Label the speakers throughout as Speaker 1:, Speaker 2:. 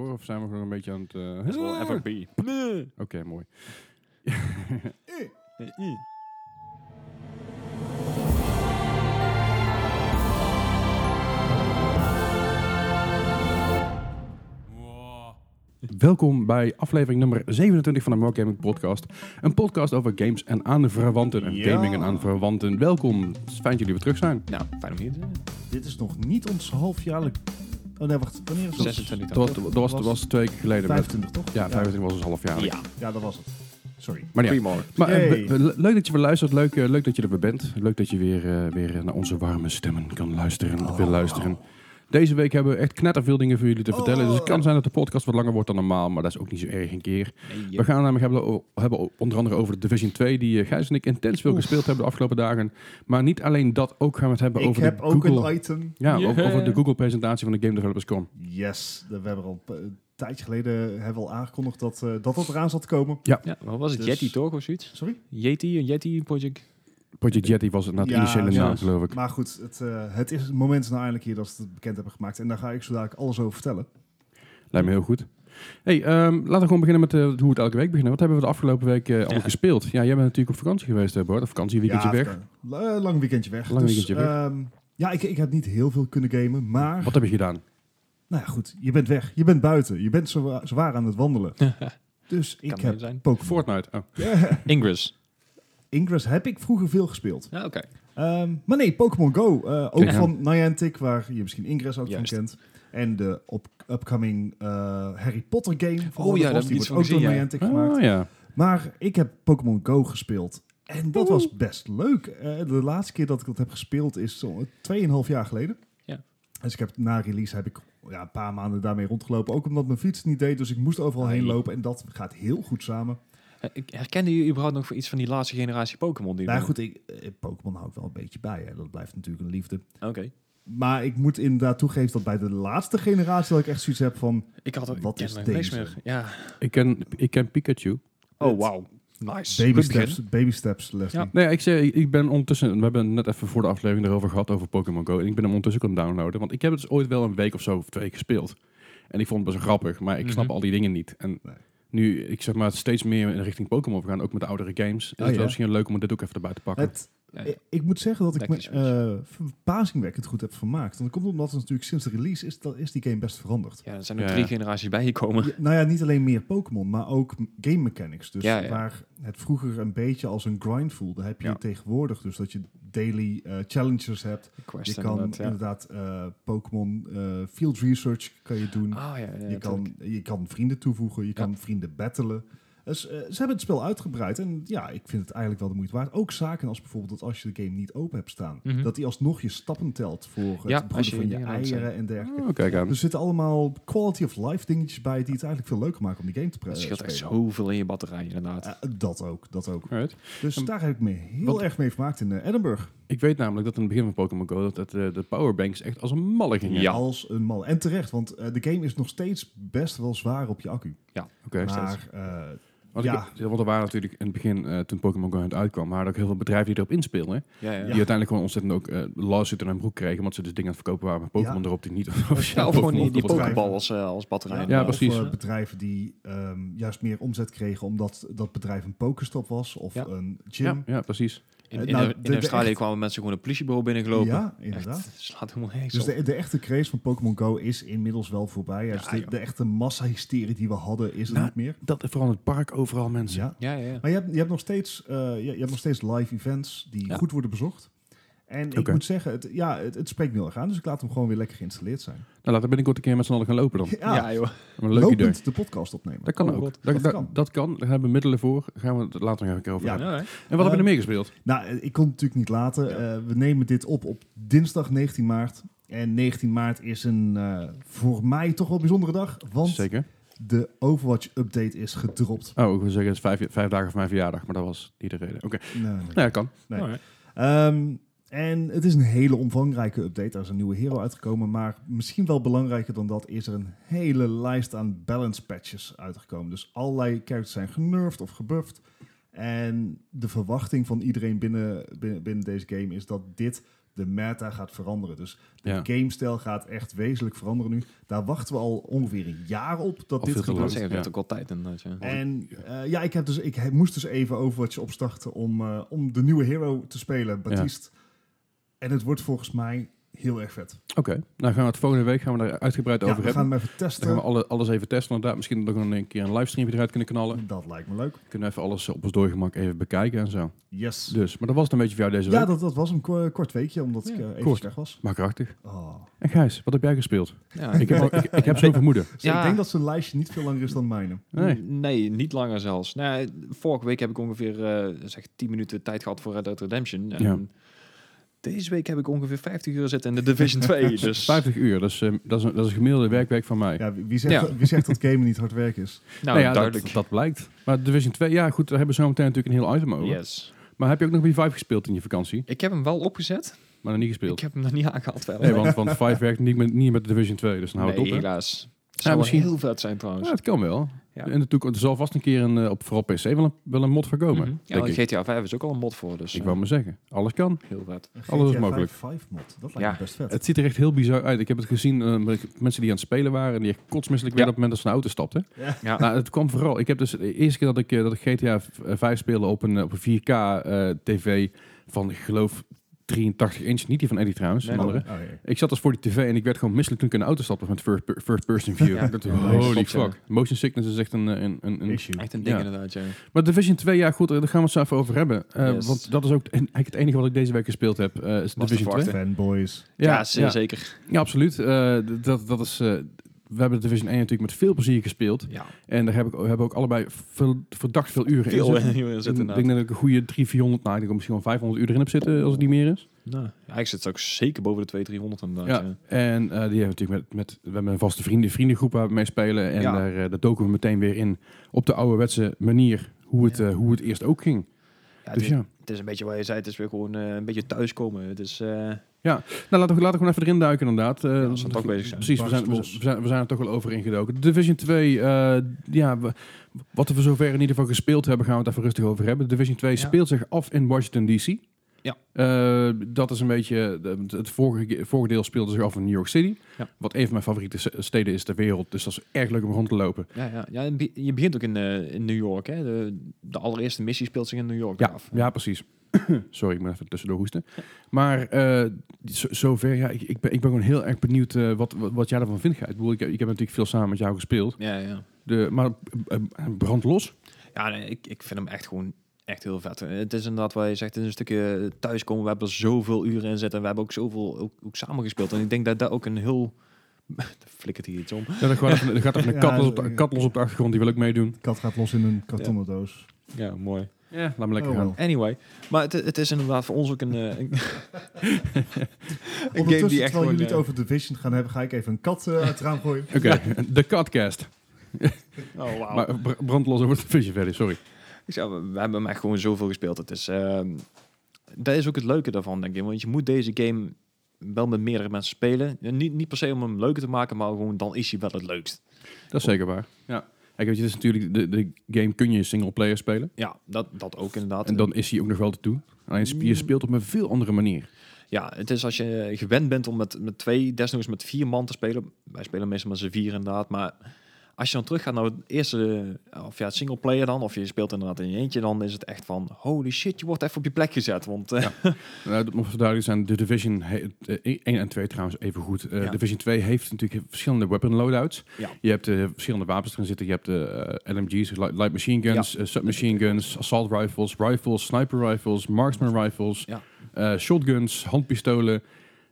Speaker 1: Of zijn we gewoon een beetje aan het... eh,
Speaker 2: As will ever be.
Speaker 1: Oké, mooi. Welkom bij aflevering nummer 27 van de More Gaming Podcast. Een podcast over games en aanverwanten. En
Speaker 3: Ja.
Speaker 1: gaming en aanverwanten. Welkom. Het is fijn dat jullie weer terug zijn.
Speaker 2: Nou, fijn om hier te zijn.
Speaker 3: Dit is nog niet ons halfjaarlijk... Oh nee, wacht. Wanneer is het?
Speaker 2: 26
Speaker 1: Dat was, dat was, dat was twee weken geleden. met-
Speaker 3: 25, toch?
Speaker 1: ja, 25 was ons half jaar.
Speaker 2: Ja,
Speaker 3: Ja, dat was het. Sorry.
Speaker 1: Maar ja.
Speaker 2: primo.
Speaker 1: Maar eh,
Speaker 3: Yay.
Speaker 1: we- we- leuk dat je weer luistert. Leuk, eh, leuk dat je er weer bent. Leuk dat je weer, eh, weer naar onze warme stemmen kan luisteren. Of wil luisteren. Deze week hebben we echt knetterveel dingen voor jullie te vertellen. Dus het
Speaker 3: Oh.
Speaker 1: kan zijn dat de podcast wat langer wordt dan normaal. Maar dat is ook niet zo erg een keer. We gaan het namelijk hebben, o- hebben onder andere over de Division 2. Die eh, Gijs en ik intens veel gespeeld hebben de afgelopen dagen. Maar niet alleen dat. Ook gaan we het hebben
Speaker 3: Ik
Speaker 1: over
Speaker 3: heb
Speaker 1: de
Speaker 3: ook
Speaker 1: Google...
Speaker 3: een item.
Speaker 1: ja, ook
Speaker 2: Yeah.
Speaker 1: over de Google-presentatie van de Game Developers Con.
Speaker 3: Yes. We hebben al een- een tijdje geleden eh, hebben we al aangekondigd dat, eh, dat dat eraan zat te komen.
Speaker 2: Ja, wat was het?
Speaker 3: Dus-
Speaker 2: Yeti toch of zoiets?
Speaker 3: Sorry?
Speaker 2: Yeti, een Yeti project.
Speaker 1: Project Jetty was het na het
Speaker 3: Ja,
Speaker 1: initiële
Speaker 2: ja.
Speaker 1: naam, geloof ik.
Speaker 3: Maar goed, het, eh, het is het moment nou eindelijk hier dat ze het bekend hebben gemaakt. En daar ga ik zo dadelijk alles over vertellen.
Speaker 1: Lijkt me heel goed. Hey, ehm, laten we gewoon beginnen met eh, hoe we het elke week beginnen. Wat hebben we de afgelopen week eh, allemaal
Speaker 2: Ja.
Speaker 1: gespeeld? Ja, jij bent natuurlijk op vakantie geweest, hè, Bart. Of vakantieweekendje
Speaker 3: Ja,
Speaker 1: weg.
Speaker 3: even- eh, lang weekendje weg.
Speaker 1: Lang
Speaker 3: Dus,
Speaker 1: weekendje weg.
Speaker 3: ehm, ja, ik, ik heb niet heel veel kunnen gamen, maar...
Speaker 1: Wat heb je gedaan?
Speaker 3: Nou ja, goed. Je bent weg. Je bent buiten. Je bent zo- zwaar aan het wandelen. dus ik
Speaker 2: Kan
Speaker 3: heb
Speaker 2: er zijn.
Speaker 3: Pokémon.
Speaker 1: Fortnite. Oh.
Speaker 3: Ja.
Speaker 2: Ingress.
Speaker 3: Ingress heb ik vroeger veel gespeeld.
Speaker 2: Ja, Ah, oké.
Speaker 3: Ehm, maar nee, Pokémon Go. eh, ook
Speaker 1: Ja.
Speaker 3: van Niantic, waar je misschien Ingress ook
Speaker 2: Juist.
Speaker 3: van kent. En de op upcoming eh, Harry Potter game. van
Speaker 2: Oh
Speaker 3: Warner
Speaker 2: ja, daar heb
Speaker 3: Bros.
Speaker 2: ik
Speaker 3: die
Speaker 2: iets
Speaker 3: wordt
Speaker 2: van
Speaker 3: ook
Speaker 2: gezien,
Speaker 3: door
Speaker 2: ja.
Speaker 3: Niantic gemaakt.
Speaker 1: Ah, ja.
Speaker 3: Maar ik heb Pokémon Go gespeeld. En dat was best leuk. Eh, de laatste keer dat ik dat heb gespeeld is zo'n 2,5 jaar geleden.
Speaker 2: Ja.
Speaker 3: Dus ik heb na release heb ik ja, een paar maanden daarmee rondgelopen. Ook omdat mijn fiets het niet deed. Dus ik moest overal heen
Speaker 2: Ai.
Speaker 3: lopen. En dat gaat heel goed samen.
Speaker 2: Eh, ik Herkende je überhaupt nog voor iets van die laatste generatie Pokémon? die
Speaker 3: Nou
Speaker 2: we-
Speaker 3: goed, ik, eh, Pokémon hou ik wel een beetje bij. Hè. Dat blijft natuurlijk een liefde.
Speaker 2: Ah, Oké.
Speaker 3: Maar ik moet inderdaad toegeven dat bij de laatste generatie dat ik echt zoiets heb van...
Speaker 2: Ik had er
Speaker 3: Wat
Speaker 2: ik
Speaker 3: is
Speaker 2: ken er niks
Speaker 3: deze?
Speaker 2: meer. Ja.
Speaker 1: Ik, ken, ik ken Pikachu.
Speaker 2: Oh, wauw. Nice.
Speaker 3: Baby
Speaker 2: Goed begin.
Speaker 3: steps, baby steps, Leslie.
Speaker 2: Ja.
Speaker 1: Nee, ja, ik, zei, ik ben ondertussen... We hebben het net even voor de aflevering erover gehad, over Pokémon Go. En ik ben hem ondertussen gaan downloaden. Want ik heb het dus ooit wel een week of zo of twee gespeeld. En ik vond het best wel grappig. Maar ik snap
Speaker 2: Mhm.
Speaker 1: al die dingen niet. En
Speaker 3: Nee.
Speaker 1: nu, ik zeg maar, steeds meer in richting Pokémon gaan. Ook met de oudere games. Is het wel
Speaker 3: ja.
Speaker 1: misschien leuk om dit ook even erbij te pakken.
Speaker 3: Het,
Speaker 2: Ja, ja.
Speaker 3: ik, ik moet zeggen dat ik me
Speaker 2: Tactisch
Speaker 3: eh, verbazingwekkend goed heb vermaakt. Want dat komt omdat het natuurlijk sinds de release is, dat, is die game best veranderd.
Speaker 2: Ja, er zijn nog
Speaker 1: Ja,
Speaker 2: drie
Speaker 1: ja.
Speaker 2: generaties bijgekomen.
Speaker 3: Ja, nou ja, niet alleen meer Pokémon, maar ook m- game mechanics. Dus
Speaker 2: Ja, ja.
Speaker 3: waar het vroeger een beetje als een grind voelde, heb je
Speaker 2: Ja.
Speaker 3: tegenwoordig. Dus dat je daily eh, challenges hebt.
Speaker 2: Quest
Speaker 3: Je kan
Speaker 2: inderdaad, ja.
Speaker 3: inderdaad eh, Pokémon eh, field research kan je doen.
Speaker 2: Ah, ja, ja,
Speaker 3: je,
Speaker 2: natuurlijk.
Speaker 3: kan, je kan vrienden toevoegen, je
Speaker 2: Ja.
Speaker 3: kan vrienden battelen. Dus, eh, ze hebben het spel uitgebreid en ja, ik vind het eigenlijk wel de moeite waard. Ook zaken als bijvoorbeeld dat als je de game niet open hebt staan,
Speaker 2: Mhm.
Speaker 3: dat die alsnog je stappen telt voor het
Speaker 2: Ja, als
Speaker 3: broeden
Speaker 2: je
Speaker 3: van je
Speaker 2: dingen aan het zijn.
Speaker 3: eieren en dergelijke.
Speaker 1: Oh, kijk aan.
Speaker 3: Er zitten allemaal quality of life dingetjes bij die het eigenlijk veel leuker maken om die game te pre-
Speaker 2: Het scheelt echt
Speaker 3: eh, spelen.
Speaker 2: zoveel in je batterij, inderdaad.
Speaker 3: Eh, dat ook, dat ook.
Speaker 1: Alright.
Speaker 3: Dus
Speaker 1: En-
Speaker 3: daar heb ik me heel
Speaker 1: want-
Speaker 3: erg mee vermaakt in eh, Edinburgh.
Speaker 1: Ik weet namelijk dat in het begin van Pokémon Go dat het, eh, de powerbanks echt als een malle gingen.
Speaker 2: Ja.
Speaker 3: Als een man. En terecht, want eh, de game is nog steeds best wel zwaar op je accu.
Speaker 1: Oké.
Speaker 3: maar eh,
Speaker 1: Want, ik-
Speaker 3: ja.
Speaker 1: want er waren natuurlijk in het begin, eh, toen Pokémon Go aan het uitkwam, waren er ook heel veel bedrijven die erop inspeelden. hè.
Speaker 2: Ja, ja.
Speaker 3: Ja.
Speaker 1: Die uiteindelijk gewoon ontzettend ook eh lawsuit in hun broek kregen, omdat ze dus dingen aan het verkopen waren met Pokémon
Speaker 3: Ja.
Speaker 1: erop die niet
Speaker 2: Ja,
Speaker 1: officieel
Speaker 2: of gewoon die,
Speaker 1: Pokémon waren.
Speaker 2: die
Speaker 3: bedrijven.
Speaker 2: pokebal als, eh, als batterij.
Speaker 1: Ja,
Speaker 3: of,
Speaker 1: precies.
Speaker 3: eh, bedrijven die ehm, juist meer omzet kregen omdat dat bedrijf een pokerstop was of
Speaker 2: Ja.
Speaker 3: een
Speaker 1: Ja,
Speaker 3: gym.
Speaker 1: ja, precies.
Speaker 2: In,
Speaker 3: Eh,
Speaker 2: in,
Speaker 3: nou,
Speaker 2: in
Speaker 3: de- de
Speaker 2: Australië
Speaker 3: echt-
Speaker 2: kwamen mensen gewoon een politiebureau
Speaker 3: Ja,
Speaker 2: binnengelopen.
Speaker 3: inderdaad.
Speaker 2: Echt, slaat helemaal niks
Speaker 3: Dus
Speaker 2: op.
Speaker 3: de, de echte craze van Pokémon Go is inmiddels wel voorbij. Ja, dus de,
Speaker 2: joh.
Speaker 3: de echte massahysterie die we hadden is er
Speaker 1: Nou,
Speaker 3: niet meer.
Speaker 1: Dat vooral in het park overal mensen.
Speaker 3: Ja.
Speaker 2: Ja, ja, ja.
Speaker 3: Maar je hebt, je, hebt nog steeds, eh, je, je hebt nog steeds live events die
Speaker 2: Ja.
Speaker 3: goed worden bezocht. En ik
Speaker 1: Oké.
Speaker 3: moet zeggen, het, ja, het, het spreekt me heel erg aan. Dus ik laat hem gewoon weer lekker geïnstalleerd zijn.
Speaker 1: Nou, laten we binnenkort een keer met z'n allen gaan lopen dan.
Speaker 3: Ja,
Speaker 2: Ja, joh.
Speaker 1: Een leuk idee.
Speaker 3: lopend de podcast opnemen.
Speaker 1: Dat kan
Speaker 2: Oh,
Speaker 1: ook.
Speaker 2: God,
Speaker 1: Dat,
Speaker 3: dat
Speaker 1: dat-
Speaker 3: kan.
Speaker 1: dat kan. Daar hebben we middelen voor. Gaan we het later nog even over
Speaker 3: Ja.
Speaker 1: hebben.
Speaker 2: Ja, hè.
Speaker 1: En wat hebben we er
Speaker 3: Ehm,
Speaker 1: meer gespeeld?
Speaker 3: Nou, eh, ik kon het natuurlijk niet laten. Eh, we nemen dit op op dinsdag 19 maart. En 19 maart is een eh, voor mij toch wel bijzondere dag. Want
Speaker 1: Zeker.
Speaker 3: de Overwatch-update is gedropt.
Speaker 1: Oh, ik wil zeggen, het is vijf, vijf dagen voor mijn verjaardag, maar dat was niet de reden. Oké,
Speaker 3: Nee, nee, nee.
Speaker 1: nou ja, kan.
Speaker 3: Nee.
Speaker 2: Alright.
Speaker 3: Ehm, en het is een hele omvangrijke update. Daar is een nieuwe hero uitgekomen. Maar misschien wel belangrijker dan dat is er een hele lijst aan balance patches uitgekomen. Dus allerlei characters zijn genurfd of gebufft. En de verwachting van iedereen binnen, binnen, binnen deze game is dat dit de meta gaat veranderen. Dus de
Speaker 1: Ja.
Speaker 3: gamestijl gaat echt wezenlijk veranderen nu. Daar wachten we al ongeveer een jaar op dat
Speaker 1: Al
Speaker 3: dit
Speaker 1: veel te lang.
Speaker 2: Ik
Speaker 3: gebeurt.
Speaker 2: wou zeggen, dat
Speaker 1: Ja.
Speaker 2: ook altijd inderdaad, ja.
Speaker 3: En eh, ja, ik, heb dus, ik he- moest dus even Overwatch opstarten om, eh, om de nieuwe hero te spelen, Baptiste. En het wordt volgens mij heel erg vet.
Speaker 1: Oké, nou gaan we het volgende week gaan we daar uitgebreid
Speaker 3: Ja,
Speaker 1: over
Speaker 3: we
Speaker 1: hebben.
Speaker 3: gaan eh, hem even
Speaker 1: Dan gaan we
Speaker 3: testen.
Speaker 1: alle, alles even testen inderdaad. Misschien nog een keer een livestream eruit kunnen knallen.
Speaker 3: Dat lijkt me leuk.
Speaker 1: Kunnen we even alles op ons doorgemak even bekijken en zo.
Speaker 3: Yes.
Speaker 1: Dus, eh, maar dat was het een beetje voor jou deze week.
Speaker 3: Ja, dat, dat was een ko- kort weekje, omdat ik
Speaker 2: Ja,
Speaker 3: eh, even
Speaker 1: kort.
Speaker 3: slecht was.
Speaker 1: Maar krachtig.
Speaker 3: Oh.
Speaker 1: En Gijs, wat heb jij gespeeld?
Speaker 2: ja.
Speaker 1: ik, heb, al- ik, ik heb zo'n vermoeden.
Speaker 3: Zo,
Speaker 2: Ja.
Speaker 3: Ik denk dat zijn lijstje niet veel langer is dan mijne.
Speaker 1: Nee.
Speaker 2: N- nee, niet langer zelfs. Nou, ja, vorige week heb ik ongeveer eh, zeg 10 minuten tijd gehad voor Red Dead Redemption. En
Speaker 1: Ja.
Speaker 2: Deze week heb ik ongeveer 50 uur zitten in de Division 2. Dus
Speaker 1: 50 uur, dat is, eh, dat, is een, dat is een gemiddelde werkweek van mij.
Speaker 2: Nou,
Speaker 3: Ja, wie wie zegt,
Speaker 2: Ja.
Speaker 3: Dat, wie zegt dat gamen niet hard werk is?
Speaker 2: nou,
Speaker 1: Nou ja,
Speaker 2: duidelijk.
Speaker 1: Dat, dat blijkt. Maar Division 2, ja goed, daar hebben we zo meteen natuurlijk een heel item over.
Speaker 2: yes.
Speaker 1: Maar heb je ook nog B5 gespeeld in je vakantie?
Speaker 2: Ik heb hem wel opgezet.
Speaker 1: Maar nog niet gespeeld?
Speaker 2: Ik heb hem nog niet aangehaald verder.
Speaker 1: Nee, want, want 5 werkt niet met, niet met Division 2, dus dan houdt
Speaker 2: nee,
Speaker 1: het op. hè?
Speaker 2: helaas. Het zou
Speaker 1: misschien-
Speaker 2: wel heel vet zijn trouwens.
Speaker 1: Ja, het kan wel.
Speaker 2: Ja.
Speaker 1: In de toekomst er zal vast een keer een, eh, op vooral PC wel een, wel een mod voor komen.
Speaker 2: Mhm. Ja,
Speaker 1: denk
Speaker 2: want
Speaker 1: ik.
Speaker 2: GTA 5 is ook al een mod voor, dus
Speaker 1: ik
Speaker 2: eh,
Speaker 1: wou maar zeggen, alles kan.
Speaker 2: heel vet.
Speaker 3: Een
Speaker 1: Alles is
Speaker 3: GTA
Speaker 1: mogelijk.
Speaker 3: 5 mod, dat lijkt
Speaker 2: Ja.
Speaker 3: me best vet.
Speaker 1: Het ziet er echt heel bizar uit. Ik heb het gezien, eh, met mensen die aan het spelen waren, en die echt kotsmisselijk werden op het moment dat ze naar de auto stapten.
Speaker 2: Ja,
Speaker 1: Nou, het kwam vooral. Ik heb dus de eerste keer dat ik, eh, dat ik GTA 5 speelde op een, eh, op een 4K eh, tv van, ik geloof, 83 inch. Niet die van Eddie trouwens,
Speaker 2: Nee,
Speaker 1: een andere.
Speaker 3: Oh, ja.
Speaker 1: Ik zat dus voor die tv en ik werd gewoon misselijk toen ik in de auto stapte met first, per- first person view.
Speaker 2: Ja.
Speaker 1: Dat-
Speaker 3: Ja,
Speaker 1: holy
Speaker 2: klopt, ja.
Speaker 1: fuck. Motion sickness is echt een... eh, een, een, een-
Speaker 3: Issue.
Speaker 2: echt een ding
Speaker 1: Ja.
Speaker 2: inderdaad, ja.
Speaker 1: Maar Division 2, ja goed, eh, daar gaan we het zo even over hebben. Eh,
Speaker 2: Yes.
Speaker 1: Want dat is ook en eigenlijk het enige wat ik deze week gespeeld heb, eh, is
Speaker 2: Was te
Speaker 1: Division 2.
Speaker 2: verwachten.
Speaker 3: Fanboys.
Speaker 2: Ja, zeer
Speaker 1: ja,
Speaker 2: zeker.
Speaker 1: ja, absoluut. Eh, d- dat, dat is... eh, we hebben Division 1 natuurlijk met veel plezier gespeeld.
Speaker 2: Ja,
Speaker 1: En daar heb ik, hebben we ook allebei veel- verdacht veel uren in.
Speaker 2: veel
Speaker 1: zitten.
Speaker 2: in zit
Speaker 1: Ik denk
Speaker 2: inderdaad.
Speaker 1: dat ik een goede 300, 400, nou, ik denk misschien wel 500 uur erin heb zitten, als het niet meer is.
Speaker 2: Nou, ja, ik zit ook zeker boven de 2 300 inderdaad.
Speaker 1: Ja.
Speaker 2: ja.
Speaker 1: En eh, die hebben natuurlijk met, met, we hebben een vaste vrienden, vriendengroep waar we mee spelen. En
Speaker 2: Ja.
Speaker 1: daar, eh, daar doken we meteen weer in op de ouderwetse manier hoe het,
Speaker 2: Ja.
Speaker 1: eh, hoe het eerst ook ging.
Speaker 2: Ja, het,
Speaker 1: dus
Speaker 2: is,
Speaker 1: ja.
Speaker 2: het is een beetje wat je zei, het is weer gewoon eh, een beetje thuiskomen. Het is, eh,
Speaker 1: Nou, laten we, laten we gewoon even erin duiken inderdaad. Eh,
Speaker 2: we zijn toch bezig zijn.
Speaker 1: Precies, we zijn, we,
Speaker 3: Barstels.
Speaker 1: we zijn, we zijn er toch wel over ingedoken. Division 2, eh, ja, we- wat we voor zover in ieder geval gespeeld hebben, gaan we het even rustig over hebben. Division 2
Speaker 2: Ja.
Speaker 1: speelt zich af in Washington DC.
Speaker 2: Ja.
Speaker 1: Eh, dat is een beetje, de- het vorige, het vorige deel speelde zich af in New York City.
Speaker 2: Ja.
Speaker 1: Wat een van mijn favoriete s- steden is ter wereld. Dus dat is erg leuk om rond te lopen.
Speaker 2: ja, ja, ja, en be- je begint ook in, eh, in New York. Hè? De, de allereerste missie speelt zich in New York
Speaker 1: Ja,
Speaker 2: af.
Speaker 1: ja precies. Sorry, ik moet even tussendoor hoesten. Maar eh, zo- zover, ja, ik, ik, ben, ik ben gewoon heel erg benieuwd eh, wat, wat, wat jij ervan vindt. Gijs. Ik, bedoel, ik, ik heb natuurlijk veel samen met jou gespeeld.
Speaker 2: ja, ja.
Speaker 1: De, maar eh, eh, brand los.
Speaker 2: Ja, nee, ik, ik vind hem echt gewoon echt heel vet. Eh, Het is inderdaad wat je zegt, het is een stukje thuiskomen. We hebben er zoveel uren in zitten en we hebben ook zoveel ook, ook samengespeeld. En ik denk dat dat ook een heel... Flikkert hier iets om.
Speaker 1: Ja, er, gaat even, er gaat even een
Speaker 3: Ja,
Speaker 1: kat los, op de,
Speaker 3: sorry.
Speaker 1: kat los op de achtergrond, die wil ik meedoen.
Speaker 3: Kat gaat los in een kartonnen doos.
Speaker 2: Ja, mooi.
Speaker 1: Ja, laat me lekker
Speaker 3: Oh,
Speaker 1: gaan.
Speaker 3: wel.
Speaker 2: Anyway, maar het, het is inderdaad voor ons ook een, eh, een, een game
Speaker 3: Ondertussen,
Speaker 2: die echt
Speaker 3: terwijl
Speaker 2: gewoon...
Speaker 3: jullie het
Speaker 2: eh,
Speaker 3: over Division gaan hebben, ga ik even een kat eh, uit het raam gooien.
Speaker 1: Oké, de katcast.
Speaker 2: oh, wauw.
Speaker 1: Maar eh, br- brand los over de visje verder, sorry.
Speaker 2: Ik zeg, we, we hebben hem echt gewoon zoveel gespeeld. Het is, ehm, dat is ook het leuke daarvan, denk ik. Want je moet deze game wel met meerdere mensen spelen. En Niet, niet per se om hem leuker te maken, maar gewoon dan is hij wel het leukst.
Speaker 1: Dat is zeker waar. Ja. Kijk, weet je, het is natuurlijk, de, de game kun je singleplayer spelen.
Speaker 2: Ja, dat, dat ook inderdaad.
Speaker 1: En dan is hij ook nog wel te doen. Alleen
Speaker 3: Mm.
Speaker 1: sp- je speelt op een veel andere manier.
Speaker 2: Ja, het is als je gewend bent om met, met twee, desnoods met vier man te spelen. Wij spelen meestal met z'n vier inderdaad, maar... Als je dan teruggaat naar het eerste, eh, of ja, het singleplayer dan, of je speelt inderdaad in je eentje, dan is het echt van, holy shit, je wordt even op je plek gezet. Want eh,
Speaker 1: Nou, dat moet duidelijk zijn, de Division he- eh, 1 en 2 trouwens even goed. Eh,
Speaker 2: Ja.
Speaker 1: Division 2 heeft natuurlijk verschillende weapon loadouts.
Speaker 2: Ja.
Speaker 1: Je hebt eh, verschillende wapens erin zitten. Je hebt eh, de LMG's, light, light machine guns, eh, submachine guns, assault rifles, rifles, sniper rifles, marksman rifles,
Speaker 2: Ja.
Speaker 1: eh, shotguns, handpistolen.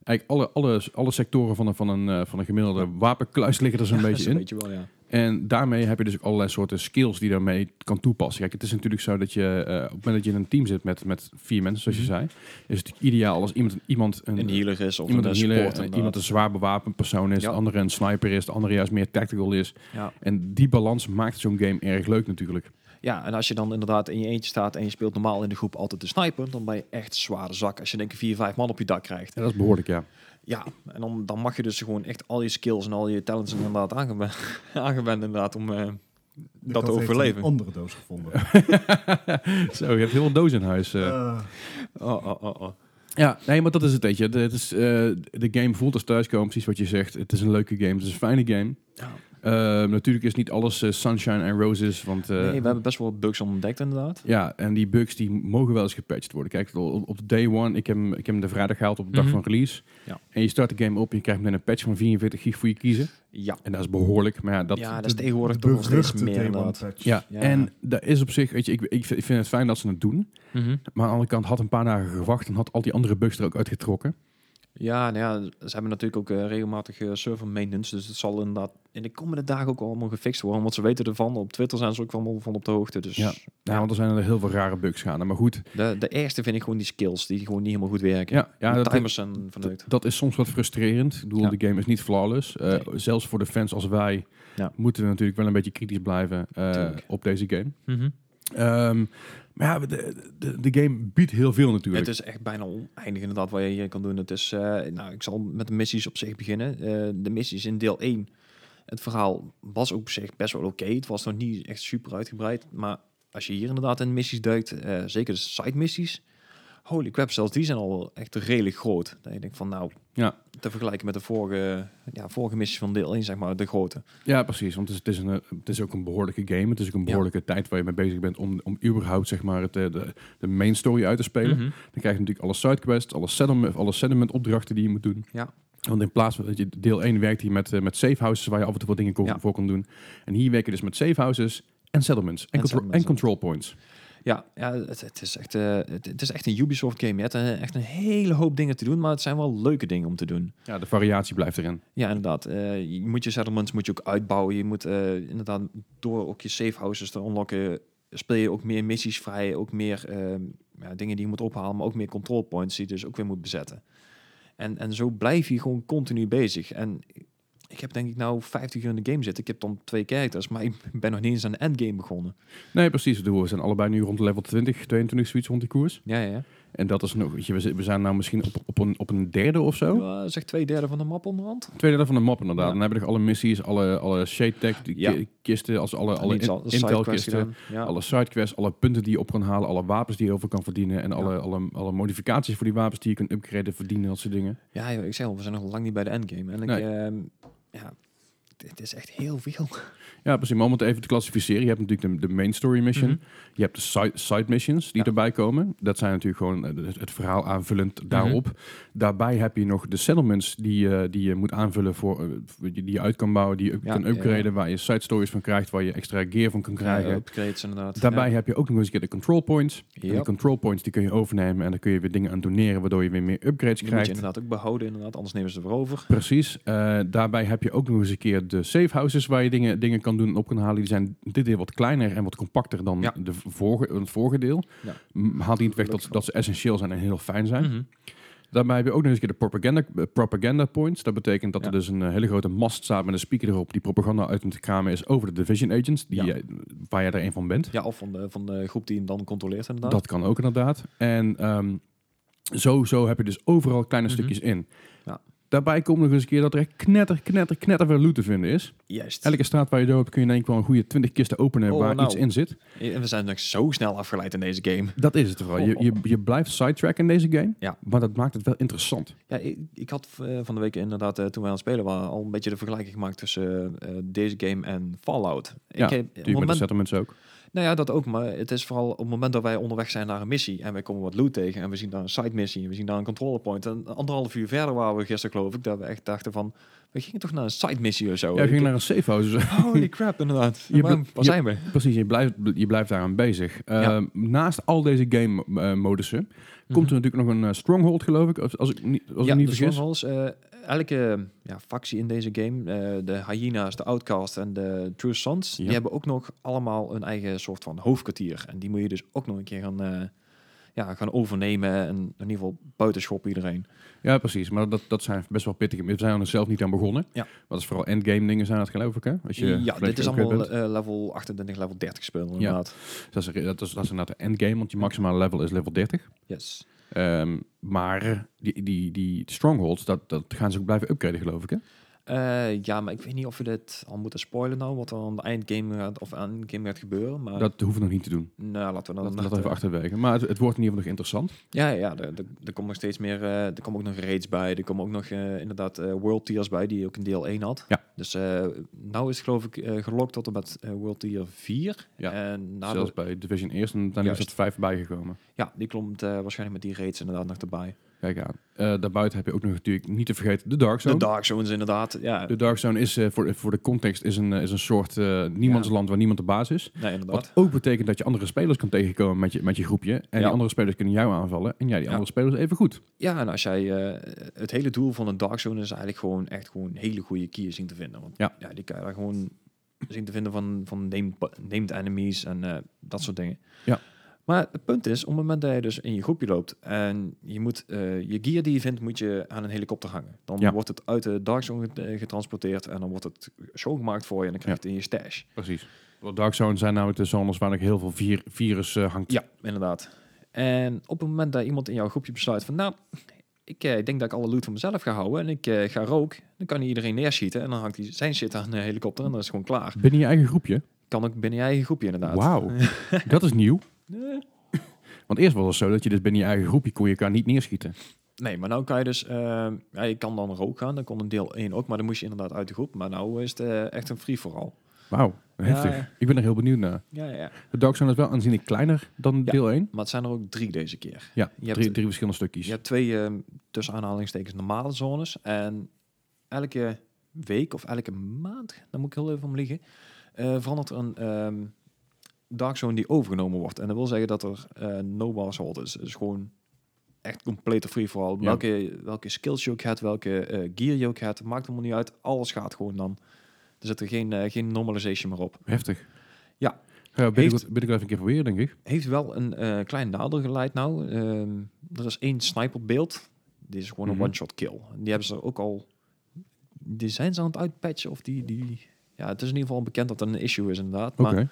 Speaker 1: Eigenlijk alle, alle, alle sectoren van een, van een, eh, van een gemiddelde wapenkluis liggen er zo'n
Speaker 2: dat is
Speaker 1: beetje
Speaker 2: een
Speaker 1: in.
Speaker 2: beetje wel, ja.
Speaker 1: En daarmee heb je dus ook allerlei soorten skills die je daarmee kan toepassen. Kijk, het is natuurlijk zo dat je eh, op het moment dat je in een team zit met, met vier mensen, zoals je zei, is het ideaal als iemand, iemand een,
Speaker 2: Mhm. Een healer is of
Speaker 1: eh, iemand,
Speaker 2: een
Speaker 1: een,
Speaker 2: support.
Speaker 1: healer, eh,
Speaker 2: inderdaad.
Speaker 1: iemand een zwaar bewapend persoon is,
Speaker 2: Ja.
Speaker 1: de andere een sniper is, de andere juist meer tactical is.
Speaker 2: ja.
Speaker 1: En die balans maakt zo'n game erg leuk natuurlijk.
Speaker 2: Ja, en als je dan inderdaad in je eentje staat en je speelt normaal in de groep altijd de sniper, dan ben je echt een zware zak als je denk ik vier, vijf man op je dak krijgt.
Speaker 1: En dat is behoorlijk, ja.
Speaker 2: Ja, en dan, dan mag je dus gewoon echt al je skills en al je talents inderdaad aangewend, aangewend inderdaad om... eh,
Speaker 3: De
Speaker 2: Dat
Speaker 3: kat heeft
Speaker 2: overleven.
Speaker 3: een andere doos gevonden.
Speaker 1: zo, je hebt heel veel dozen in huis. eh.
Speaker 3: Eh,
Speaker 2: oh, oh, oh, oh.
Speaker 1: Ja, nee, maar dat is het, weet je. De, het is, eh, de game voelt als thuiskomen, precies wat je zegt. Het is een leuke game, het is een fijne game.
Speaker 2: Ja.
Speaker 1: Eh, natuurlijk is niet alles eh, sunshine en roses, want... eh,
Speaker 2: nee, we hebben best wel wat bugs ontdekt inderdaad.
Speaker 1: Ja, en die bugs die mogen wel eens gepatcht worden. Kijk, op op de day one, ik heb, hem- ik heb hem de vrijdag gehaald op de dag
Speaker 2: Mhm.
Speaker 1: van release.
Speaker 2: Ja.
Speaker 1: En je start de game op en je krijgt meteen een patch van 44 gig voor je kiezen.
Speaker 2: Ja,
Speaker 1: En dat is behoorlijk, maar ja, dat...
Speaker 2: ja dat
Speaker 1: dat-
Speaker 2: is tegenwoordig toch nog steeds
Speaker 3: Beruchte
Speaker 2: meer
Speaker 3: Day One
Speaker 2: inderdaad.
Speaker 3: patch.
Speaker 1: ja.
Speaker 2: ja.
Speaker 1: en dat is op zich, weet je, ik, ik, vind- ik vind het fijn dat ze het doen.
Speaker 2: Mhm.
Speaker 1: Maar aan de andere kant had een paar dagen gewacht en had al die andere bugs er ook uitgetrokken.
Speaker 2: Ja, nou ja, ze hebben natuurlijk ook eh, regelmatig eh, server maintenance. Dus het zal inderdaad in de komende dagen ook allemaal gefixt worden. Want ze weten ervan. Op Twitter zijn ze ook allemaal van op de hoogte. Dus
Speaker 1: Ja. Nou, want er zijn er heel veel rare bugs gaande. Maar goed,
Speaker 2: de, de eerste vind ik gewoon die skills. Die gewoon niet helemaal goed werken.
Speaker 1: ja, ja
Speaker 2: Ja,
Speaker 1: dat,
Speaker 2: timers zijn verneukt.
Speaker 1: dat is soms wat frustrerend. Ik bedoel,
Speaker 2: Ja.
Speaker 1: de game is niet flawless. Eh,
Speaker 2: Nee.
Speaker 1: Zelfs voor de fans als wij
Speaker 2: Ja.
Speaker 1: moeten we natuurlijk wel een beetje kritisch blijven eh,
Speaker 2: Tuurlijk.
Speaker 1: op deze game. Ehm, maar ja, de, de, de game biedt heel veel natuurlijk.
Speaker 2: Het is echt bijna oneindig inderdaad wat je hier kan doen. Het is, eh, nou, ik zal met de missies op zich beginnen. Eh, de missies in deel 1. Het verhaal was ook op zich best wel oké. Het was nog niet echt super uitgebreid. Maar als je hier inderdaad in missies duikt, eh, zeker de side missies. Holy crap, zelfs die zijn al wel echt redelijk groot. Dat je denkt van nou,
Speaker 1: Ja.
Speaker 2: te vergelijken met de vorige, ja, vorige missies van deel 1, zeg maar, de grote.
Speaker 1: Ja, precies. Want het is, het, is een, het is ook een behoorlijke game. Het is ook een behoorlijke tijd waar je mee bezig bent om, om überhaupt zeg maar, het, eh, de, de main story uit te spelen. Dan krijg je natuurlijk alle sidequests, alle settlement, alle settlement opdrachten die je moet doen.
Speaker 2: Ja.
Speaker 1: Want in plaats van dat je deel 1 werkt hier met, eh, met safehouses waar je af en toe wat dingen kon,
Speaker 2: Ja.
Speaker 1: voor kon doen. En hier werken dus met safehouses en settlements en, contro-
Speaker 2: settlements,
Speaker 1: en
Speaker 2: ja.
Speaker 1: control points.
Speaker 2: Ja, ja het, het is echt, eh, het, het is echt een Ubisoft game. Je hebt eh, echt een hele hoop dingen te doen, maar het zijn wel leuke dingen om te doen.
Speaker 1: Ja, de variatie blijft erin.
Speaker 2: Ja, inderdaad. Eh, je moet je settlements moet je ook uitbouwen. Je moet eh, inderdaad door ook je safe houses te unlocken, speel je ook meer missies vrij, ook meer ehm, ja, dingen die je moet ophalen, maar ook meer control points die je dus ook weer moet bezetten. En, en zo blijf je gewoon continu bezig. En ik heb denk ik nou 50 uur in de game zitten. Ik heb dan twee characters, maar ik ben nog niet eens aan de endgame begonnen.
Speaker 1: Nee, precies. Ik bedoel, We zijn allebei nu rond level 20, 22 zoiets rond die koers.
Speaker 2: Ja, ja.
Speaker 1: En dat is nog, weet je, we zi- we zijn nou misschien op, op, een, op een derde of zo.
Speaker 2: ja zeg twee derde van de map onderhand.
Speaker 1: Tweede derde van de map inderdaad.
Speaker 2: Ja.
Speaker 1: Dan hebben we nog alle missies, alle, alle shade tech die
Speaker 2: Ja.
Speaker 1: ki- kisten, als alle, alle
Speaker 2: En iets
Speaker 1: in-
Speaker 2: al- sidequests
Speaker 1: intelkisten,
Speaker 2: gedaan. Ja.
Speaker 1: alle sidequests, alle punten die je op kan halen, alle wapens die je over kan verdienen en alle, alle, alle modificaties voor die wapens die je kunt upgraden, verdienen, dat soort dingen.
Speaker 2: Ja, joh, ik zeg al, we zijn nog lang niet bij de endgame. En ik,
Speaker 1: Nee.
Speaker 2: ehm, ja, het is echt heel veel.
Speaker 1: Ja, precies. Maar om het even te klassificeren, je hebt natuurlijk de, de main story mission,
Speaker 2: Mhm.
Speaker 1: je hebt de side, side missions die
Speaker 2: Ja.
Speaker 1: erbij komen. Dat zijn natuurlijk gewoon eh, het, het verhaal
Speaker 2: Mhm.
Speaker 1: aanvullend daarop. Daarbij heb je nog de settlements die, je- die je moet aanvullen voor, eh, voor- die je uit kan bouwen, die je up-
Speaker 2: Ja,
Speaker 1: kan
Speaker 2: ja,
Speaker 1: upgraden,
Speaker 2: ja.
Speaker 1: waar je side stories van krijgt, waar je extra gear van kan krijgen.
Speaker 2: Ja, Eh, upgrades inderdaad.
Speaker 1: Daarbij
Speaker 2: Ja.
Speaker 1: heb je ook nog eens een keer de control points. En
Speaker 2: Ja.
Speaker 1: die control points die kun je overnemen en dan kun je weer dingen aan doneren, waardoor je weer meer upgrades
Speaker 2: Die moet je
Speaker 1: krijgt.
Speaker 2: inderdaad ook behouden, inderdaad, anders nemen ze er weer over.
Speaker 1: Precies. Eh, daarbij heb je ook nog eens een keer de safe houses waar je dingen, dingen kan doen en op kan halen. Die zijn dit deel wat kleiner en wat compacter dan
Speaker 2: Ja.
Speaker 1: de vorige, het vorige deel.
Speaker 2: Ja.
Speaker 1: M- Haalt niet weg dat,
Speaker 2: Gelukkig.
Speaker 1: dat ze essentieel zijn en heel fijn
Speaker 2: Mhm.
Speaker 1: zijn. Daarbij heb je ook nog eens een keer de propaganda, eh, propaganda points. Dat betekent dat er
Speaker 2: Ja.
Speaker 1: dus een eh, hele grote mast staat met een speaker erop die propaganda uit het kramen is over de division agents, die
Speaker 2: Ja.
Speaker 1: jij- waar jij er een van bent.
Speaker 2: Ja, of van de, van de groep die hem dan controleert inderdaad.
Speaker 1: Dat kan ook inderdaad. En ehm, zo, zo heb je dus overal kleine
Speaker 2: Mhm.
Speaker 1: stukjes in.
Speaker 2: Ja.
Speaker 1: Daarbij komt nog eens een keer dat er echt knetter, knetter, knetter veel loot te vinden is.
Speaker 2: Juist.
Speaker 1: Elke straat waar je door hebt kun je in één keer wel een goede 20 kisten openen
Speaker 2: Oh,
Speaker 1: waar
Speaker 2: nou.
Speaker 1: iets in zit.
Speaker 2: En we zijn nog zo snel afgeleid in deze game.
Speaker 1: Dat is het vooral. Je, je, je blijft sidetracken in deze game,
Speaker 2: Ja.
Speaker 1: maar dat maakt het wel interessant.
Speaker 2: Ja, ik, ik had eh, van de week inderdaad, eh, toen wij aan het spelen waren, al een beetje de vergelijking gemaakt tussen eh, eh, deze game en Fallout.
Speaker 1: Ja,
Speaker 2: ik heb, op
Speaker 1: Natuurlijk
Speaker 2: het
Speaker 1: met de
Speaker 2: moment
Speaker 1: settlements ook.
Speaker 2: Nou ja, dat ook. Maar het is vooral op het moment dat wij onderweg zijn naar een missie en wij komen wat loot tegen en we zien daar een side missie en we zien daar een control point. En anderhalf uur verder waren we gisteren geloof ik dat we echt dachten van, we gingen toch naar een side missie of zo.
Speaker 1: Ja, je ging
Speaker 2: Oh, Ik-
Speaker 1: naar een safe house.
Speaker 2: Holy crap, inderdaad.
Speaker 1: Je
Speaker 2: Waar-
Speaker 1: bl- je-
Speaker 2: waar zijn we?
Speaker 1: Precies, je blijft, je blijft daaraan bezig.
Speaker 2: Ja. Mhm.
Speaker 1: Ehm, Naast al deze game-modussen komt er natuurlijk nog een eh, stronghold, geloof ik. Als, als ik, niet- als
Speaker 2: ja,
Speaker 1: ik niet
Speaker 2: de
Speaker 1: vergis.
Speaker 2: Strongholds, eh, elke ja, factie in deze game, eh, de Hyena's, de Outcast en de True Sons,
Speaker 1: Ja.
Speaker 2: die hebben ook nog allemaal een eigen soort van hoofdkwartier. En die moet je dus ook nog een keer gaan, eh, ja, gaan overnemen en in ieder geval buitenschoppen iedereen.
Speaker 1: Ja, precies. Maar dat, dat zijn best wel pittige. We zijn er zelf niet aan begonnen.
Speaker 2: Ja.
Speaker 1: Maar dat is vooral endgame dingen zijn dat geloof ik, hè? Als je
Speaker 2: ja,
Speaker 1: volledig
Speaker 2: dit is
Speaker 1: upgrade
Speaker 2: allemaal
Speaker 1: bent.
Speaker 2: eh, level 28, level 30 spelen inderdaad.
Speaker 1: Dus dat, is, dat, is, dat is inderdaad de endgame, want je maximale level is level 30.
Speaker 2: Yes.
Speaker 1: Ehm, maar die, die, die strongholds, dat, dat gaan ze ook blijven upgraden, geloof ik, hè?
Speaker 2: Eh, ja, maar ik weet niet of we dit al moeten spoilen nou, wat er aan de eindgame gaat, of aan de game gaat gebeuren. Maar
Speaker 1: Dat hoeven we nog niet te doen.
Speaker 2: nou, laten we
Speaker 1: Dat,
Speaker 2: dan
Speaker 1: dat even achterwege. Maar het, het wordt in ieder geval nog interessant.
Speaker 2: Ja, ja, er, er, er komt nog steeds meer, eh, er komen ook nog raids bij, er komen ook nog eh, inderdaad eh, World Tiers bij, die je ook in deel 1 had.
Speaker 1: Ja.
Speaker 2: Dus eh nou is het geloof ik eh, gelokt tot en met eh, World Tier 4.
Speaker 1: Ja,
Speaker 2: En na
Speaker 1: Zelfs
Speaker 2: de,
Speaker 1: bij Division eerst en dan is
Speaker 2: Nou, Juist.
Speaker 1: het vijf bijgekomen.
Speaker 2: ja, die klomt eh, waarschijnlijk met die raids inderdaad nog erbij.
Speaker 1: Kijk aan. Eh, daarbuiten heb je ook nog natuurlijk niet te vergeten de Dark Zone.
Speaker 2: De Dark Zones inderdaad, ja.
Speaker 1: De Dark Zone is eh, voor, voor de context is een, eh, is een soort eh, niemandsland waar niemand de baas is.
Speaker 2: nee, inderdaad.
Speaker 1: Wat ook betekent dat je andere spelers kan tegenkomen met je, met je groepje. En
Speaker 2: Ja.
Speaker 1: die andere spelers kunnen jou aanvallen. En jij die
Speaker 2: Ja.
Speaker 1: andere spelers even goed.
Speaker 2: Ja, en als jij eh, het hele doel van een Dark Zone is eigenlijk gewoon echt gewoon hele goede keys zien te vinden. Want
Speaker 1: Ja.
Speaker 2: ja, die kan je daar gewoon zien te vinden van, van named, named enemies en eh, dat soort dingen.
Speaker 1: Ja.
Speaker 2: Maar het punt is, op het moment dat je dus in je groepje loopt en je moet eh, je gear die je vindt, moet je aan een helikopter hangen. Dan
Speaker 1: Ja.
Speaker 2: wordt het uit de Dark Zone get- eh, getransporteerd en dan wordt het schoongemaakt voor je en dan krijg je het in je stash.
Speaker 1: Precies. Want Dark Zone zijn namelijk de zones waar nog heel veel vir- virus eh, hangt.
Speaker 2: Ja, inderdaad. En op het moment dat iemand in jouw groepje besluit van, nou, ik eh, denk dat ik alle loot voor mezelf ga houden en ik eh, ga rook, dan kan hij iedereen neerschieten en dan hangt hij zijn shit aan de helikopter en dan is het gewoon klaar.
Speaker 1: Binnen je eigen groepje.
Speaker 2: Kan ook binnen je eigen groepje inderdaad.
Speaker 1: Wauw. dat is nieuw. Want eerst was het zo dat je dus binnen je eigen groepje kon je elkaar niet neerschieten.
Speaker 2: Nee, maar nou kan je dus, eh, ja, je kan dan rook gaan, dan kon een deel 1 ook, maar dan moest je inderdaad uit de groep. Maar nou is het eh, echt een free for all.
Speaker 1: Wauw. Heftig.
Speaker 2: Ja.
Speaker 1: Ik ben er heel benieuwd naar.
Speaker 2: Ja, ja, ja.
Speaker 1: De Dark Zone is wel aanzienlijk kleiner dan
Speaker 2: Ja.
Speaker 1: deel 1.
Speaker 2: Maar het zijn er ook drie deze keer.
Speaker 1: Ja,
Speaker 2: Je hebt-
Speaker 1: drie, drie verschillende stukjes.
Speaker 2: Je hebt twee, eh, tussen aanhalingstekens, normale zones. En elke week of elke maand, daar moet ik heel even om liggen, eh, verandert er een ehm, dark zone die overgenomen wordt. En dat wil zeggen dat er eh, no bars hold is. Dus gewoon echt complete free-for-all.
Speaker 1: Ja.
Speaker 2: Welke, welke skills je ook hebt, welke eh, gear je ook hebt, maakt helemaal niet uit. Alles gaat gewoon dan. Er zit er geen, eh, geen normalization meer op.
Speaker 1: Heftig.
Speaker 2: Ja.
Speaker 1: Ga ik binnenkort-
Speaker 2: Heeft-
Speaker 1: binnenkort even een keer proberen, denk ik.
Speaker 2: Heeft wel een eh, klein nadeel geleid nou. Ehm, er is één sniperbeeld. Die is gewoon
Speaker 1: Mhm.
Speaker 2: een one-shot kill. Die hebben ze ook al... Die zijn ze aan het uitpatchen of die... die ja, het is in ieder geval bekend dat dat een issue is inderdaad.
Speaker 1: Oké.
Speaker 2: Maar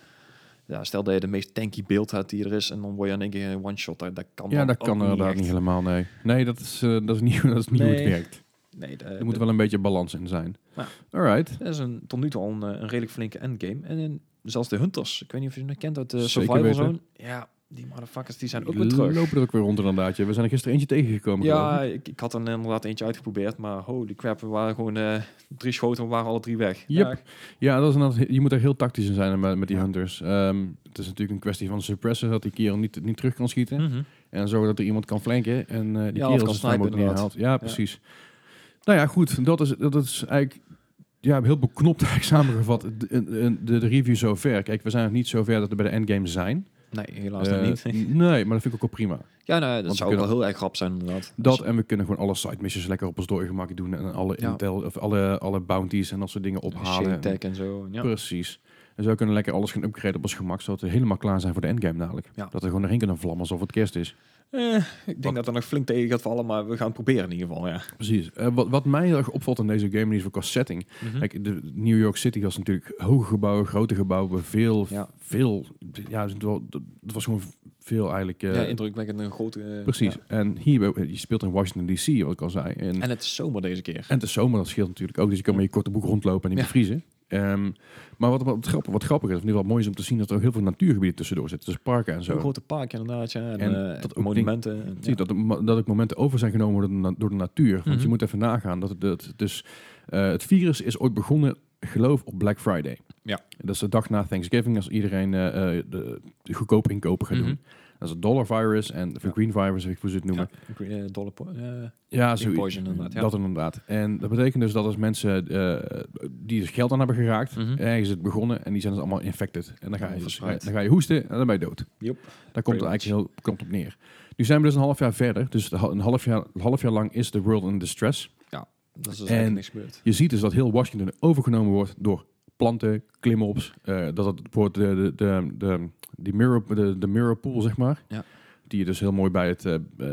Speaker 2: ja, stel dat je de meest tanky beeld hebt die er is... en dan word je in één keer een one-shot. Dat, dat kan
Speaker 1: Ja,
Speaker 2: dan
Speaker 1: dat
Speaker 2: ook
Speaker 1: kan inderdaad niet,
Speaker 2: echt.
Speaker 1: helemaal, nee. Nee, dat is, eh, dat is niet, dat is niet hoe het
Speaker 2: Nee.
Speaker 1: werkt.
Speaker 2: Nee, dat,
Speaker 1: Er moet wel een beetje balans in zijn.
Speaker 2: Ja.
Speaker 1: Alright.
Speaker 2: dat is een, tot nu toe al een, eh, een redelijk flinke endgame. En in- zelfs de Hunters. Ik weet niet of je ze nog kent uit de
Speaker 1: Zeker
Speaker 2: Survival
Speaker 1: weten.
Speaker 2: Zone. Ja, die motherfuckers die zijn ook weer
Speaker 1: Die
Speaker 2: terug.
Speaker 1: lopen er ook weer rond inderdaad. ja. We zijn er gisteren eentje tegengekomen. geloof
Speaker 2: Ja,
Speaker 1: ik.
Speaker 2: ik, ik had er inderdaad eentje uitgeprobeerd, maar holy crap, we waren gewoon eh, drie schoten, we waren alle drie weg.
Speaker 1: Yep.
Speaker 2: Ja,
Speaker 1: ja dat is inderdaad, je moet er heel tactisch in zijn met, met die hunters. Ehm, het is natuurlijk een kwestie van suppressen, dat die kerel niet, niet terug kan schieten.
Speaker 2: Mhm.
Speaker 1: En zorgen dat er iemand kan flanken en eh die
Speaker 2: Ja, of
Speaker 1: kerel
Speaker 2: kan
Speaker 1: is hem
Speaker 2: snipen,
Speaker 1: ook neerhaalt. Ja,
Speaker 2: Ja.
Speaker 1: precies. Nou ja, goed. Dat is, dat is eigenlijk ja, heel beknopt eigenlijk samengevat. De, de, de review zover. Kijk, we zijn nog niet zover dat we bij de endgame zijn.
Speaker 2: Nee, helaas
Speaker 1: Eh,
Speaker 2: nog niet.
Speaker 1: nee, maar dat vind ik ook wel prima.
Speaker 2: Ja, nee,
Speaker 1: we
Speaker 2: dat zou ook wel
Speaker 1: kunnen-
Speaker 2: heel erg grap zijn inderdaad.
Speaker 1: Dat
Speaker 2: Dus-
Speaker 1: en we kunnen gewoon alle side missions lekker op ons doorgemaakt doen. En alle
Speaker 2: Ja.
Speaker 1: intel, of alle, alle bounties en dat soort dingen
Speaker 2: Shade
Speaker 1: ophalen.
Speaker 2: tag eh, en zo. Ja.
Speaker 1: Precies. En zo kunnen we lekker alles gaan upgraden op ons gemak, zodat we helemaal klaar zijn voor de endgame dadelijk.
Speaker 2: Ja.
Speaker 1: Dat we gewoon erin kunnen vlammen alsof het kerst is.
Speaker 2: Eh, ik denk dat er nog flink tegen gaat vallen, maar we gaan het proberen in ieder geval. Ja.
Speaker 1: Precies. Eh, wat, wat mij heel erg opvalt in deze game is ook als setting.
Speaker 2: Hm?
Speaker 1: Kijk, de New York City was natuurlijk hoge gebouwen, grote gebouwen, veel,
Speaker 2: Ja.
Speaker 1: veel. Ja, het was- het was gewoon veel eigenlijk. eh,
Speaker 2: ja, indrukwekkend een grote... eh,
Speaker 1: precies.
Speaker 2: ja.
Speaker 1: En hier, eh, je speelt in Washington D.C., wat ik al zei. En, en,
Speaker 2: En het is zomer deze keer.
Speaker 1: de zomer, dat scheelt natuurlijk ook. Dus je kan met je korte boek rondlopen en niet meer vriezen. Ehm, maar wat, wat, grappig, wat grappig is, of in ieder geval mooi is om te zien, dat er ook heel veel natuurgebieden tussendoor zitten. Dus parken en zo.
Speaker 2: Een grote park inderdaad, ja. En,
Speaker 1: En
Speaker 2: eh,
Speaker 1: dat ook
Speaker 2: monumenten. en-
Speaker 1: Zie, je, dat, er mo- dat ook momenten over zijn genomen door de, na- door de natuur. Want je
Speaker 2: Mhm.
Speaker 1: moet even nagaan. Dat het, dat- dus, eh, het virus is ooit begonnen, geloof op Black Friday.
Speaker 2: Ja.
Speaker 1: Dat is de dag na Thanksgiving, als iedereen eh, eh, de, de goedkoop inkopen gaat
Speaker 2: Mhm.
Speaker 1: doen. Dat is het dollar virus en of
Speaker 2: Ja.
Speaker 1: green virus, of hoe ze het
Speaker 2: ja.
Speaker 1: noemen.
Speaker 2: Ja, dolle po- eh,
Speaker 1: Ja,
Speaker 2: Pink
Speaker 1: zoiets.
Speaker 2: poison inderdaad, ja.
Speaker 1: Dat inderdaad. En dat betekent dus dat als mensen eh, die er geld aan hebben geraakt,
Speaker 2: Mhm.
Speaker 1: ergens is het begonnen en die zijn dus allemaal infected. En dan ga je, dus,
Speaker 2: Verspreid.
Speaker 1: dan ga je hoesten en dan ben je dood.
Speaker 2: Joep.
Speaker 1: Daar komt het eigenlijk heel komt op neer. Nu zijn we dus een half jaar verder. Dus de ha- een half jaar, een half jaar lang is de world in distress.
Speaker 2: dat is dus
Speaker 1: En-
Speaker 2: eigenlijk niks gebeurd.
Speaker 1: Je ziet dus dat heel Washington overgenomen wordt door planten, klimops. eh, dat het wordt de, de, de, de, die mirror, de, de mirror pool, zeg maar.
Speaker 2: Ja.
Speaker 1: Die je dus heel mooi bij het, eh, eh,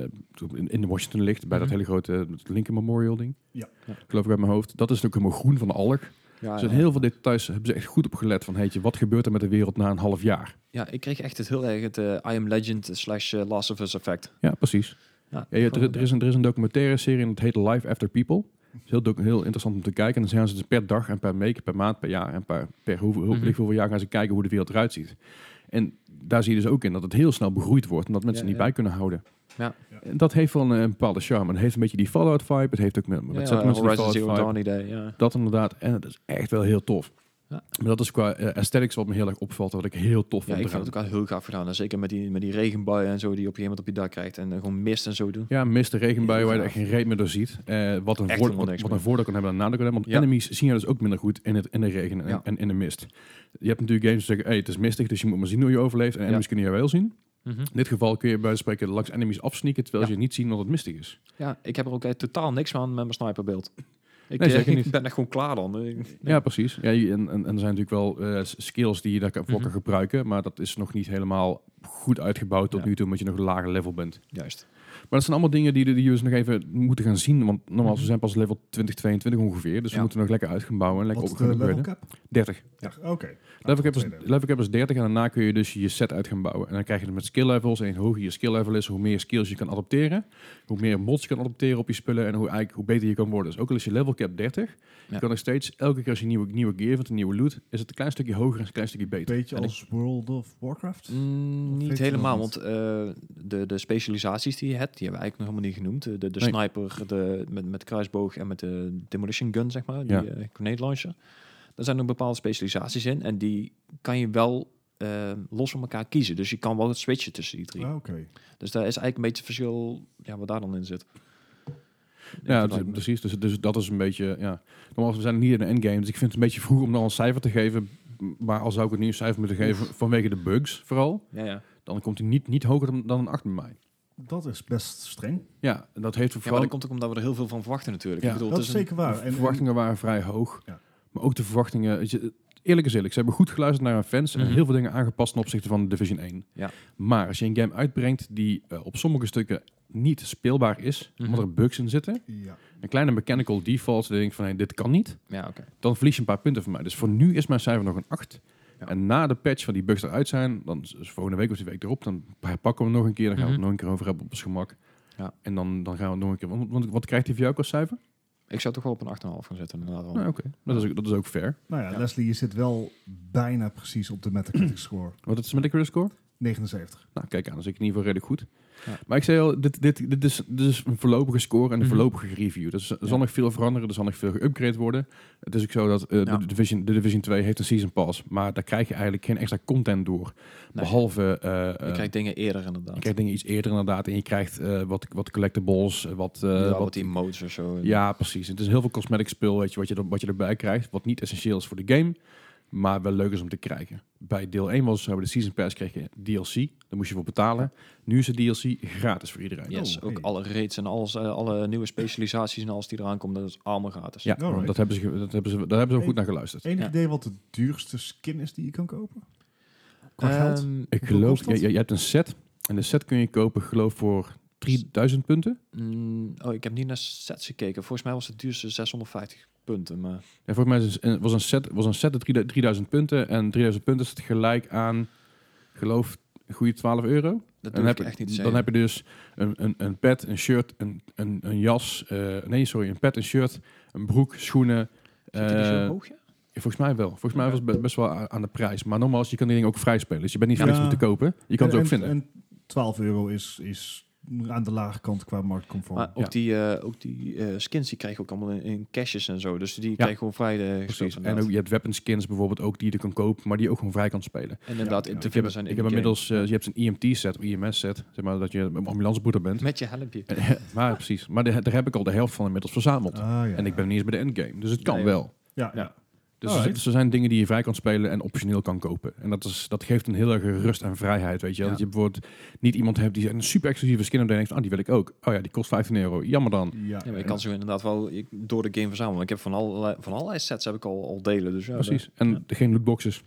Speaker 1: in, in Washington ligt. Bij dat
Speaker 2: Mhm.
Speaker 1: hele grote eh, Lincoln Memorial ding.
Speaker 3: Ja.
Speaker 2: Ja.
Speaker 1: Geloof ik uit mijn hoofd. Dat is natuurlijk helemaal groen van de alg.
Speaker 2: Ja,
Speaker 1: Er zijn
Speaker 2: Ah, ja.
Speaker 1: heel veel details, hebben ze echt goed op gelet. Van, heetje, wat gebeurt er met de wereld na een half jaar?
Speaker 2: Ja, ik kreeg echt het heel erg het eh, I Am Legend slash eh, Last of Us effect.
Speaker 1: Ja, precies.
Speaker 2: Ja,
Speaker 1: Ja, je- er,
Speaker 2: gewoon,
Speaker 1: er is een, er is een documentaire serie en het heet Life After People. Het is heel, doc- heel interessant om te kijken. En dan zijn ze dus per dag en per week, per maand, per jaar en per, per hoeveel,
Speaker 2: Mhm.
Speaker 1: hoeveel, hoeveel jaar gaan ze kijken hoe de wereld eruit ziet. En daar zie je dus ook in dat het heel snel begroeid wordt en dat mensen
Speaker 2: Ja,
Speaker 1: niet
Speaker 2: ja.
Speaker 1: bij kunnen houden.
Speaker 2: Ja.
Speaker 1: En dat heeft wel een, een bepaalde charme. Het heeft een beetje die Fallout vibe. Het heeft ook met, met
Speaker 2: Ja,
Speaker 1: Settlements die
Speaker 2: Horizon
Speaker 1: Fallout
Speaker 2: Zero
Speaker 1: vibe.
Speaker 2: Dawn idee, ja.
Speaker 1: Dat inderdaad. En het is echt wel heel tof.
Speaker 2: Ja.
Speaker 1: Maar dat is qua eh, aesthetics wat me heel erg opvalt. Wat ik heel tof vond.
Speaker 2: Ja, ik vind
Speaker 1: eraan.
Speaker 2: het ook al heel gaaf gedaan. En zeker met die, met die regenbuien en zo die je op je helemaal op je dak krijgt. En eh, gewoon mist en zo doen.
Speaker 1: Ja, mist de regenbui
Speaker 2: Heel
Speaker 1: waar je echt
Speaker 2: gaaf.
Speaker 1: geen reet meer door ziet. Eh, wat een,
Speaker 2: Echt
Speaker 1: voor,
Speaker 2: helemaal
Speaker 1: wat,
Speaker 2: niks
Speaker 1: wat een
Speaker 2: meer.
Speaker 1: voordeel kan hebben en een nadeel kan hebben. Want
Speaker 2: Ja.
Speaker 1: enemies zien je dus ook minder goed in, het, in de regen en,
Speaker 2: Ja.
Speaker 1: en in de mist. Je hebt natuurlijk games die zeggen, hey, het is mistig, dus je moet maar zien hoe je overleeft. En enemies kunnen je wel zien. In dit geval kun je bij wijze van spreken langs enemies afsneaken, terwijl
Speaker 2: Ja.
Speaker 1: ze niet zien dat het mistig is.
Speaker 2: Ja, ik heb er ook echt totaal niks aan met mijn sniperbeeld. Ik,
Speaker 1: Nee,
Speaker 2: eh,
Speaker 1: zeker niet.
Speaker 2: ik ben echt gewoon klaar dan. Ik-
Speaker 1: Ja, precies. Ja, je- en, en, en er zijn natuurlijk wel eh, s- skills die je daarvoor kan
Speaker 2: Mhm.
Speaker 1: gebruiken, maar dat is nog niet helemaal goed uitgebouwd tot
Speaker 2: Ja.
Speaker 1: nu toe, omdat je nog een lager level bent.
Speaker 2: Juist.
Speaker 1: Maar dat zijn allemaal dingen die, die we dus nog even moeten gaan zien, want normaal we zijn pas level 20, 22 ongeveer, dus we
Speaker 2: Mhm. Ja.
Speaker 1: moeten nog lekker uit gaan bouwen en lekker
Speaker 3: Wat is de
Speaker 1: opgegroeid
Speaker 3: level
Speaker 1: worden.
Speaker 3: cap?
Speaker 1: 30.
Speaker 3: Ja, oké.
Speaker 1: Level cap, is,
Speaker 3: tweede.
Speaker 1: level cap is 30 en daarna kun je dus je set uit gaan bouwen. En dan krijg je het met skill levels. En hoe hoger je skill level is, hoe meer skills je kan adopteren. Hoe meer mods je kan adopteren op je spullen. En hoe, eigenlijk, hoe beter je kan worden. Dus ook al is je level cap 30, je
Speaker 2: Ja.
Speaker 1: kan nog steeds, elke keer als je nieuwe, nieuwe gear vindt, een nieuwe loot, is het een klein stukje hoger en een klein stukje beter.
Speaker 3: Beetje
Speaker 2: En ik-
Speaker 3: als World of Warcraft?
Speaker 2: Mm,
Speaker 3: vind
Speaker 2: niet
Speaker 3: je
Speaker 2: helemaal,
Speaker 3: nog niet?
Speaker 2: want eh, de, de specialisaties die je hebt, die hebben we eigenlijk nog helemaal niet genoemd. Eh, De, de, de
Speaker 1: Nee.
Speaker 2: sniper de, met, met kruisboog en met de demolition gun, zeg maar, die
Speaker 1: Ja.
Speaker 2: eh, grenade launcher. Daar zijn nog bepaalde specialisaties in en die kan je wel eh, los van elkaar kiezen. Dus je kan wel switchen tussen die drie.
Speaker 3: Ah, oké.
Speaker 2: Dus daar is eigenlijk een beetje het verschil ja, wat daar dan in zit.
Speaker 1: Ja,
Speaker 2: dat
Speaker 1: dus-
Speaker 2: lijkt me-
Speaker 1: precies. Dus, dus dat is een beetje, ja. Nogmaals, we zijn nog niet in de endgame, dus ik vind het een beetje vroeg om dan een cijfer te geven. Maar al zou ik het nu een cijfer moeten geven, vanwege de bugs vooral,
Speaker 2: Ja, ja.
Speaker 1: dan komt hij niet, niet hoger dan, dan een 8 bij mij.
Speaker 3: Dat is best streng.
Speaker 1: Ja, en dat heeft er
Speaker 2: ja, maar
Speaker 1: vooral...
Speaker 2: dat komt ook omdat we er heel veel van verwachten natuurlijk.
Speaker 1: Ja.
Speaker 2: Ik bedoel,
Speaker 3: Dat
Speaker 2: het
Speaker 3: is
Speaker 2: is een-
Speaker 3: zeker waar. En-
Speaker 1: de
Speaker 3: en-
Speaker 1: verwachtingen waren vrij hoog.
Speaker 3: Ja.
Speaker 1: Maar ook de verwachtingen... weet je, Eerlijk is eerlijk, ze hebben goed geluisterd naar hun fans en
Speaker 2: Mhm.
Speaker 1: heel veel dingen aangepast ten opzichte van Division 1.
Speaker 2: Ja.
Speaker 1: Maar als je een game uitbrengt die eh, op sommige stukken niet speelbaar is,
Speaker 2: Mhm.
Speaker 1: omdat er bugs in zitten,
Speaker 3: ja.
Speaker 1: een kleine mechanical default, dan denk ik van hey, dit kan niet,
Speaker 2: ja, oké.
Speaker 1: dan verlies je een paar punten van mij. Dus voor nu is mijn cijfer nog een 8.
Speaker 2: Ja.
Speaker 1: En na de patch van die bugs eruit zijn, dan is is volgende week of die week erop, dan herpakken we hem nog een keer, dan gaan we
Speaker 2: Mhm.
Speaker 1: het nog een keer over hebben op ons gemak.
Speaker 2: Ja.
Speaker 1: En dan, dan gaan we het nog een keer... Want, want wat krijgt hij voor jou ook als cijfer?
Speaker 2: Ik zou toch wel op een 8,5 gaan zetten inderdaad. wel.
Speaker 1: Nou, Oké, dat, is ook- dat is ook fair.
Speaker 3: Nou ja,
Speaker 2: Ja.
Speaker 3: Leslie, je zit wel bijna precies op de Metacritic score.
Speaker 1: Wat is het met de score?
Speaker 3: 79.
Speaker 1: Nou, kijk aan, dat is in ieder geval redelijk goed.
Speaker 2: Ja.
Speaker 1: Maar ik zei al, dit, dit, dit, is, dit is een voorlopige score en een
Speaker 2: Mhm.
Speaker 1: voorlopige review. Dus er zal
Speaker 2: Ja.
Speaker 1: nog veel veranderen, er zal nog veel geüpgrade worden. Het is ook zo dat eh,
Speaker 2: Ja.
Speaker 1: de, Division, de Division 2 heeft een Season Pass, maar daar krijg je eigenlijk geen extra content door.
Speaker 2: Nee.
Speaker 1: Behalve, eh, eh,
Speaker 2: Je krijgt dingen eerder inderdaad.
Speaker 1: je krijgt dingen iets eerder inderdaad en je krijgt eh, wat, wat collectibles, eh, wat... eh,
Speaker 2: ja, wat,
Speaker 1: wat
Speaker 2: emotes of zo.
Speaker 1: ja, precies. Het is heel veel cosmetic spul weet je, wat, je, er- wat je erbij krijgt, wat niet essentieel is voor de game, maar wel leuk is om te krijgen. Bij deel 1 was het zo, bij de Season Pass kreeg je DLC, daar moest je voor betalen. Nu is de DLC gratis voor iedereen.
Speaker 2: Yes,
Speaker 3: Oh,
Speaker 2: ook
Speaker 3: hey.
Speaker 2: alle raids en alles, eh, alle nieuwe specialisaties en alles die eraan komen, dat is allemaal gratis.
Speaker 1: Ja,
Speaker 3: Alright.
Speaker 1: want dat hebben ze, ge- dat hebben ze, daar hebben ze ook goed naar geluisterd.
Speaker 3: Enig
Speaker 2: Ja.
Speaker 3: idee wat de duurste skin is die je kan kopen? Qua geld?
Speaker 2: Ehm,
Speaker 1: Ik
Speaker 3: hoeveel
Speaker 1: geloof,
Speaker 3: kost
Speaker 1: je,
Speaker 3: dat?
Speaker 1: je, je hebt een set en de set kun je kopen, geloof voor 3000 punten.
Speaker 2: mm, oh, ik heb niet naar sets gekeken. Volgens mij was het duurste 650 punten. Maar
Speaker 1: En volgens mij is het een- was een set, was een set de 3000 3000 punten en 3000 punten is het gelijk aan, geloof, een goede 12 euro.
Speaker 2: dat
Speaker 1: Dan
Speaker 2: durf ik
Speaker 1: heb,
Speaker 2: echt
Speaker 1: je,
Speaker 2: niet te zeggen.
Speaker 1: dan heb je dus een, een, een pet, een shirt, een, een, een jas. eh, nee, sorry, een pet, een shirt, een broek, schoenen.
Speaker 2: Zit die zo
Speaker 1: eh,
Speaker 2: hoog, ja?
Speaker 1: volgens mij wel. Volgens mij
Speaker 2: Oké.
Speaker 1: was het be- best wel a- aan de prijs. Maar nogmaals, je kan die dingen ook vrij spelen. Dus je bent niet
Speaker 3: Ja.
Speaker 1: verplicht om te kopen. Je kan
Speaker 3: En-
Speaker 1: het ook
Speaker 3: en-
Speaker 1: vinden.
Speaker 3: En 12 euro is, is aan de lage kant qua marktconform.
Speaker 2: Maar ook
Speaker 1: oh, ja.
Speaker 2: die, eh, ook die eh, skins, die krijg je ook allemaal in, in caches en zo. Dus die krijg je gewoon vrij eh, gestopt
Speaker 1: Precies. En
Speaker 2: inderdaad.
Speaker 1: ook, je hebt weapon skins bijvoorbeeld ook die je er kan kopen, maar die ook gewoon vrij kan spelen.
Speaker 2: En inderdaad,
Speaker 3: Ja,
Speaker 2: in
Speaker 3: ja.
Speaker 2: te
Speaker 1: Ik heb,
Speaker 2: vinden zijn
Speaker 1: ik
Speaker 2: in
Speaker 1: heb
Speaker 2: de game.
Speaker 1: inmiddels, eh, je hebt een EMT set, of EMS set, zeg maar dat je een ambulanceboeter bent.
Speaker 2: Met je helpje.
Speaker 1: maar precies. Maar de- daar heb ik al de helft van inmiddels verzameld.
Speaker 3: Ah, ja.
Speaker 1: En ik ben niet eens bij de endgame. Dus het kan
Speaker 2: Nee,
Speaker 1: wel.
Speaker 3: Ja, ja.
Speaker 1: Dus
Speaker 3: Alright.
Speaker 1: er z- er zijn dingen die je vrij kan spelen en optioneel kan kopen. En dat, is, dat geeft een heel erg rust en vrijheid, weet je wel.
Speaker 2: Ja.
Speaker 1: Dat je bijvoorbeeld niet iemand hebt die een super exclusieve skin heeft en denkt, ah, die wil ik ook. Oh ja, die kost 15 euro. Jammer dan.
Speaker 3: ja.
Speaker 2: Ja, maar je kan zo inderdaad wel je- door de game verzamelen. Ik heb van allerlei, van allerlei sets heb ik al, al delen. Dus ja,
Speaker 1: Precies. En
Speaker 2: Ja.
Speaker 1: geen lootboxes.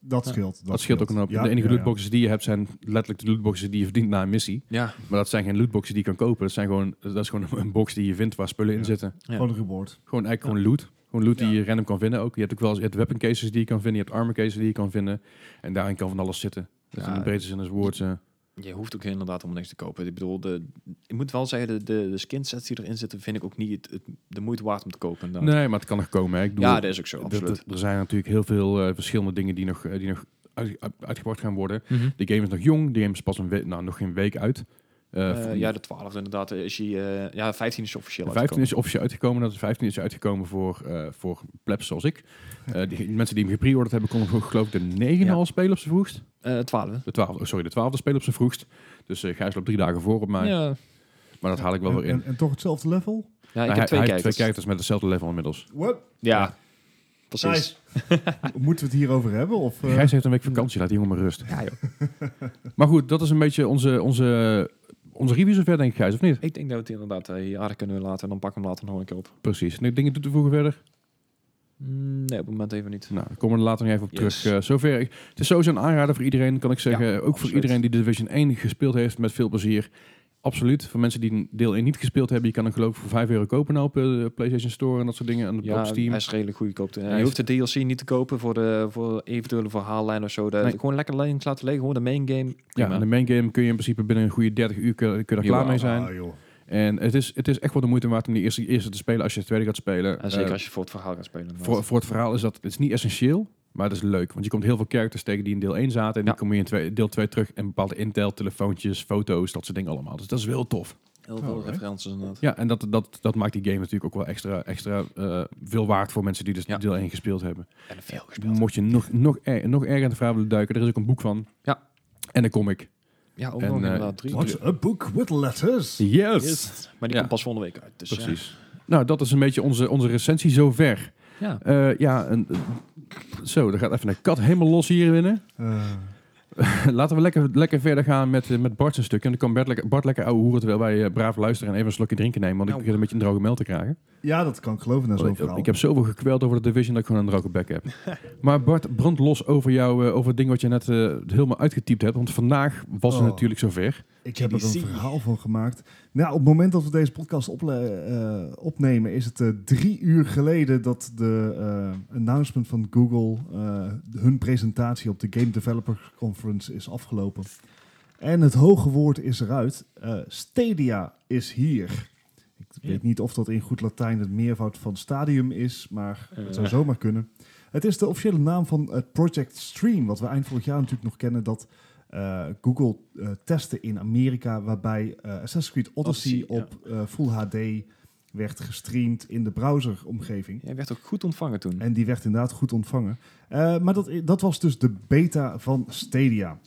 Speaker 1: Dat,
Speaker 3: dat
Speaker 2: Ja.
Speaker 3: scheelt. Dat,
Speaker 1: scheelt ook een hoop.
Speaker 3: Ja,
Speaker 1: de enige
Speaker 3: ja, ja.
Speaker 1: lootboxes die je hebt zijn letterlijk de lootboxes die je verdient na een missie.
Speaker 2: Ja,
Speaker 1: Maar dat zijn geen lootboxes die je kan kopen. Dat, zijn gewoon, dat is gewoon een box die je vindt waar spullen
Speaker 3: Ja.
Speaker 1: in zitten.
Speaker 2: Ja.
Speaker 3: Gewoon een reward.
Speaker 1: Gewoon eigenlijk gewoon loot. Gewoon loot die
Speaker 3: Ja.
Speaker 1: je random kan vinden ook. Je hebt ook wel eens, je hebt weapon cases die je kan vinden. Je hebt armor cases die je kan vinden. En daarin kan van alles zitten. Dat is
Speaker 2: Ja.
Speaker 1: in de breedste zin des woords. eh,
Speaker 2: Je hoeft ook inderdaad om niks te kopen. Ik bedoel, de, ik moet wel zeggen, de, de, de skinsets die erin zitten, vind ik ook niet het, het- de moeite waard om te kopen. inderdaad.
Speaker 1: Nee, maar het kan nog komen. Hè. Ik bedoel,
Speaker 2: ja, dat is ook zo,
Speaker 1: d- d-
Speaker 2: absoluut.
Speaker 1: d- er zijn natuurlijk heel veel eh, verschillende dingen die nog, eh, die nog uit- uit- uitgebracht gaan worden.
Speaker 2: Mhm.
Speaker 1: De game is nog jong. De game is pas een we- nou, nog geen week uit. Eh,
Speaker 2: Eh,
Speaker 1: voor-
Speaker 2: ja, de 12 inderdaad. eh, Is hij, eh, ja, 15 is officieel.
Speaker 1: de 15
Speaker 2: uitgekomen.
Speaker 1: is officieel uitgekomen. Dat is 15 is uitgekomen voor, eh voor plebs zoals ik. Eh, die, die mensen die hem gepreorderd hebben, konden voor, geloof ik de 9
Speaker 2: Ja.
Speaker 1: al spelen op zijn vroegst.
Speaker 2: Eh, 12.
Speaker 1: De 12, oh, sorry, de 12 spelen op zijn vroegst. Dus eh Gijs loopt drie dagen voor op mij.
Speaker 2: Ja,
Speaker 1: Maar dat haal ik wel
Speaker 3: en,
Speaker 1: weer in.
Speaker 3: En, en toch hetzelfde level?
Speaker 2: ja ik
Speaker 1: Nou,
Speaker 2: heb
Speaker 1: hij, hij
Speaker 2: twee
Speaker 1: heeft
Speaker 2: kijkers.
Speaker 1: twee kijkers met hetzelfde level inmiddels.
Speaker 3: What?
Speaker 2: Ja,
Speaker 1: Ja.
Speaker 2: precies.
Speaker 3: Moeten we het hierover hebben? Of, eh,
Speaker 1: Gijs heeft een week vakantie, laat die jongen maar rust.
Speaker 2: Ja, joh.
Speaker 1: Maar goed, dat is een beetje onze, onze, onze review zover, denk ik, Gijs, of niet?
Speaker 2: Ik denk dat we het inderdaad eh, hier aardig kunnen laten en dan pak ik hem later nog een keer op.
Speaker 1: Precies. Nee, dingen toe te voegen verder?
Speaker 2: Mm, Nee, op het moment even niet.
Speaker 1: Nou, daar komen we er later nog even op
Speaker 2: Yes.
Speaker 1: terug. Eh, zover. ik- Het is sowieso een aanrader voor iedereen, kan ik zeggen. ook voor
Speaker 2: absoluut.
Speaker 1: iedereen die de Division 1 gespeeld heeft, met veel plezier. Absoluut. Voor mensen die deel 1 niet gespeeld hebben, je kan hem geloof ik voor 5 euro kopen nou op eh, de PlayStation Store en dat soort dingen. En op, op
Speaker 2: Ja,
Speaker 1: Steam.
Speaker 2: hij is redelijk goedkoop. Eh,
Speaker 1: Hij
Speaker 2: Je
Speaker 1: is-
Speaker 2: hoeft de DLC niet te kopen voor, de, voor eventuele verhaallijn of zo. De,
Speaker 1: Nee.
Speaker 2: Gewoon lekker links laten liggen, gewoon de main game.
Speaker 1: Ja, en de main game kun je in principe binnen een goede 30 uur kun, kun je er klaar
Speaker 2: Jawel.
Speaker 1: mee zijn.
Speaker 3: ah, joh.
Speaker 1: En het is, het is echt wel de moeite waard om die eerste, eerste te spelen als je de tweede gaat spelen.
Speaker 2: En zeker
Speaker 1: Eh,
Speaker 2: als je voor het verhaal gaat spelen. inderdaad.
Speaker 1: voor, voor het verhaal is dat het is niet essentieel, maar het is leuk. Want je komt heel veel characters tegen die in deel 1 zaten. En
Speaker 2: Ja.
Speaker 1: die kom je in twee- deel 2 terug. En bepaalde intel, telefoontjes, foto's, dat soort dingen allemaal. Dus dat is wel tof.
Speaker 2: Heel veel
Speaker 3: Alright.
Speaker 2: referenties inderdaad.
Speaker 1: Ja, en dat, dat, dat maakt die game natuurlijk ook wel extra, extra eh, veel waard voor mensen die dus
Speaker 2: Ja.
Speaker 1: deel 1 gespeeld hebben.
Speaker 2: En veel gespeeld.
Speaker 1: Mocht je nog, nog, er, nog erger in de verhaal willen duiken, er is ook een boek van.
Speaker 2: Ja.
Speaker 1: En een comic.
Speaker 2: Ja, ook
Speaker 1: En,
Speaker 2: nog
Speaker 1: eh,
Speaker 2: inderdaad. Drie.
Speaker 3: What's a book with letters?
Speaker 1: Yes!
Speaker 2: Yes. Maar die
Speaker 1: Ja.
Speaker 2: komt pas volgende week uit. Dus eh,
Speaker 1: Precies. Nou, dat is een beetje onze, onze recensie zover.
Speaker 2: ja.
Speaker 1: Eh, ja, een, zo, dan gaat even een kat helemaal los hier binnen.
Speaker 3: Eh,
Speaker 1: Laten we lekker, lekker verder gaan met, eh, met Bart een stuk. En dan kan Bart lekker, Bart lekker ouwe hoeren terwijl wij eh, braaf luisteren en even een slokje drinken nemen. Want ik
Speaker 2: Nou.
Speaker 1: begin een beetje een droge mel te krijgen.
Speaker 3: ja, dat kan ik geloven na
Speaker 1: Want
Speaker 3: zo'n
Speaker 1: Oh, Ik,
Speaker 3: verhaal.
Speaker 1: ik heb zoveel gekweld over de division dat ik gewoon een droge bek heb. maar Bart, brand los over, jou, eh, over het ding wat je net eh, helemaal uitgetypt hebt. Want vandaag was het
Speaker 3: Oh.
Speaker 1: natuurlijk zover.
Speaker 3: Ik heb er een
Speaker 2: TBC.
Speaker 3: verhaal van gemaakt. Nou, op het moment dat we deze podcast ople- eh, opnemen, is het eh, drie uur geleden dat de eh, announcement van Google eh, hun presentatie op de Game Developer Conference is afgelopen. En het hoge woord is eruit. Eh, Stadia is hier. Ik weet niet of dat in goed Latijn het meervoud van stadium is, maar het zou
Speaker 2: Eh.
Speaker 3: zomaar kunnen. Het is de officiële naam van het Project Stream, wat we eind vorig jaar natuurlijk nog kennen, dat eh, Google eh, testte in Amerika, waarbij eh, Assassin's Creed Odyssey,
Speaker 2: Odyssey,
Speaker 3: op eh, Full HD werd gestreamd in de browseromgeving.
Speaker 2: Jij werd ook goed ontvangen toen.
Speaker 3: En die werd inderdaad goed ontvangen. Eh, maar dat, dat was dus de beta van Stadia.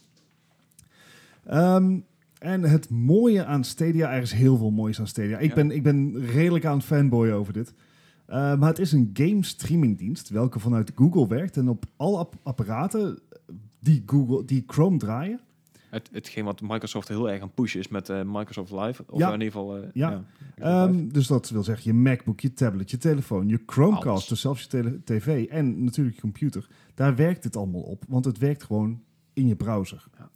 Speaker 3: Ehm, en het mooie aan Stadia, er is heel veel moois aan Stadia. Ik,
Speaker 2: Ja.
Speaker 3: ben, ik ben redelijk aan het fanboy over dit. Eh, maar het is een game streamingdienst, welke vanuit Google werkt. En op alle app- apparaten die, Google, die Chrome draaien,
Speaker 2: Het, hetgeen wat Microsoft heel erg aan pushen is met eh, Microsoft Live. Of
Speaker 3: Ja.
Speaker 2: in ieder geval... eh,
Speaker 3: Ja.
Speaker 2: Microsoft Live.
Speaker 3: Ehm, dus dat wil zeggen je MacBook, je tablet, je telefoon, je Chromecast,
Speaker 2: Alles.
Speaker 3: dus zelfs je tele- tv en natuurlijk je computer. Daar werkt dit allemaal op, want het werkt gewoon in je browser.
Speaker 2: Ja.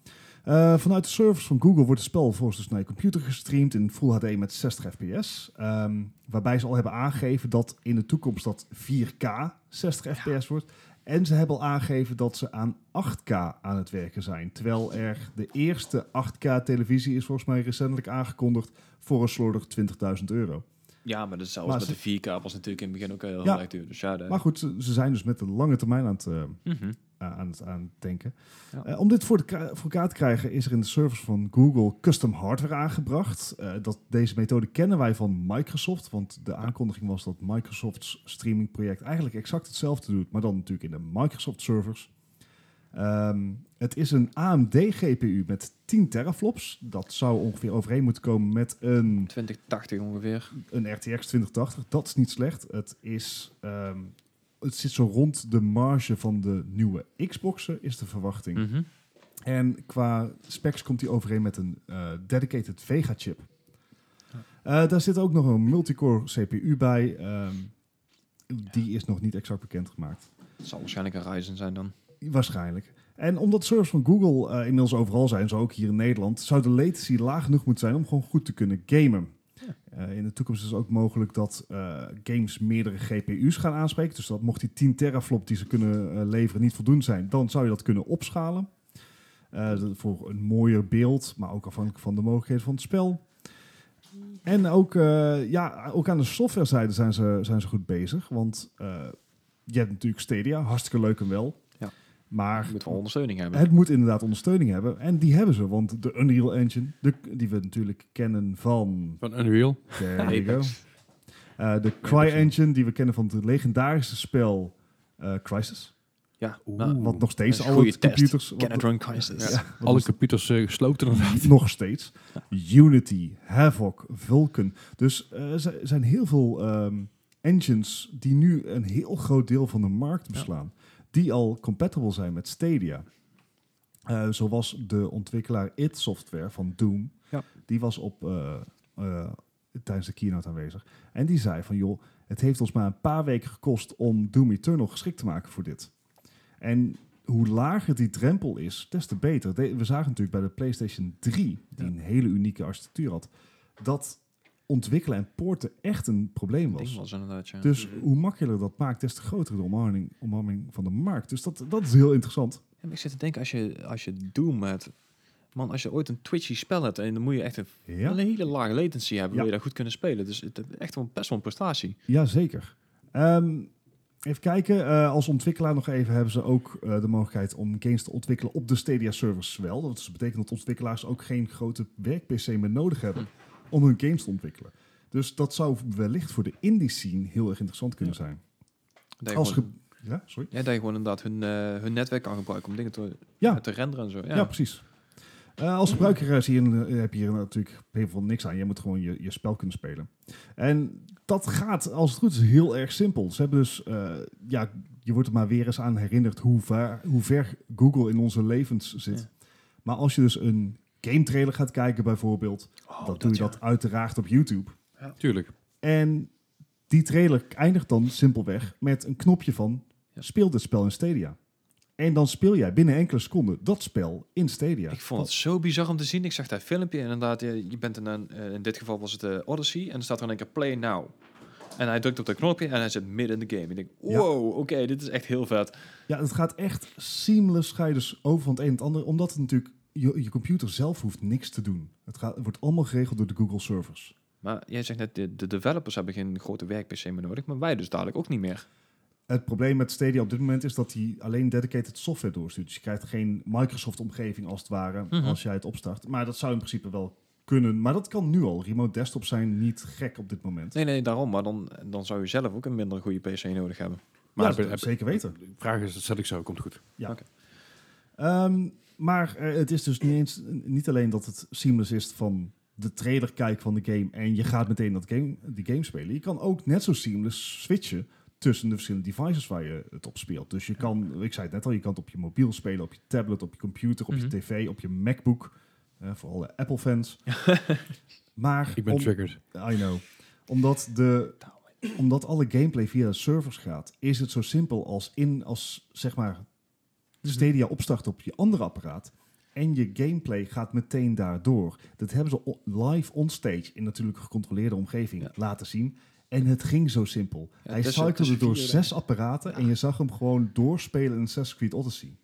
Speaker 3: Eh, vanuit de servers van Google wordt het spel volgens dus naar je computer gestreamd in Full HD met 60 fps. ehm, waarbij ze al hebben aangegeven dat in de toekomst dat 4K 60 fps wordt. En ze hebben al aangegeven dat ze aan 8K aan het werken zijn. Terwijl er de eerste 8K televisie is volgens mij recentelijk aangekondigd voor een slordig 20.000 euro.
Speaker 2: ja, maar dus zelfs
Speaker 3: maar
Speaker 2: met
Speaker 3: ze-
Speaker 2: de 4K was natuurlijk in het begin ook heel
Speaker 3: Ja.
Speaker 2: erg duur. Dus ja, de-
Speaker 3: Maar goed, ze, ze zijn dus met de lange termijn aan het, eh,
Speaker 2: Mhm.
Speaker 3: aan het, aan het denken.
Speaker 2: Ja.
Speaker 3: Eh, om dit voor, de, kra- voor elkaar te krijgen is er in de service van Google custom hardware aangebracht. Eh, dat, deze methode kennen wij van Microsoft, want de aankondiging was dat Microsoft's streamingproject eigenlijk exact hetzelfde doet, maar dan natuurlijk in de Microsoft servers. Ehm, het is een AMD GPU met 10 teraflops. Dat zou ongeveer overeen moeten komen met een
Speaker 2: 2080 ongeveer.
Speaker 3: een RTX 2080, dat is niet slecht. Het, is, ehm, het zit zo rond de marge van de nieuwe Xboxen, is de verwachting.
Speaker 2: Mhm.
Speaker 3: En qua specs komt hij overeen met een eh, dedicated Vega-chip. Eh, daar zit ook nog een multicore CPU bij. ehm, Die is nog niet exact bekendgemaakt.
Speaker 2: Het zal waarschijnlijk een Ryzen zijn dan.
Speaker 3: Waarschijnlijk. En omdat servers van Google eh, inmiddels overal zijn, zo ook hier in Nederland, zou de latency laag genoeg moeten zijn om gewoon goed te kunnen gamen. Eh, in de toekomst is het ook mogelijk dat eh, games meerdere GPU's gaan aanspreken. Dus dat mocht die 10 teraflop die ze kunnen eh, leveren niet voldoende zijn, dan zou je dat kunnen opschalen. Eh, dat- voor een mooier beeld, maar ook afhankelijk van de mogelijkheden van het spel. En ook, eh, ja, ook aan de softwarezijde zijn ze, zijn ze goed bezig. Want eh, je hebt natuurlijk Stadia, hartstikke leuk en wel.
Speaker 2: Ja.
Speaker 3: Maar
Speaker 2: Je moet wel ondersteuning hebben.
Speaker 3: het moet inderdaad ondersteuning hebben. En die hebben ze, want de Unreal Engine, de, die we natuurlijk kennen van...
Speaker 4: Van Unreal.
Speaker 3: There you go.
Speaker 2: Apex.
Speaker 3: Eh, de CryEngine, die we kennen van het legendarische spel eh, Crisis.
Speaker 2: Ja,
Speaker 4: Oeh.
Speaker 2: nou,
Speaker 3: Want nog
Speaker 2: dat is
Speaker 3: steeds
Speaker 2: een
Speaker 3: alle
Speaker 2: goede test.
Speaker 3: computers...
Speaker 2: Can it
Speaker 3: wat-
Speaker 2: run crisis?
Speaker 3: ja, wat
Speaker 4: Alle computers eh, gesloten inderdaad.
Speaker 3: nog steeds. Unity, Havoc, Vulkan. Dus eh, er zi- zijn heel veel ehm, engines die nu een heel groot deel van de markt beslaan. Die al compatible zijn met Stadia. Eh, zo was de ontwikkelaar id Software van Doom.
Speaker 2: Ja.
Speaker 3: Die was op, eh, eh, tijdens de keynote aanwezig. En die zei van joh, het heeft ons maar een paar weken gekost om Doom Eternal geschikt te maken voor dit. En hoe lager die drempel is, des te beter. De- we zagen natuurlijk bij de PlayStation 3, die een hele unieke architectuur had, dat ontwikkelen en poorten echt een probleem
Speaker 2: Dat
Speaker 3: was.
Speaker 2: was inderdaad, ja.
Speaker 3: Dus hoe makkelijker dat maakt, des te groter de omarming, omarming van de markt. Dus dat, dat is heel interessant.
Speaker 2: Ja, maar ik zit te denken, als je, als je Doom hebt... Man, als je ooit een twitchy spel hebt... en dan moet je echt een,
Speaker 3: Ja,
Speaker 2: een hele lage latency hebben... wil
Speaker 3: Ja.
Speaker 2: je dat goed kunnen spelen. Dus het is echt wel, best wel een prestatie.
Speaker 3: ja zeker. Ehm, even kijken, eh, als ontwikkelaar nog even hebben ze ook eh, de mogelijkheid om games te ontwikkelen op de Stadia servers wel. Want dat betekent dat ontwikkelaars ook geen grote werk-PC meer nodig hebben om hun games te ontwikkelen. Dus dat zou wellicht voor de indie scene heel erg interessant kunnen zijn.
Speaker 2: Dat je,
Speaker 3: Als
Speaker 2: gewoon,
Speaker 3: ge- ja, sorry.
Speaker 2: ja, dat je gewoon inderdaad hun, eh, hun netwerk kan gebruiken... om dingen te,
Speaker 3: Ja.
Speaker 2: te renderen en zo. Ja,
Speaker 3: Ja, precies. Eh, als gebruiker eh, zie je, een- eh, heb je hier natuurlijk heel veel niks aan. Je moet gewoon je, je spel kunnen spelen. En dat gaat, als het goed is, heel erg simpel. Ze hebben dus, eh, ja, je wordt er maar weer eens aan herinnerd hoe, va- hoe ver Google in onze levens zit. Maar als je dus een game trailer gaat kijken bijvoorbeeld,
Speaker 2: Oh,
Speaker 3: dan doe je
Speaker 2: ja.
Speaker 3: dat uiteraard op YouTube.
Speaker 4: Tuurlijk.
Speaker 3: En die trailer eindigt dan simpelweg met een knopje van
Speaker 2: Ja.
Speaker 3: speel dit spel in Stadia. En dan speel jij binnen enkele seconden dat spel in Stadia.
Speaker 2: Ik vond het zo bizar om te zien. Ik zag dat filmpje en inderdaad. Je, je bent in, een, eh, in dit geval was het eh, Odyssey. En er staat er in één keer play now. En hij drukt op dat knopje en hij zit midden in de game. Ik denk,
Speaker 3: Ja.
Speaker 2: wow, oké, dit is echt heel vet.
Speaker 3: Ja, het gaat echt seamless ga je dus over van het een en het ander. Omdat het natuurlijk, je, je computer zelf hoeft niks te doen. Het, gaat, het wordt allemaal geregeld door de Google servers.
Speaker 2: Maar jij zegt net, de, de developers hebben geen grote werk-PC meer nodig. Maar wij dus dadelijk ook niet meer.
Speaker 3: Het probleem met Stadia op dit moment is dat hij alleen dedicated software doorstuurt. Dus je krijgt geen Microsoft-omgeving als het ware
Speaker 2: Mhm.
Speaker 3: als jij het opstart. Maar dat zou in principe wel kunnen. Maar dat kan nu al. Remote desktops zijn niet gek op dit moment.
Speaker 2: Nee, nee, daarom. Maar dan, dan zou je zelf ook een minder goede PC nodig hebben.
Speaker 4: Maar
Speaker 3: Maar ja,
Speaker 4: heb-
Speaker 3: dat
Speaker 4: heb-
Speaker 3: zeker weten.
Speaker 4: De vraag is, dat stel ik zo, komt goed.
Speaker 3: Ehm, maar eh, het is dus niet, eens, niet alleen dat het seamless is van de trailer kijken van de game en je gaat meteen dat game, die game spelen. Je kan ook net zo seamless switchen tussen de verschillende devices waar je het op speelt. Dus je kan, ik zei het net al, je kan het op je mobiel spelen, op je tablet, op je computer, op
Speaker 2: Mhm.
Speaker 3: je tv, op je MacBook. Eh, voor alle Apple-fans. maar
Speaker 4: Ik ben
Speaker 3: om-
Speaker 4: triggered.
Speaker 3: I know. Omdat, de, omdat alle gameplay via de servers gaat, is het zo simpel als in als zeg maar
Speaker 2: Mhm.
Speaker 3: Stadia opstart op je andere apparaat. En je gameplay gaat meteen daardoor. Dat hebben ze o- live onstage in natuurlijk een gecontroleerde omgeving
Speaker 2: Ja.
Speaker 3: laten zien. En het ging zo simpel.
Speaker 2: Ja,
Speaker 3: Hij
Speaker 2: tussen-
Speaker 3: cyclede
Speaker 2: tussen
Speaker 3: door
Speaker 2: vier-
Speaker 3: zes apparaten en je zag hem gewoon doorspelen in Assassin's Creed Odyssey.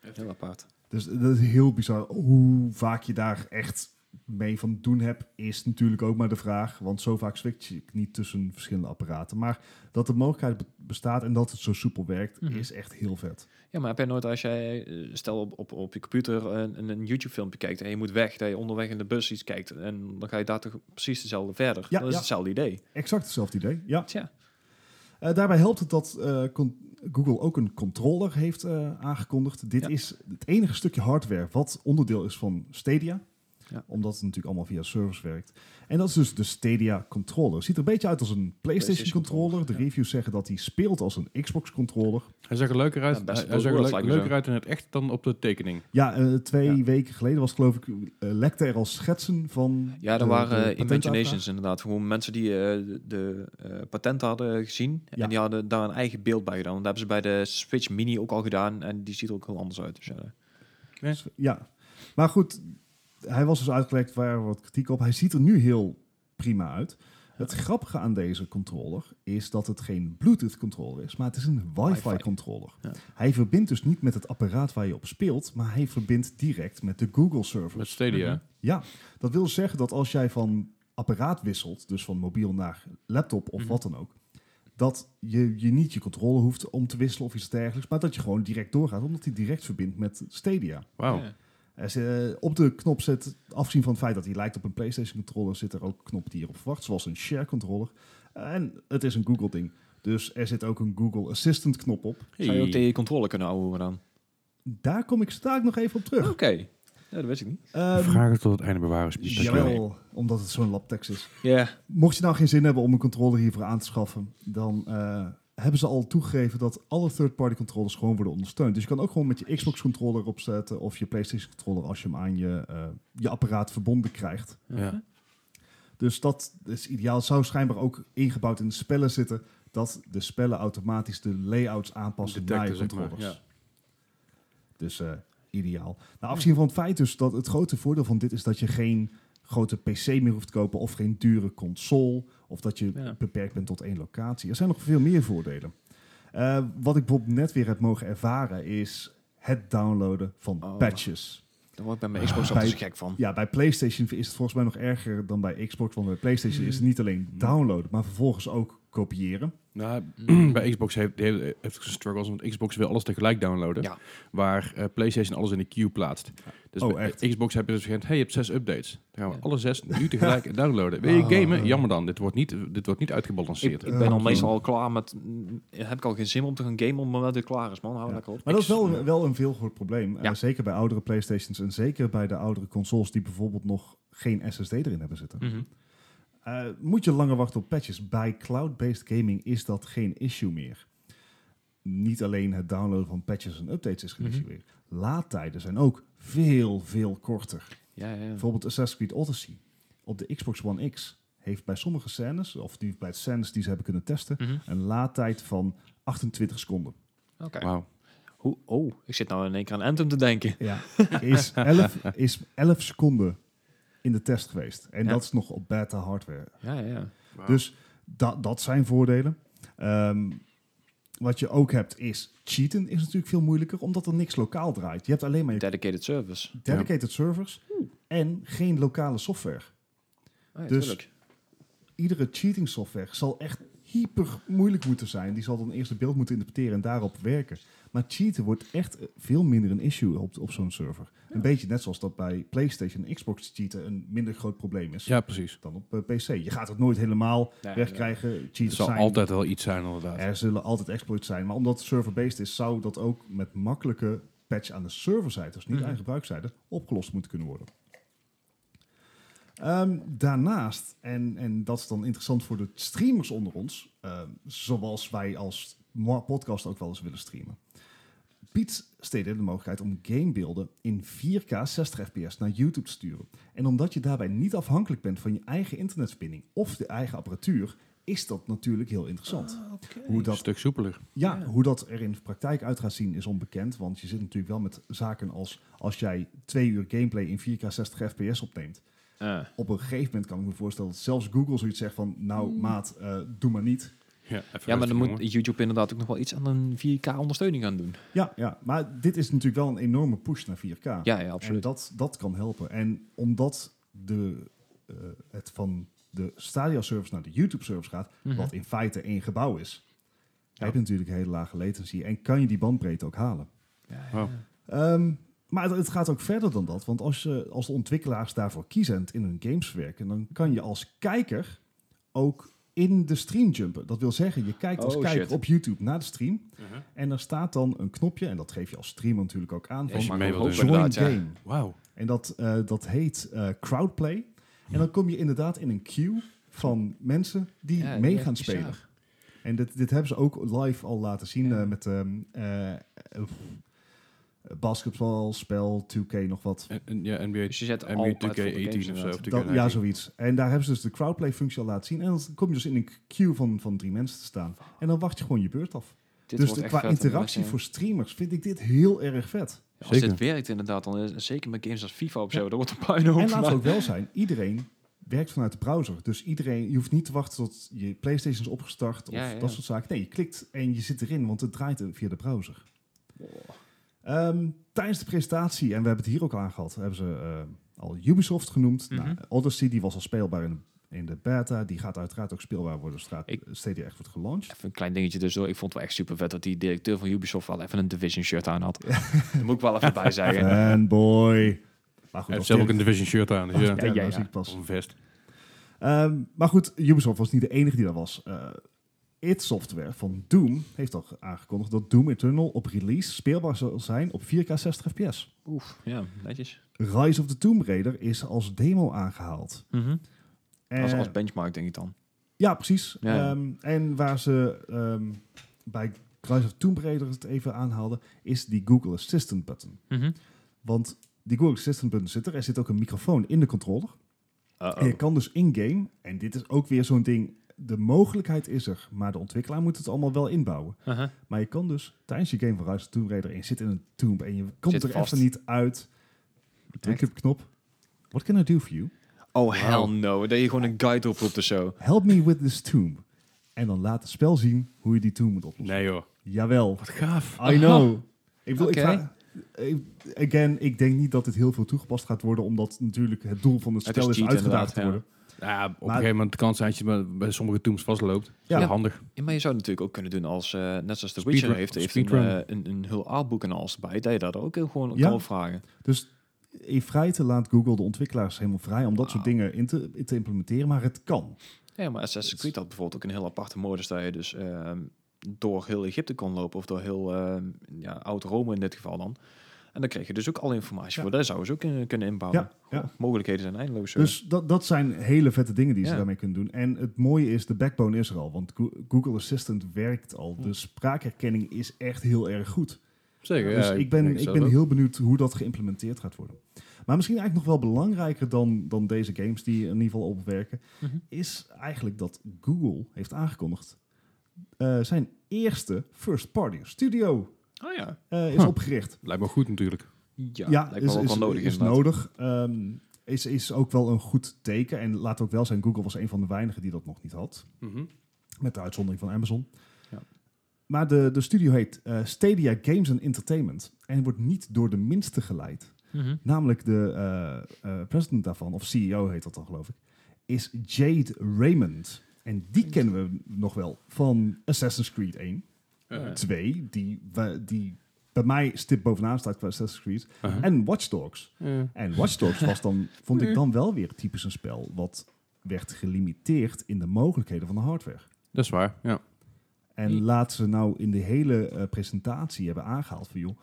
Speaker 2: Heel apart.
Speaker 3: Dus dat is heel bizar. Hoe vaak je daar echt mee van doen hebt, is natuurlijk ook maar de vraag. Want zo vaak switch ik niet tussen verschillende apparaten. Maar dat de mogelijkheid be- bestaat en dat het zo soepel werkt,
Speaker 2: Mhm.
Speaker 3: is echt heel vet.
Speaker 2: Ja, maar heb jij nooit als jij, eh, stel op, op, op je computer eh, een, een- een YouTube-filmpje kijkt... en je moet weg, dat je onderweg in de bus iets kijkt... en dan ga je daar toch precies dezelfde verder.
Speaker 3: Ja,
Speaker 2: dat is
Speaker 3: ja.
Speaker 2: hetzelfde idee.
Speaker 3: Exact hetzelfde idee, ja.
Speaker 2: Tja.
Speaker 3: Eh, daarbij helpt het dat eh, con- Google ook een controller heeft eh, aangekondigd. Dit
Speaker 2: Ja.
Speaker 3: is het enige stukje hardware wat onderdeel is van Stadia.
Speaker 2: Ja.
Speaker 3: Omdat het natuurlijk allemaal via servers werkt. En dat is dus de Stadia controller. Ziet er een beetje uit als een PlayStation,
Speaker 2: PlayStation
Speaker 3: controller.
Speaker 2: controller,
Speaker 3: De reviews zeggen dat hij speelt als een Xbox controller.
Speaker 4: Hij zag er leuker uit,
Speaker 2: Ja, best
Speaker 4: hij
Speaker 2: wel
Speaker 4: zag er
Speaker 2: goed,
Speaker 4: leuk-
Speaker 2: lijkt me
Speaker 4: leuker
Speaker 2: zo.
Speaker 4: uit in het echt dan op de tekening.
Speaker 3: Ja, eh, twee
Speaker 2: Ja.
Speaker 3: weken geleden was het, geloof ik, eh, lekte er al schetsen van.
Speaker 2: Ja,
Speaker 3: de-
Speaker 2: er
Speaker 3: de
Speaker 2: waren eh,
Speaker 3: patentaanvraag.
Speaker 2: Imaginations inderdaad. Gewoon mensen die eh, de- de eh, patenten hadden gezien.
Speaker 3: Ja.
Speaker 2: En die hadden daar een eigen beeld bij gedaan. Want dat hebben ze bij de Switch Mini ook al gedaan. En die ziet er ook heel anders uit. Dus, ja,
Speaker 3: Dus, Ja, maar goed, hij was dus uitgelegd waar wat kritiek op. Hij ziet er nu heel prima uit. Het grappige aan deze controller is dat het geen Bluetooth controller is, maar het is een
Speaker 2: Wi-Fi.
Speaker 3: Wi-Fi controller.
Speaker 2: Ja.
Speaker 3: Hij verbindt dus niet met het apparaat waar je op speelt, maar hij verbindt direct met de Google server.
Speaker 4: Met Stadia.
Speaker 2: Mhm.
Speaker 3: Ja, dat wil zeggen dat als jij van apparaat wisselt, dus van mobiel naar laptop of
Speaker 2: Mhm.
Speaker 3: wat dan ook, dat je, je niet je controle hoeft om te wisselen of iets dergelijks, maar dat je gewoon direct doorgaat, omdat hij direct verbindt met Stadia.
Speaker 4: Wauw.
Speaker 2: Ja.
Speaker 3: Er zit, eh, op de knop zit, afgezien van het feit dat hij lijkt op een PlayStation controller, zit er ook een knop die erop verwacht, zoals een share controller. En het is een Google ding. Dus er zit ook een Google Assistant knop op.
Speaker 2: Zou je ook tegen je controle kunnen houden dan?
Speaker 3: Daar kom ik straks nog even op
Speaker 2: Oké.
Speaker 3: terug.
Speaker 2: Ja, dat wist ik niet.
Speaker 3: Ehm,
Speaker 4: Vragen tot het einde bewaren. Spies. Dankjewel.
Speaker 3: jawel, omdat het zo'n labtekst is.
Speaker 2: Ja.
Speaker 3: Mocht je nou geen zin hebben om een controller hiervoor aan te schaffen, dan eh, hebben ze al toegegeven dat alle third-party controllers gewoon worden ondersteund. Dus je kan ook gewoon met je Xbox controller opzetten of je PlayStation controller als je hem aan je, eh, je apparaat verbonden krijgt.
Speaker 4: Ja.
Speaker 3: Dus dat is ideaal. Het zou schijnbaar ook ingebouwd in de spellen zitten dat de spellen automatisch de layouts aanpassen naar je
Speaker 4: Detecten, zeg maar,
Speaker 3: controllers. Dus eh, ideaal. Nou, afgezien van het feit dus dat het grote voordeel van dit is dat je geen grote PC meer hoeft te kopen of geen dure console of dat je
Speaker 2: Ja.
Speaker 3: beperkt bent tot één locatie. Er zijn nog veel meer voordelen. Eh, wat ik bijvoorbeeld net weer heb mogen ervaren is het downloaden van
Speaker 2: Oh.
Speaker 3: patches.
Speaker 2: Daar word ik bij mijn Xbox
Speaker 3: Bij-
Speaker 2: altijd zo gek van.
Speaker 3: Ja, bij PlayStation is het volgens mij nog erger dan bij Xbox, want bij PlayStation is
Speaker 2: Hmm.
Speaker 3: het niet alleen downloaden, maar vervolgens ook kopiëren.
Speaker 4: Nou, bij Xbox heeft, die heeft, heeft zijn struggles, want Xbox wil alles tegelijk downloaden.
Speaker 2: Ja.
Speaker 4: Waar eh, PlayStation alles in de queue plaatst. Dus
Speaker 3: Oh,
Speaker 4: bij
Speaker 3: echt?
Speaker 4: Xbox heb je dus gezegd, hey, je hebt zes updates. Dan gaan we
Speaker 2: Ja.
Speaker 4: alle zes nu tegelijk downloaden. Wil je
Speaker 3: Oh.
Speaker 4: gamen? Jammer dan, dit wordt niet, dit wordt niet
Speaker 2: Ik,
Speaker 4: uitgebalanceerd.
Speaker 2: ik ben al
Speaker 3: Eh,
Speaker 2: meestal al klaar met... mm, Heb ik al geen zin om te gaan gamen omdat het weer klaar is, man. Hou
Speaker 3: Ja.
Speaker 2: lekker op.
Speaker 3: Maar dat is
Speaker 2: Ik-
Speaker 3: wel, wel een veelgehoord probleem. Eh,
Speaker 2: Ja.
Speaker 3: zeker bij oudere PlayStations en zeker bij de oudere consoles die bijvoorbeeld nog geen SSD erin hebben zitten.
Speaker 2: Mhm.
Speaker 3: Eh, moet je langer wachten op patches? Bij cloud-based gaming is dat geen issue meer. Niet alleen het downloaden van patches en updates is geen
Speaker 2: Mhm.
Speaker 3: issue meer. Laadtijden zijn ook veel, veel korter.
Speaker 2: Ja, ja. ja.
Speaker 3: Bijvoorbeeld Assassin's Creed Odyssey op de Xbox One X heeft bij sommige scènes, of die, bij scènes die ze hebben kunnen testen,
Speaker 2: Mhm.
Speaker 3: een laadtijd van 28 seconden.
Speaker 2: Oké.
Speaker 4: Wauw.
Speaker 2: Hoe- Oh, ik zit nou in één keer aan Anthem te denken.
Speaker 3: Ja, is 11, is 11 seconden in de test geweest. En
Speaker 2: Ja.
Speaker 3: dat is nog op beta hardware.
Speaker 2: Ja, ja, ja.
Speaker 3: Dus da- dat zijn voordelen. Ehm, wat je ook hebt is, cheaten is natuurlijk veel moeilijker, omdat er niks lokaal draait. Je hebt alleen maar je
Speaker 2: Dedicated service.
Speaker 3: dedicated servers en geen lokale software.
Speaker 2: Ah, ja,
Speaker 3: Dus-
Speaker 2: tuurlijk.
Speaker 3: Iedere cheating software zal echt hyper moeilijk moeten zijn. Die zal dan eerst het beeld moeten interpreteren en daarop werken. Maar cheaten wordt echt eh, veel minder een issue op, op zo'n server. Een beetje net zoals dat bij PlayStation en Xbox cheaten een minder groot probleem is.
Speaker 4: Ja, precies.
Speaker 3: dan op eh, PC. Je gaat het nooit helemaal
Speaker 2: Nee,
Speaker 3: wegkrijgen.
Speaker 4: Het
Speaker 3: Cheaters
Speaker 4: zal
Speaker 3: zijn.
Speaker 4: altijd wel iets zijn, inderdaad.
Speaker 3: Er zullen altijd exploits zijn. Maar omdat het server-based is, zou dat ook met makkelijke patch aan de serverzijde, dus niet
Speaker 2: Mhm.
Speaker 3: aan gebruikzijde, opgelost moeten kunnen worden. Ehm, daarnaast, en, en dat is dan interessant voor de streamers onder ons, ehm, zoals wij als mo- podcast ook wel eens willen streamen, biedt Stadia de mogelijkheid om gamebeelden in 4K 60 fps naar YouTube te sturen. En omdat je daarbij niet afhankelijk bent van je eigen internetverbinding of de eigen apparatuur, is dat natuurlijk heel interessant. Hoe
Speaker 4: Een
Speaker 3: dat
Speaker 4: stuk soepeler.
Speaker 3: ja,
Speaker 2: Ja.
Speaker 3: hoe dat er in de praktijk uit gaat zien is onbekend. Want je zit natuurlijk wel met zaken als als jij twee uur gameplay in 4K 60 fps opneemt.
Speaker 2: Eh,
Speaker 3: Op een gegeven moment kan ik me voorstellen dat zelfs Google zoiets zegt van nou
Speaker 2: Mm.
Speaker 3: maat, eh, doe maar niet.
Speaker 4: Ja, even
Speaker 2: ja, maar dan
Speaker 4: rustig,
Speaker 2: moet
Speaker 4: jongen.
Speaker 2: YouTube inderdaad ook nog wel iets aan een 4K-ondersteuning aan doen.
Speaker 3: Ja, ja, maar dit is natuurlijk wel een enorme push naar 4K.
Speaker 2: Ja, ja,
Speaker 3: en
Speaker 2: absoluut.
Speaker 3: dat, dat kan helpen. En omdat de, eh, het van de Stadia-service naar de YouTube-service gaat,
Speaker 2: Mhm.
Speaker 3: wat in feite één gebouw is,
Speaker 2: Ja.
Speaker 3: heb je natuurlijk een hele lage latency en kan je die bandbreedte ook halen.
Speaker 2: Ja,
Speaker 4: Wauw.
Speaker 3: Ehm, maar het, het gaat ook verder dan dat. Want als, je, als de ontwikkelaars daarvoor kiezen en het in hun games werken, dan kan je als kijker ook in de stream jumpen. Dat wil zeggen, je kijkt als
Speaker 2: Oh,
Speaker 3: kijker
Speaker 2: shit.
Speaker 3: op YouTube naar de stream.
Speaker 4: Mhm.
Speaker 3: En daar staat dan een knopje, en dat geef je als streamer natuurlijk ook aan,
Speaker 4: Als
Speaker 3: van
Speaker 4: je mee wil doen.
Speaker 3: Join
Speaker 2: inderdaad, ja.
Speaker 3: Game.
Speaker 4: Wauw.
Speaker 3: En dat, eh, dat heet eh, Crowdplay. En dan kom je inderdaad in een queue van mensen die
Speaker 2: Ja,
Speaker 3: mee
Speaker 2: ja,
Speaker 3: gaan
Speaker 2: bizar.
Speaker 3: spelen. En dit, dit hebben ze ook live al laten zien
Speaker 2: Ja.
Speaker 3: eh, met ehm eh, eh, basketbalspel, 2K, nog wat.
Speaker 4: En, en- ja, NBA,
Speaker 2: Dus je zet al
Speaker 4: NBA
Speaker 2: platformen
Speaker 4: 2K18 of
Speaker 2: games
Speaker 4: zo.
Speaker 2: inderdaad.
Speaker 4: E of 2K19.
Speaker 3: Dat, ja, zoiets. En daar hebben ze dus de crowdplay-functie al laten zien. En dan kom je dus in een queue van, van drie mensen te staan. En dan wacht je gewoon je beurt af.
Speaker 2: Dit
Speaker 3: dus
Speaker 2: wordt
Speaker 3: de-
Speaker 2: echt
Speaker 3: qua
Speaker 2: vet, inderdaad,
Speaker 3: interactie
Speaker 2: ja.
Speaker 3: voor streamers vind ik dit heel erg vet.
Speaker 2: Ja, Als dit
Speaker 4: Zeker.
Speaker 2: werkt inderdaad, dan is zeker met games als FIFA of
Speaker 3: Ja.
Speaker 2: zo, dan wordt er puinhoop
Speaker 3: En laten
Speaker 2: van.
Speaker 3: we ook wel zijn, iedereen werkt vanuit de browser. Dus iedereen, je hoeft niet te wachten tot je PlayStation is opgestart of
Speaker 2: Ja, ja, ja.
Speaker 3: dat soort zaken. Nee, je klikt en je zit erin, want het draait via de browser. Ehm, tijdens de presentatie, en we hebben het hier ook al aangehad, hebben ze eh, al Ubisoft genoemd.
Speaker 2: Mhm.
Speaker 3: Nou, Odyssey, die was al speelbaar in de, in de beta. Die gaat uiteraard ook speelbaar worden zodra
Speaker 2: Ik-
Speaker 3: Stadia echt wordt gelaunched.
Speaker 2: Even een klein dingetje dus hoor. Ik vond het wel echt super vet dat die directeur van Ubisoft wel even een Division shirt aan had. Daar moet ik wel even bij zeggen.
Speaker 3: Fanboy. Maar goed,
Speaker 4: Hij heeft
Speaker 3: of
Speaker 4: zelf ook
Speaker 3: dit-
Speaker 4: een Division shirt aan. Dus ja.
Speaker 3: ja,
Speaker 2: Ja, ja,
Speaker 3: nou zie
Speaker 2: ja.
Speaker 3: ik pas.
Speaker 4: Of een vest.
Speaker 3: Ehm, maar goed, Ubisoft was niet de enige die daar was. Eh id Software van Doom heeft al aangekondigd dat Doom Eternal op release speelbaar zal zijn op 4K 60 fps.
Speaker 2: Oef, ja, netjes.
Speaker 3: Rise of the Tomb Raider is als demo aangehaald.
Speaker 2: Mhm.
Speaker 3: En,
Speaker 2: Als, als benchmark denk ik dan.
Speaker 3: ja, precies.
Speaker 2: Ja.
Speaker 3: Ehm, en waar ze ehm, bij Rise of Tomb Raider het even aanhaalden, is die Google Assistant button.
Speaker 2: Mhm.
Speaker 3: Want die Google Assistant button zit er. Er zit ook een microfoon in de controller. En je
Speaker 2: Uh-oh.
Speaker 3: kan dus in-game, en dit is ook weer zo'n ding, de mogelijkheid is er, maar de ontwikkelaar moet het allemaal wel inbouwen.
Speaker 2: Uh-huh.
Speaker 3: Maar je kan dus tijdens je game van Rise of Tomb Raider en je zit in een tomb en je komt
Speaker 2: Zit
Speaker 3: er
Speaker 2: vast.
Speaker 3: even niet uit. Druk je op de knop. What can I do for you?
Speaker 2: Oh, hell no. Dat je gewoon een guide oproept of zo.
Speaker 3: Help me with this tomb. En dan laat het spel zien hoe je die tomb moet oplossen.
Speaker 4: Nee joh.
Speaker 3: Jawel.
Speaker 4: Wat gaaf.
Speaker 3: I know. Ik bedoel, ik
Speaker 2: Oké.
Speaker 3: vraag- ik- again, ik denk niet dat dit heel veel toegepast gaat worden, omdat natuurlijk het doel van het
Speaker 2: Het
Speaker 3: spel
Speaker 2: is
Speaker 3: is,
Speaker 2: cheat
Speaker 3: uitgedaagd te
Speaker 2: inderdaad,
Speaker 3: worden.
Speaker 4: Nou Ja, op een
Speaker 3: Maar-
Speaker 4: gegeven moment kan het zijn dat je bij- bij sommige tombs vastloopt.
Speaker 3: Ja.
Speaker 4: Ja. handig.
Speaker 2: Ja, maar je zou het natuurlijk ook kunnen doen als, eh, net zoals The
Speaker 4: Speedrun-
Speaker 2: Witcher heeft, heeft een,
Speaker 4: speedrun.
Speaker 2: eh, een, een heel artboek en alles bij, dat je daar ook heel gewoon
Speaker 3: Ja.
Speaker 2: kan opvragen.
Speaker 3: Dus in feite laat Google de ontwikkelaars helemaal vrij om dat soort
Speaker 2: Wauw. dingen
Speaker 3: dingen in te, implementeren, maar het kan.
Speaker 2: Ja, maar Assassin's Creed had bijvoorbeeld ook een heel aparte modus dat je dus ehm, door heel Egypte kon lopen of door heel ehm, ja, oud-Rome in dit geval dan. En dan kreeg je dus ook alle informatie
Speaker 3: Ja.
Speaker 2: voor. Daar zouden ze ook in, eh, kunnen inbouwen.
Speaker 3: Ja, ja.
Speaker 2: Goh, Mogelijkheden zijn eindeloos. eh. joh.
Speaker 3: Dus dat, dat zijn hele vette dingen die ze
Speaker 2: Ja.
Speaker 3: daarmee kunnen doen. En het mooie is, de backbone is er al, want Go- Google Assistant werkt
Speaker 2: Hm.
Speaker 3: al. De spraakherkenning is echt heel erg goed.
Speaker 4: Zeker.
Speaker 3: dus
Speaker 4: ja,
Speaker 3: ik ben,
Speaker 4: denk
Speaker 3: ik
Speaker 4: zelf
Speaker 3: ben
Speaker 4: ook.
Speaker 3: heel benieuwd hoe dat geïmplementeerd gaat worden. Maar misschien eigenlijk nog wel belangrijker dan, dan deze games die in ieder geval opwerken,
Speaker 2: Mhm.
Speaker 3: is eigenlijk dat Google heeft aangekondigd eh, zijn eerste first-party studio
Speaker 2: ah ja.
Speaker 3: eh, is
Speaker 4: Huh.
Speaker 3: opgericht.
Speaker 4: Lijkt me goed natuurlijk.
Speaker 2: Ja,
Speaker 3: ja,
Speaker 2: lijkt me
Speaker 3: is,
Speaker 2: wel
Speaker 3: is,
Speaker 2: wel nodig
Speaker 3: is
Speaker 2: inderdaad.
Speaker 3: nodig. Ehm, is, is ook wel een goed teken. En laat ook wel zijn, Google was een van de weinigen die dat nog niet had.
Speaker 4: Mhm.
Speaker 3: Met de uitzondering van Amazon.
Speaker 2: Ja.
Speaker 3: Maar de, de studio heet eh, Stadia Games and Entertainment. En wordt niet door de minste geleid.
Speaker 2: Mhm.
Speaker 3: Namelijk de eh, eh, president daarvan, of CEO heet dat dan geloof ik, is Jade Raymond. En die kennen we nog wel van Assassin's Creed 1.
Speaker 2: Eh.
Speaker 4: Ja.
Speaker 3: 2, die, we- die bij mij stip bovenaan staat qua Assassin's Creed.
Speaker 2: Eh.
Speaker 4: Uh-huh.
Speaker 3: En Watch Dogs.
Speaker 4: Ja.
Speaker 3: En Watch Dogs was dan, vond ik dan wel weer typisch een spel wat werd gelimiteerd in de mogelijkheden van de hardware.
Speaker 4: Dat is waar. Ja.
Speaker 2: Hmm.
Speaker 3: En laat ze nou in de hele eh, presentatie hebben aangehaald van joh,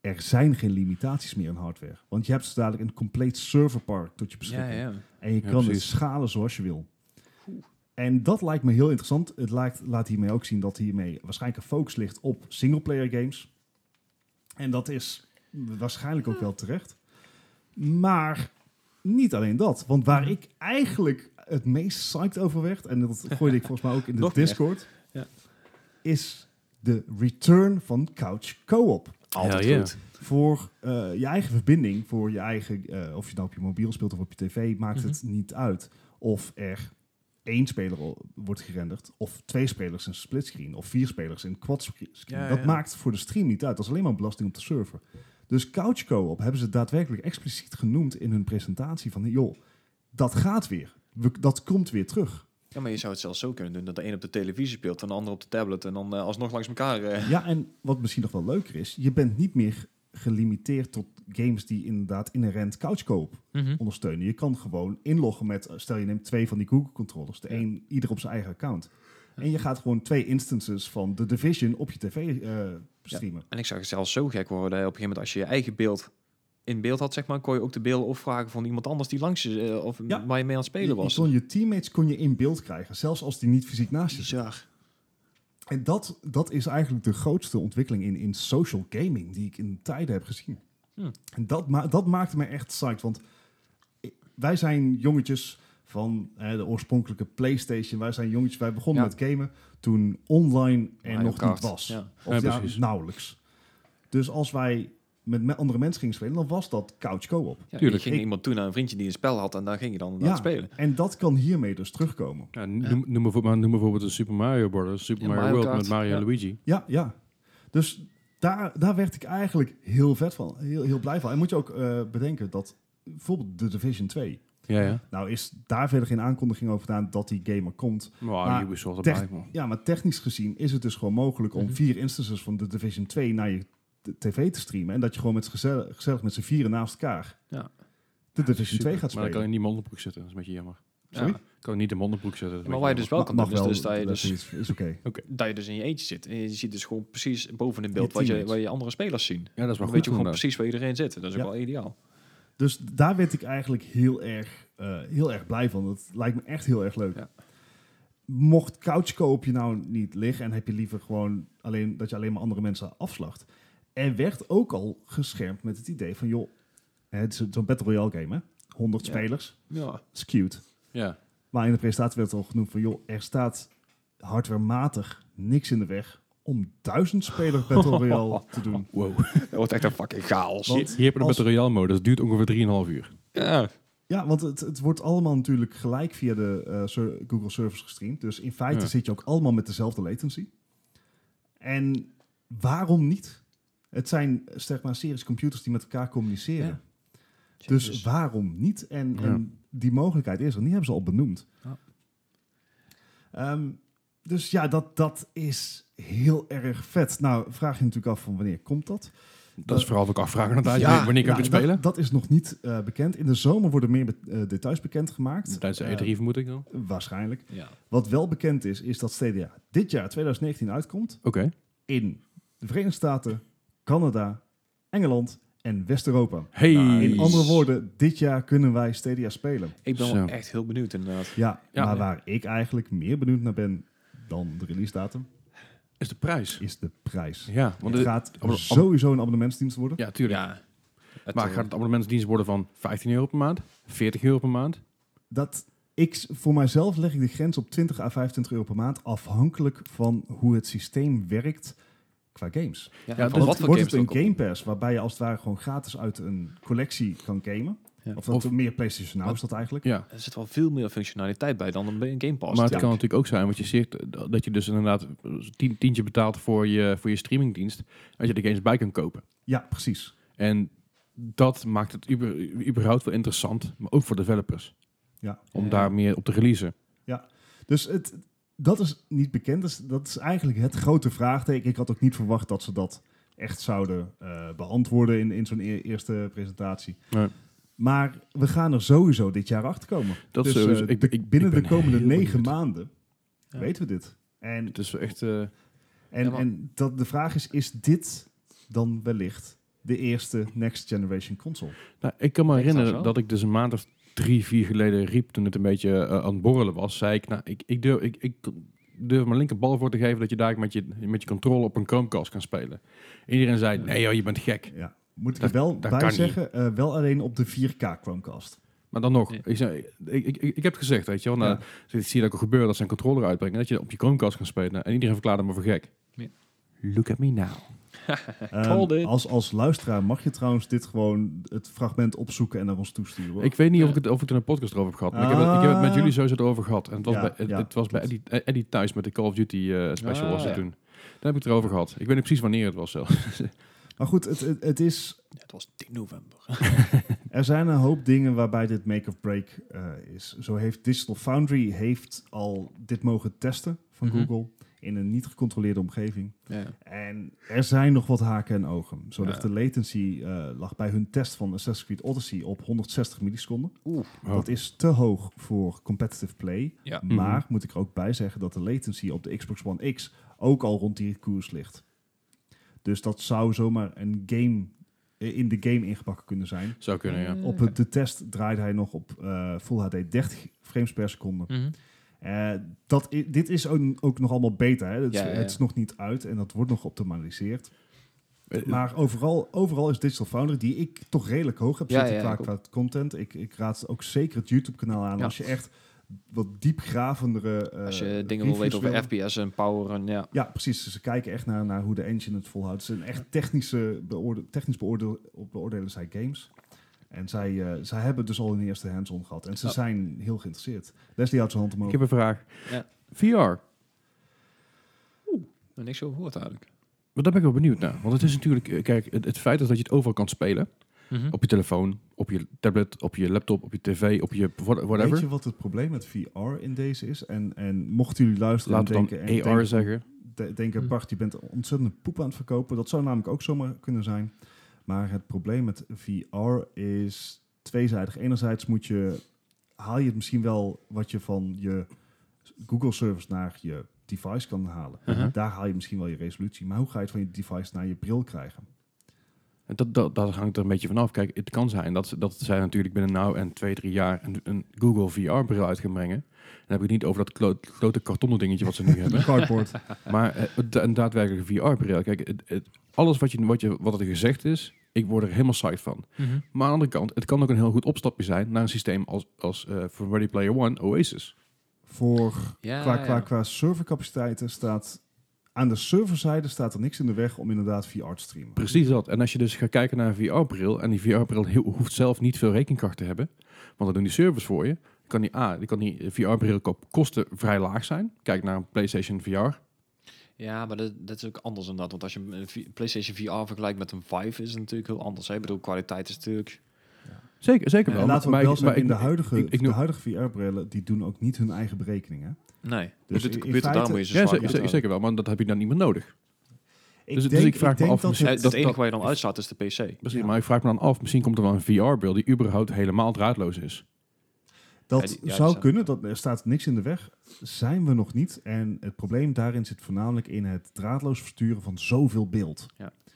Speaker 3: er zijn geen limitaties meer in hardware. Want je hebt zo dadelijk een compleet serverpark tot je beschikking.
Speaker 2: Ja, ja.
Speaker 3: En je
Speaker 4: Ja,
Speaker 3: kan het
Speaker 4: precies.
Speaker 3: schalen zoals je wil. En dat lijkt me heel interessant. Het lijkt, laat hiermee ook zien dat hiermee waarschijnlijk een focus ligt op singleplayer games. En dat is waarschijnlijk ook wel terecht. Maar niet alleen dat. Want waar ik eigenlijk het meest psyched over werd... en dat gooide ik volgens mij ook in de
Speaker 2: Nog meer.
Speaker 3: Discord...
Speaker 2: Ja.
Speaker 3: is de return van Couch Co-op
Speaker 2: Altijd
Speaker 4: Ja, ja.
Speaker 2: goed.
Speaker 3: voor eh, je eigen verbinding, voor je eigen, eh, of je nou op je mobiel speelt of op je tv, maakt
Speaker 2: Mhm.
Speaker 3: het niet uit of er één speler o- wordt gerenderd, of twee spelers in splitscreen, of vier spelers in quadscreen.
Speaker 2: Ja,
Speaker 3: dat
Speaker 2: ja.
Speaker 3: maakt voor de stream niet uit. Dat is alleen maar een belasting op de server. Dus Couch Co-op hebben ze daadwerkelijk expliciet genoemd in hun presentatie van, joh, dat gaat weer. We- dat komt weer terug.
Speaker 2: Ja, maar je zou het zelfs zo kunnen doen dat de een op de televisie speelt en de ander op de tablet en dan eh, alsnog langs elkaar. eh.
Speaker 3: Ja, en wat misschien nog wel leuker is, je bent niet meer gelimiteerd tot games die inderdaad inherent couch co-op ondersteunen. Je kan gewoon inloggen met, eh, stel je neemt twee van die Google controllers, de
Speaker 2: Ja.
Speaker 3: een ieder op zijn eigen account. En je gaat gewoon twee instances van The Division op je tv eh, streamen.
Speaker 2: En ik zou het zelfs zo gek worden. Op een gegeven moment, als je je eigen beeld in beeld had, zeg maar, kon je ook de beelden opvragen van iemand anders die langs je eh, of
Speaker 3: Ja.
Speaker 2: waar je mee aan het
Speaker 3: Je- je
Speaker 2: spelen was.
Speaker 3: kon je teammates kon je in beeld krijgen, zelfs als die niet fysiek naast je zitten.
Speaker 2: Bizar.
Speaker 3: En dat, dat is eigenlijk de grootste ontwikkeling in, in social gaming die ik in tijden heb gezien.
Speaker 2: Hmm.
Speaker 3: En dat, ma dat maakte me echt psyched, want i- wij zijn jongetjes van eh, de oorspronkelijke PlayStation. Wij zijn jongetjes, wij begonnen
Speaker 2: Ja.
Speaker 3: met gamen toen online er
Speaker 2: Mario
Speaker 3: nog
Speaker 2: Kart,
Speaker 3: niet was.
Speaker 2: ja.
Speaker 3: Of
Speaker 4: Ja,
Speaker 3: ja,
Speaker 4: precies.
Speaker 3: nauwelijks. Dus als wij met me- andere mensen ging spelen, dan was dat couch co-op.
Speaker 2: Ja, je
Speaker 4: Tuurlijk.
Speaker 2: ging
Speaker 3: Ik-
Speaker 2: iemand toe naar een vriendje die een spel had en daar ging je dan
Speaker 3: Ja,
Speaker 2: aan spelen.
Speaker 3: en dat kan hiermee dus terugkomen.
Speaker 4: Ja, noem, noem, bijvoorbeeld, maar noem bijvoorbeeld een Super Mario Bros. Super
Speaker 2: Ja,
Speaker 4: Mario,
Speaker 2: Mario
Speaker 4: World
Speaker 2: Kart,
Speaker 4: met Mario en
Speaker 2: ja.
Speaker 4: Luigi.
Speaker 3: Ja, ja. Dus daar, daar werd ik eigenlijk heel vet van. Heel, heel blij van. En moet je ook eh, bedenken dat bijvoorbeeld The Division 2.
Speaker 4: Ja, ja.
Speaker 3: Nou is daar verder geen aankondiging over gedaan dat die game er komt.
Speaker 4: Wow,
Speaker 3: Maar
Speaker 4: Ubisoft, dat
Speaker 3: tech-
Speaker 4: blijft man.
Speaker 3: Ja, maar technisch gezien is het dus gewoon mogelijk om
Speaker 2: Mhm.
Speaker 3: vier instances van The Division 2 naar je t- tv te streamen. En dat je gewoon met z'n gezellig, gezellig met z'n vieren naast elkaar
Speaker 2: Ja.
Speaker 3: de Division
Speaker 4: Super.
Speaker 3: 2 gaat
Speaker 4: Maar dan kan
Speaker 3: spelen.
Speaker 4: je niet in mijn onderbroek zitten, dat is een beetje jammer.
Speaker 3: Sorry?
Speaker 2: Ja.
Speaker 4: Ik kan niet in mijn onderbroek zitten. dat is een
Speaker 2: Maar
Speaker 4: beetje
Speaker 2: waar je dus wel kan
Speaker 3: Mag- mag
Speaker 2: doen, is
Speaker 3: wel,
Speaker 2: dus dat je dus,
Speaker 3: is, is oké.
Speaker 2: dat je dus in je eentje zit. En je ziet dus gewoon precies boven in beeld
Speaker 3: Je
Speaker 2: wat je,
Speaker 3: teammates.
Speaker 2: waar je andere spelers zien.
Speaker 4: jammer. Ja, dat is
Speaker 2: Dan
Speaker 4: wel goed
Speaker 2: weet je gewoon
Speaker 4: inderdaad.
Speaker 2: precies waar iedereen zit. Dat is
Speaker 3: Ja.
Speaker 2: ook wel ideaal.
Speaker 3: Dus daar werd ik eigenlijk heel erg, eh, heel erg blij van. Dat lijkt me echt heel erg leuk.
Speaker 2: Ja.
Speaker 3: Mocht couchkoop je nou niet liggen en heb je liever gewoon alleen, dat je alleen maar andere mensen afslacht. Er werd ook al geschermd met het idee van, joh, het is zo'n Battle Royale game, hè? 100
Speaker 2: Ja.
Speaker 3: spelers,
Speaker 2: Ja.
Speaker 3: is cute.
Speaker 4: Ja.
Speaker 3: Maar in de presentatie werd al genoemd van, joh, er staat hardwarematig niks in de weg om duizend speler Battle Royale te doen.
Speaker 4: Wow.
Speaker 2: Dat wordt echt een fucking chaos.
Speaker 3: Want-
Speaker 4: Hier heb je de
Speaker 3: Als-
Speaker 4: Battle Royale mode, dat duurt ongeveer 3,5 uur.
Speaker 2: Ja.
Speaker 3: Ja, want het, het wordt allemaal natuurlijk gelijk via de eh, ser- Google Service gestreamd. Dus in feite
Speaker 4: Ja.
Speaker 3: zit je ook allemaal met dezelfde latency. En waarom niet? Het zijn eh, zeg maar series computers die met elkaar communiceren.
Speaker 2: Ja.
Speaker 3: Dus waarom niet? En, en die mogelijkheid is er. Die hebben ze al benoemd.
Speaker 2: Ja.
Speaker 3: Ehm, dus ja, dat, dat is heel erg vet. Nou, vraag je natuurlijk af van wanneer komt dat?
Speaker 4: Dat is vooral wat ik afvraag aan tijd.
Speaker 2: Ja.
Speaker 4: Wanneer kan
Speaker 3: Ja, nou,
Speaker 4: ik het spelen?
Speaker 3: Dat, dat is nog niet eh, bekend. In de zomer worden meer be- eh, details bekendgemaakt.
Speaker 4: Tijdens de E
Speaker 3: Eh,
Speaker 4: E3 vermoed ik dan.
Speaker 3: Waarschijnlijk.
Speaker 2: Ja.
Speaker 3: Wat wel bekend is, is dat Stadia dit jaar 2019 uitkomt
Speaker 4: Oké.
Speaker 3: in de Verenigde Staten, Canada, Engeland en West-Europa.
Speaker 4: Hey.
Speaker 2: Nou,
Speaker 3: In
Speaker 2: Is-
Speaker 3: andere woorden, dit jaar kunnen wij Stadia spelen.
Speaker 2: Ik ben
Speaker 4: Zo.
Speaker 2: wel echt heel benieuwd inderdaad.
Speaker 3: Ja,
Speaker 4: Ja.
Speaker 3: maar waar ik eigenlijk meer benieuwd naar ben dan de release datum,
Speaker 4: Is de prijs.
Speaker 3: is de prijs.
Speaker 4: Ja, want
Speaker 3: Want
Speaker 4: het
Speaker 3: het gaat
Speaker 4: abonne-
Speaker 3: sowieso een abonnementsdienst worden.
Speaker 4: ja, tuurlijk.
Speaker 2: Ja. Het,
Speaker 4: maar
Speaker 2: eh,
Speaker 4: gaat het abonnementsdienst worden van 15 euro per maand? 40 euro per maand?
Speaker 3: Dat ik, s- voor mijzelf leg ik de grens op 20 à 25 euro per maand, afhankelijk van hoe het systeem werkt qua games.
Speaker 2: ja, van
Speaker 4: Ja, dus
Speaker 2: wat
Speaker 3: Wordt,
Speaker 2: voor
Speaker 3: wordt
Speaker 2: games
Speaker 3: het
Speaker 2: dan
Speaker 3: een
Speaker 2: komt.
Speaker 3: Game Pass waarbij je als het ware gewoon gratis uit een collectie kan gamen?
Speaker 2: Ja.
Speaker 3: Of dat
Speaker 4: Of-
Speaker 3: meer PlayStation Now is dat eigenlijk?
Speaker 4: Ja.
Speaker 2: Er zit wel veel meer functionaliteit bij dan een een Game Pass.
Speaker 4: Maar het
Speaker 3: ja.
Speaker 4: kan natuurlijk ook zijn, want je zegt eh, dat je dus inderdaad tien, tientje betaalt voor je, voor je streamingdienst. En dat je er games bij kan kopen.
Speaker 3: Ja, precies.
Speaker 4: En dat maakt het uber- überhaupt wel interessant, maar ook voor developers.
Speaker 3: Ja.
Speaker 4: Om
Speaker 2: Ja.
Speaker 4: daar meer op te releasen.
Speaker 3: Dus het, dat is niet bekend. Dus dat is eigenlijk het grote vraagteken. Ik had ook niet verwacht dat ze dat echt zouden eh, beantwoorden in, in zo'n e- eerste presentatie.
Speaker 4: Nee.
Speaker 3: Maar we gaan er sowieso dit jaar achter komen.
Speaker 4: Dat
Speaker 3: dus
Speaker 4: sowieso.
Speaker 3: eh,
Speaker 4: Ik-
Speaker 3: de-
Speaker 4: ik- ik
Speaker 3: binnen
Speaker 4: ben
Speaker 3: de komende
Speaker 4: heel
Speaker 3: negen
Speaker 4: benieuwd.
Speaker 3: maanden
Speaker 2: Ja.
Speaker 3: weten we dit. En,
Speaker 4: Het is wel echt... eh,
Speaker 3: en,
Speaker 2: Ja, maar-
Speaker 3: en dat, de vraag is, is dit dan wellicht de eerste next generation console?
Speaker 4: Nou, ik kan me
Speaker 2: Ik
Speaker 4: herinneren
Speaker 2: zag zo.
Speaker 4: dat ik dus een maand of drie, vier geleden riep toen het een beetje eh, aan het borrelen was. Zei ik, nou, ik, ik, durf, ik, ik durf mijn linkerbal voor te geven dat je daar met je, met je controle op een Chromecast kan spelen. Iedereen zei,
Speaker 2: Ja.
Speaker 4: nee joh, je bent gek.
Speaker 3: Ja. Moet ik
Speaker 4: Dat-
Speaker 3: er wel
Speaker 4: dat
Speaker 3: bij
Speaker 4: kan
Speaker 3: zeggen, eh, wel alleen op de 4K Chromecast.
Speaker 4: Maar dan nog,
Speaker 2: Ja.
Speaker 4: ik, zei, ik, ik, ik, ik heb het gezegd, weet je wel. Nou,
Speaker 3: Ja.
Speaker 4: Ik zie dat ook gebeuren dat ze een controller uitbrengen, dat je op je Chromecast kan spelen. En iedereen verklaarde me voor gek.
Speaker 2: Ja.
Speaker 4: Look at me now.
Speaker 3: Ehm,
Speaker 2: Called it.
Speaker 3: als, als luisteraar mag je trouwens dit gewoon het fragment opzoeken en naar ons toesturen. hoor.
Speaker 4: Ik weet niet of
Speaker 2: Ja.
Speaker 4: ik het, of ik er een podcast erover heb gehad. Maar ik, heb het, ik heb het met
Speaker 3: Ah.
Speaker 4: jullie sowieso erover gehad. En het was
Speaker 3: Ja,
Speaker 4: bij, het,
Speaker 3: ja,
Speaker 4: het was bij Eddie, eh,
Speaker 3: klopt.
Speaker 4: Eddie thuis met de Call of Duty eh, special
Speaker 2: Ah,
Speaker 4: was het
Speaker 2: ja.
Speaker 4: toen. Daar heb ik het erover gehad. Ik weet niet precies wanneer het was zelf.
Speaker 3: Maar goed, het, het, het is,
Speaker 2: Ja, het was 10 november.
Speaker 3: er zijn een hoop dingen waarbij dit make of break eh, is. Zo heeft Digital Foundry heeft al dit mogen testen van
Speaker 2: Mhm.
Speaker 3: Google in een niet gecontroleerde omgeving.
Speaker 2: Ja.
Speaker 3: En er zijn nog wat haken en ogen. Zo
Speaker 2: Ja.
Speaker 3: ligt de latency eh, lag bij hun test van Assassin's Creed Odyssey op 160 milliseconden.
Speaker 2: Oeh.
Speaker 3: Dat is te hoog voor competitive play.
Speaker 2: Ja.
Speaker 3: Maar moet ik er ook bij zeggen dat de latency op de Xbox One X ook al rond die koers ligt. Dus dat zou zomaar een game eh, in de game ingebakken kunnen zijn.
Speaker 4: Zou kunnen,
Speaker 2: Mhm.
Speaker 4: ja.
Speaker 2: Hmm.
Speaker 3: Op het- de test draaide hij nog op eh, Full HD 30 frames per seconde.
Speaker 2: Mhm.
Speaker 3: Eh, dat i- dit is ook, ook nog allemaal beta. Hè? Het, is-
Speaker 2: Ja, ja, ja.
Speaker 3: het is nog niet uit en dat wordt nog optimaliseerd.
Speaker 4: Eh,
Speaker 3: Maar overal, overal is Digital Foundry, die ik toch redelijk hoog heb
Speaker 2: Ja,
Speaker 3: zitten
Speaker 2: ja,
Speaker 3: qua,
Speaker 2: ik ook.
Speaker 3: qua content. Ik, ik raad ook zeker het YouTube-kanaal aan.
Speaker 2: Ja.
Speaker 3: Als je echt wat diepgravendere... eh,
Speaker 2: Als je dingen wil
Speaker 3: reviews
Speaker 2: weten over
Speaker 3: willen.
Speaker 2: FPS en power en ja.
Speaker 3: Ja, precies. Dus ze kijken echt naar, naar hoe de engine het volhoudt. Ze zijn echt technische beoorde, technisch beoordeel, beoordelen zij games. En zij, eh, zij hebben dus al een eerste hands-on gehad. En ze
Speaker 2: Ja.
Speaker 3: zijn heel geïnteresseerd. Leslie houdt zijn hand
Speaker 4: Ik
Speaker 3: omhoog.
Speaker 4: heb een vraag.
Speaker 2: Ja.
Speaker 4: VR,
Speaker 2: Nog niks over gehoord eigenlijk.
Speaker 4: want daar ben ik wel benieuwd naar. Want het is natuurlijk, eh, kijk, het, het feit is dat je het overal kan spelen. Op je telefoon, op je tablet, op je laptop, op je tv, op je what- whatever.
Speaker 3: Weet je wat het probleem met VR in deze is? En, en mochten jullie luisteren
Speaker 4: Laten
Speaker 3: en
Speaker 4: we dan
Speaker 3: denken...
Speaker 4: AR
Speaker 3: en denken-
Speaker 4: zeggen.
Speaker 3: de- denken,
Speaker 2: Hm.
Speaker 3: Bart, je bent ontzettend poep aan het verkopen. Dat zou namelijk ook zomaar kunnen zijn. Maar het probleem met VR is tweezijdig. Enerzijds moet je, haal je het misschien wel wat je van je Google-service naar je device kan halen.
Speaker 2: Mhm.
Speaker 3: Daar haal je misschien wel je resolutie. Maar hoe ga je het van je device naar je bril krijgen?
Speaker 4: En Dat, dat, dat hangt er een beetje vanaf. Kijk, het kan zijn dat, ze- dat zij natuurlijk binnen nou en twee, drie jaar een, een Google VR-bril uit gaan brengen. Dan heb ik het niet over dat klo- klote kartonnen dingetje wat ze nu hebben.
Speaker 3: Cardboard.
Speaker 4: Maar eh, het- een daadwerkelijke VR-bril. Kijk, het, het- alles wat, je, wat, je, wat er gezegd is, ik word er helemaal psyched van. Maar aan de andere kant, het kan ook een heel goed opstapje zijn naar een systeem als, als eh, voor Ready Player One, Oasis.
Speaker 3: Voor
Speaker 2: Ja,
Speaker 3: qua,
Speaker 2: ja.
Speaker 3: qua, qua servercapaciteiten staat... Aan de serverzijde staat er niks in de weg om inderdaad VR te streamen.
Speaker 4: Precies dat. En als je dus gaat kijken naar een VR-bril, en die VR-bril heel- hoeft zelf niet veel rekenkracht te hebben, want dan doen die servers voor je, kan die, A, die, kan die VR-bril ko- kosten vrij laag zijn. Kijk naar een PlayStation VR.
Speaker 2: Ja, maar dat, dat is ook anders inderdaad. Want als je een V- PlayStation VR vergelijkt met een Vive, is het natuurlijk heel anders. Hè? Ik bedoel, kwaliteit is natuurlijk...
Speaker 4: Zeker, zeker
Speaker 2: Ja,
Speaker 4: wel.
Speaker 3: En laten we
Speaker 4: Maar
Speaker 3: ook wel
Speaker 4: ik-
Speaker 3: zijn,
Speaker 4: maar ik-
Speaker 3: in de huidige,
Speaker 4: ik- ik
Speaker 3: de
Speaker 4: noem-
Speaker 3: huidige VR-brillen, die doen ook niet hun eigen berekeningen.
Speaker 2: Nee, dus doet
Speaker 3: Dus
Speaker 2: de
Speaker 3: in
Speaker 2: computer, daarom moet je
Speaker 3: feite-
Speaker 2: zo
Speaker 4: Ja,
Speaker 2: zwaar
Speaker 4: zeker,
Speaker 2: computer
Speaker 4: zeker wel, maar dat heb je dan niet meer nodig.
Speaker 3: Ik
Speaker 4: Dus- dus ik vraag me af,
Speaker 3: dat
Speaker 2: hebben.
Speaker 4: misschien-
Speaker 2: Eh,
Speaker 4: dat-
Speaker 2: Het enige
Speaker 4: dat-
Speaker 2: waar je dan uitstaat is de PC.
Speaker 4: Precies,
Speaker 3: Ja.
Speaker 4: Dus maar ik vraag me dan af, misschien komt er wel een VR-bril die überhaupt helemaal draadloos is.
Speaker 3: dat
Speaker 2: Ja, die- ja, die
Speaker 3: zou
Speaker 2: zijn-
Speaker 3: kunnen, dat, er staat niks in de weg. Zijn we nog niet. En het probleem daarin zit voornamelijk in het draadloos versturen van zoveel beeld.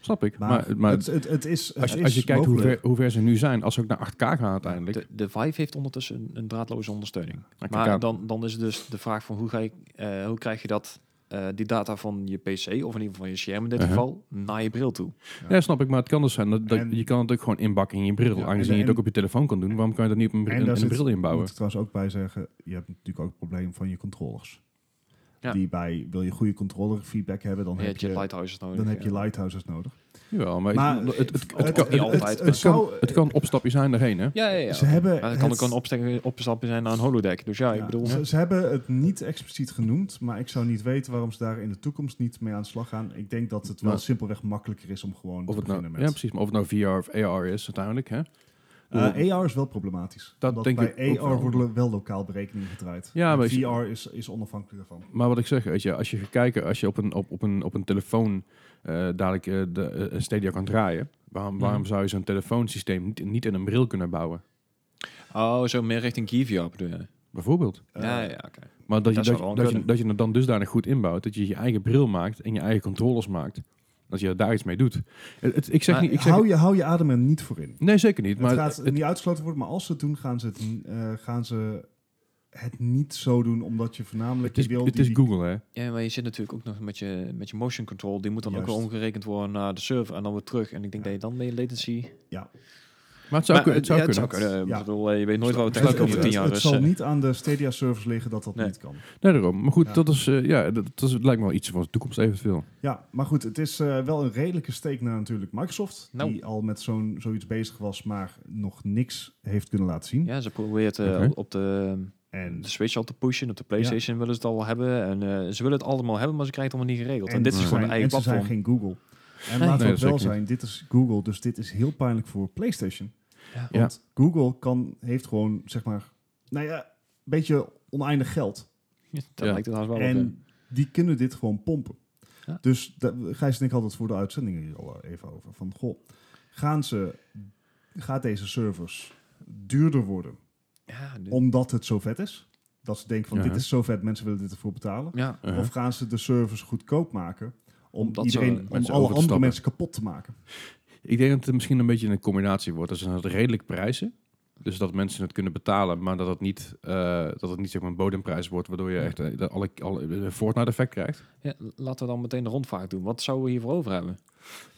Speaker 4: Snap ik.
Speaker 3: Maar,
Speaker 4: Maar, maar,
Speaker 3: het, het, het is het
Speaker 4: als, je,
Speaker 3: is
Speaker 4: als je kijkt hoe ver,
Speaker 3: mogelijk.
Speaker 4: hoe ver ze nu zijn, als ze ook naar 8K gaan uiteindelijk.
Speaker 2: De, de Vive heeft ondertussen een, een draadloze ondersteuning.
Speaker 4: kijk
Speaker 2: Maar
Speaker 4: aan.
Speaker 2: dan, dan is dus de vraag van hoe, ga je, eh, hoe krijg je dat, eh, die data van je PC, of in ieder geval van je scherm in dit
Speaker 4: Uh-huh.
Speaker 2: geval, naar je bril toe?
Speaker 4: ja, snap ik. Maar het kan dus zijn dat, dat
Speaker 3: En-
Speaker 4: je kan het ook gewoon inbakken in je bril.
Speaker 3: Ja,
Speaker 4: aangezien
Speaker 3: en-
Speaker 4: je het ook
Speaker 3: en-
Speaker 4: op je telefoon kan doen. Waarom kan je dat niet op een,
Speaker 3: En
Speaker 4: bril- in
Speaker 3: daar
Speaker 4: een
Speaker 3: zit-
Speaker 4: bril
Speaker 3: moet
Speaker 4: inbouwen?
Speaker 3: ik trouwens ook bij zeggen, je hebt natuurlijk ook het probleem van je controllers.
Speaker 2: Ja.
Speaker 3: Die bij, wil je goede controller feedback hebben, dan,
Speaker 2: Dan
Speaker 3: heb, je,
Speaker 2: Lighthouse nodig.
Speaker 3: dan heb je
Speaker 2: ja.
Speaker 3: lighthouses nodig.
Speaker 4: Jawel, maar,
Speaker 3: Maar
Speaker 4: het, het, het,
Speaker 2: het-
Speaker 4: kan,
Speaker 2: niet
Speaker 4: het,
Speaker 2: altijd,
Speaker 4: het kan,
Speaker 3: zou-
Speaker 4: het kan een opstapje zijn daarheen, hè?
Speaker 2: Ja, ja, ja.
Speaker 3: Ze hebben
Speaker 2: Maar dat kan
Speaker 3: het-
Speaker 2: ook een opstapje, opstapje zijn naar een holodeck. Dus ja, ik
Speaker 3: Ja,
Speaker 2: bedoel...
Speaker 3: ze, ze hebben het niet expliciet genoemd, maar ik zou niet weten waarom ze daar in de toekomst niet mee aan de slag gaan. Ik denk dat het wel
Speaker 4: Nou.
Speaker 3: simpelweg makkelijker is om gewoon
Speaker 4: Of
Speaker 3: te
Speaker 4: het nou,
Speaker 3: beginnen
Speaker 4: ja,
Speaker 3: met.
Speaker 4: precies. Maar of het nou VR of AR is uiteindelijk, hè?
Speaker 3: Eh, AR is wel problematisch.
Speaker 4: Dat
Speaker 3: omdat
Speaker 4: denk
Speaker 3: bij
Speaker 4: ik ook
Speaker 3: AR
Speaker 4: wel.
Speaker 3: worden wel lokaal berekeningen gedraaid.
Speaker 4: Ja,
Speaker 3: En
Speaker 4: maar is-
Speaker 3: VR is, is onafhankelijk daarvan.
Speaker 4: Maar wat ik zeg, weet je, als je gaat kijken, als je op een, op, op een, op een telefoon eh, dadelijk eh, de, eh, een Stadia kan draaien,
Speaker 3: Mm.
Speaker 4: waarom, waarom
Speaker 2: Mhm.
Speaker 4: zou je zo'n telefoonsysteem niet, niet in een bril kunnen bouwen?
Speaker 2: Oh, zo meer richting Givia bedoel je?
Speaker 4: Bijvoorbeeld.
Speaker 3: Eh,
Speaker 2: ja, ja, oké.
Speaker 4: Maar dat,
Speaker 2: Dat
Speaker 4: je,
Speaker 2: zou
Speaker 4: dat,
Speaker 2: wel
Speaker 4: je- dat, je,
Speaker 2: kunnen.
Speaker 4: dat je het dan dusdanig goed inbouwt, dat je je eigen bril maakt en je eigen controllers maakt. Dat je daar iets mee doet. Het, het- ik zeg
Speaker 2: Maar
Speaker 4: niet... Ik zeg,
Speaker 3: hou, je, hou je adem er niet voor in.
Speaker 4: nee, zeker niet. Maar
Speaker 3: het gaat
Speaker 4: het-
Speaker 3: niet uitgesloten worden, maar als ze het doen, gaan ze het, eh, gaan ze het niet zo doen, omdat je voornamelijk
Speaker 4: het is,
Speaker 3: je wil
Speaker 4: het
Speaker 3: die-
Speaker 4: is Google, hè?
Speaker 2: Ja, maar je zit natuurlijk ook nog met je, met je motion control. Die moet dan ook
Speaker 3: Juist.
Speaker 2: weer omgerekend worden naar de server en dan weer terug. En ik denk dat je dan meer latency...
Speaker 4: Maar het zou,
Speaker 2: Maar,
Speaker 4: kun- het zou
Speaker 2: ja,
Speaker 4: kunnen.
Speaker 2: Ik
Speaker 3: Ja.
Speaker 2: bedoel, eh, je weet nooit waar we
Speaker 4: Het-
Speaker 2: terecht
Speaker 4: het-
Speaker 2: over tien jaar.
Speaker 3: het
Speaker 2: Dus,
Speaker 3: zal
Speaker 2: eh,
Speaker 3: niet aan de Stadia service liggen dat dat
Speaker 2: Nee.
Speaker 3: niet kan.
Speaker 4: Nee, daarom. Maar goed,
Speaker 3: Ja.
Speaker 4: dat, is, eh, ja, dat, dat is, lijkt me wel iets voor de toekomst eventueel.
Speaker 3: Ja, maar goed, het is eh, wel een redelijke steek naar natuurlijk Microsoft.
Speaker 2: Nou.
Speaker 3: Die al met zo'n, zoiets bezig was, maar nog niks heeft kunnen laten zien.
Speaker 2: Ja, ze probeert eh,
Speaker 4: Oké.
Speaker 2: op de,
Speaker 3: En
Speaker 2: de Switch al te pushen. Op de PlayStation willen ze het al hebben. En eh, ze willen het allemaal hebben, maar ze krijgen het allemaal niet geregeld. En, dit
Speaker 3: ze
Speaker 2: is gewoon
Speaker 3: zijn,
Speaker 2: een eigen
Speaker 3: en ze
Speaker 2: platform.
Speaker 3: zijn geen Google. En
Speaker 2: Nee,
Speaker 3: laten we het
Speaker 4: dat zeker
Speaker 3: wel
Speaker 4: niet.
Speaker 3: zijn, dit is Google, dus dit is heel pijnlijk voor PlayStation.
Speaker 2: Ja.
Speaker 3: Want Google kan, heeft gewoon, zeg maar, nou ja, een beetje oneindig geld.
Speaker 2: Dat
Speaker 4: Ja.
Speaker 2: lijkt het haast wel op,
Speaker 3: en
Speaker 2: ja.
Speaker 3: die kunnen dit gewoon pompen.
Speaker 2: Ja.
Speaker 3: Dus daar- Gijs en ik hadden het voor de uitzendingen hier al eh, even over. Van, goh, gaan ze, gaat deze servers duurder worden?
Speaker 2: Ja, dit-
Speaker 3: omdat het zo vet is. Dat ze denken van
Speaker 4: Ja.
Speaker 3: dit is zo vet, mensen willen dit ervoor betalen.
Speaker 2: ja.
Speaker 4: Uh-huh.
Speaker 3: Of gaan ze de servers goedkoop maken om
Speaker 2: Omdat ze
Speaker 3: iedereen,
Speaker 2: mensen
Speaker 3: om
Speaker 4: over te
Speaker 3: alle andere
Speaker 4: stappen.
Speaker 3: mensen kapot te maken.
Speaker 4: Ik denk dat het misschien een beetje een combinatie wordt. Dat ze het redelijk prijzen. Dus dat mensen het kunnen betalen, maar dat het niet, eh, dat het niet zeg maar een bodemprijs wordt, waardoor je echt eh, dat alle, alle de Fortnite effect krijgt.
Speaker 2: Ja, laten we dan meteen de rondvaart doen. Wat zouden we hiervoor over hebben?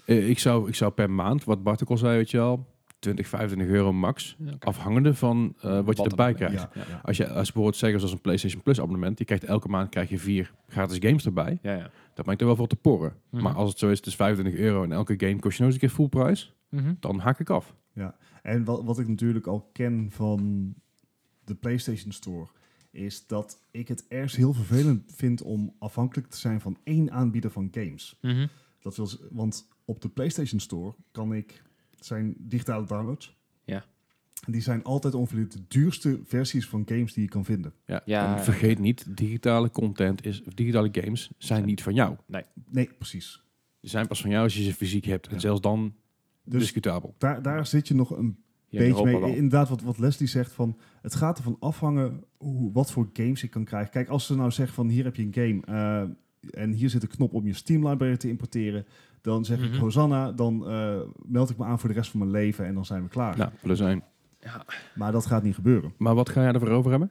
Speaker 4: Eh, ik, zou, ik zou per maand, wat Bartek al zei, weet je al, 20, 25 euro max.
Speaker 2: Ja, oké.
Speaker 4: Afhangende van eh, wat je
Speaker 2: Wat
Speaker 4: erbij
Speaker 2: erbij,
Speaker 4: krijgt.
Speaker 3: Ja,
Speaker 2: Ja.
Speaker 3: ja.
Speaker 4: Als je als bijvoorbeeld zeker zoals een PlayStation Plus abonnement, je krijgt elke maand krijg je vier gratis games erbij.
Speaker 2: Ja, ja.
Speaker 4: Dat maakt er wel voor te porren.
Speaker 2: Mhm.
Speaker 4: Maar als het zo is, het is 25 euro en elke game kost je nog eens een keer full prijs, dan hak ik af.
Speaker 3: En wat, wat ik natuurlijk al ken van de PlayStation Store, is dat ik het ergens heel vervelend vind om afhankelijk te zijn van één aanbieder van games.
Speaker 2: Mhm.
Speaker 3: Dat wil, z- want op de PlayStation Store kan ik, het zijn digitale downloads.
Speaker 2: Ja.
Speaker 3: En Die zijn altijd ongeveer de duurste versies van games die je kan vinden.
Speaker 4: Ja.
Speaker 2: Ja.
Speaker 4: en vergeet niet, digitale content is, of digitale games zijn niet van jou.
Speaker 3: Nee, precies.
Speaker 4: Ze zijn pas van jou als je ze fysiek hebt. En
Speaker 3: Ja.
Speaker 4: zelfs dan
Speaker 3: Dus
Speaker 4: discutabel.
Speaker 3: daar, daar zit je nog een
Speaker 2: Hier in
Speaker 3: beetje mee.
Speaker 2: Europa wel.
Speaker 3: Inderdaad, wat, wat Leslie zegt, van, het gaat ervan afhangen hoe, wat voor games ik kan krijgen. Kijk, als ze nou zeggen van hier heb je een game eh, en hier zit een knop om je Steam library te importeren, dan zeg
Speaker 2: Mhm.
Speaker 3: ik Hosanna, dan eh, meld ik me aan voor de rest van mijn leven en dan zijn we klaar.
Speaker 4: Nou, plus één.
Speaker 2: Ja.
Speaker 3: Maar dat gaat niet gebeuren.
Speaker 4: Maar wat ga jij ervoor over hebben?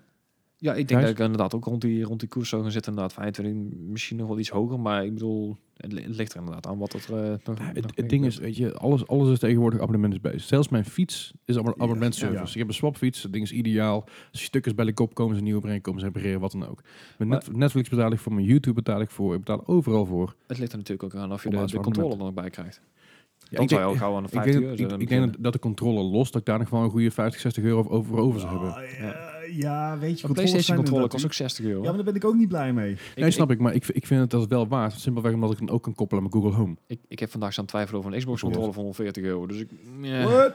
Speaker 2: Ja, ik denk
Speaker 4: Gijs?
Speaker 2: dat ik inderdaad ook rond die, rond die koers zou gaan zitten. Inderdaad, 25, misschien nog wel iets hoger. Maar ik bedoel, het, li- het ligt er inderdaad aan wat het... eh, nog,
Speaker 4: Ja,
Speaker 2: nog
Speaker 4: het,
Speaker 2: meer
Speaker 4: het ding
Speaker 2: gebeurt.
Speaker 4: is, weet je, alles, alles is tegenwoordig abonnementsbased. Zelfs mijn fiets is abon-
Speaker 3: Ja,
Speaker 4: abonnementservice.
Speaker 3: ja.
Speaker 4: Ik heb een swapfiets, dat ding is ideaal. Als je stuk is bij de kop, komen ze een nieuwe brengen, komen ze repareren, wat dan ook. Mijn
Speaker 2: Maar-
Speaker 4: Net- Netflix betaal ik voor, mijn YouTube betaal ik voor, ik betaal overal voor.
Speaker 2: Het ligt er natuurlijk ook aan of je
Speaker 4: Op
Speaker 2: de,
Speaker 4: basis
Speaker 2: de
Speaker 4: van het
Speaker 2: controle er nog bij krijgt.
Speaker 4: Ja,
Speaker 2: Dan
Speaker 4: ik
Speaker 2: zou je
Speaker 4: denk-
Speaker 2: ook gauw aan de
Speaker 4: ik
Speaker 2: 50
Speaker 4: denk,
Speaker 2: euro
Speaker 4: dat- ik,
Speaker 2: zitten
Speaker 4: ik denk
Speaker 2: beginnen.
Speaker 4: dat, dat de controle los, dat ik daar nog wel een goede 50, 60 euro over- over, over zou hebben.
Speaker 3: Ah, ja, ja, weet
Speaker 2: Een
Speaker 3: je, controllers
Speaker 2: PlayStation
Speaker 3: zijn
Speaker 2: controller
Speaker 3: inderdaad
Speaker 2: kost ook 60 euro.
Speaker 3: duur. Ja, maar daar ben ik ook niet blij mee.
Speaker 4: nee, snap ik, maar ik, ik vind het dat wel waard. Simpelweg omdat ik het ook kan koppelen aan mijn Google Home.
Speaker 2: Ik, ik heb vandaag staan twijfelen over een Xbox controller van 140 euro. Dus ik... eh,
Speaker 3: What?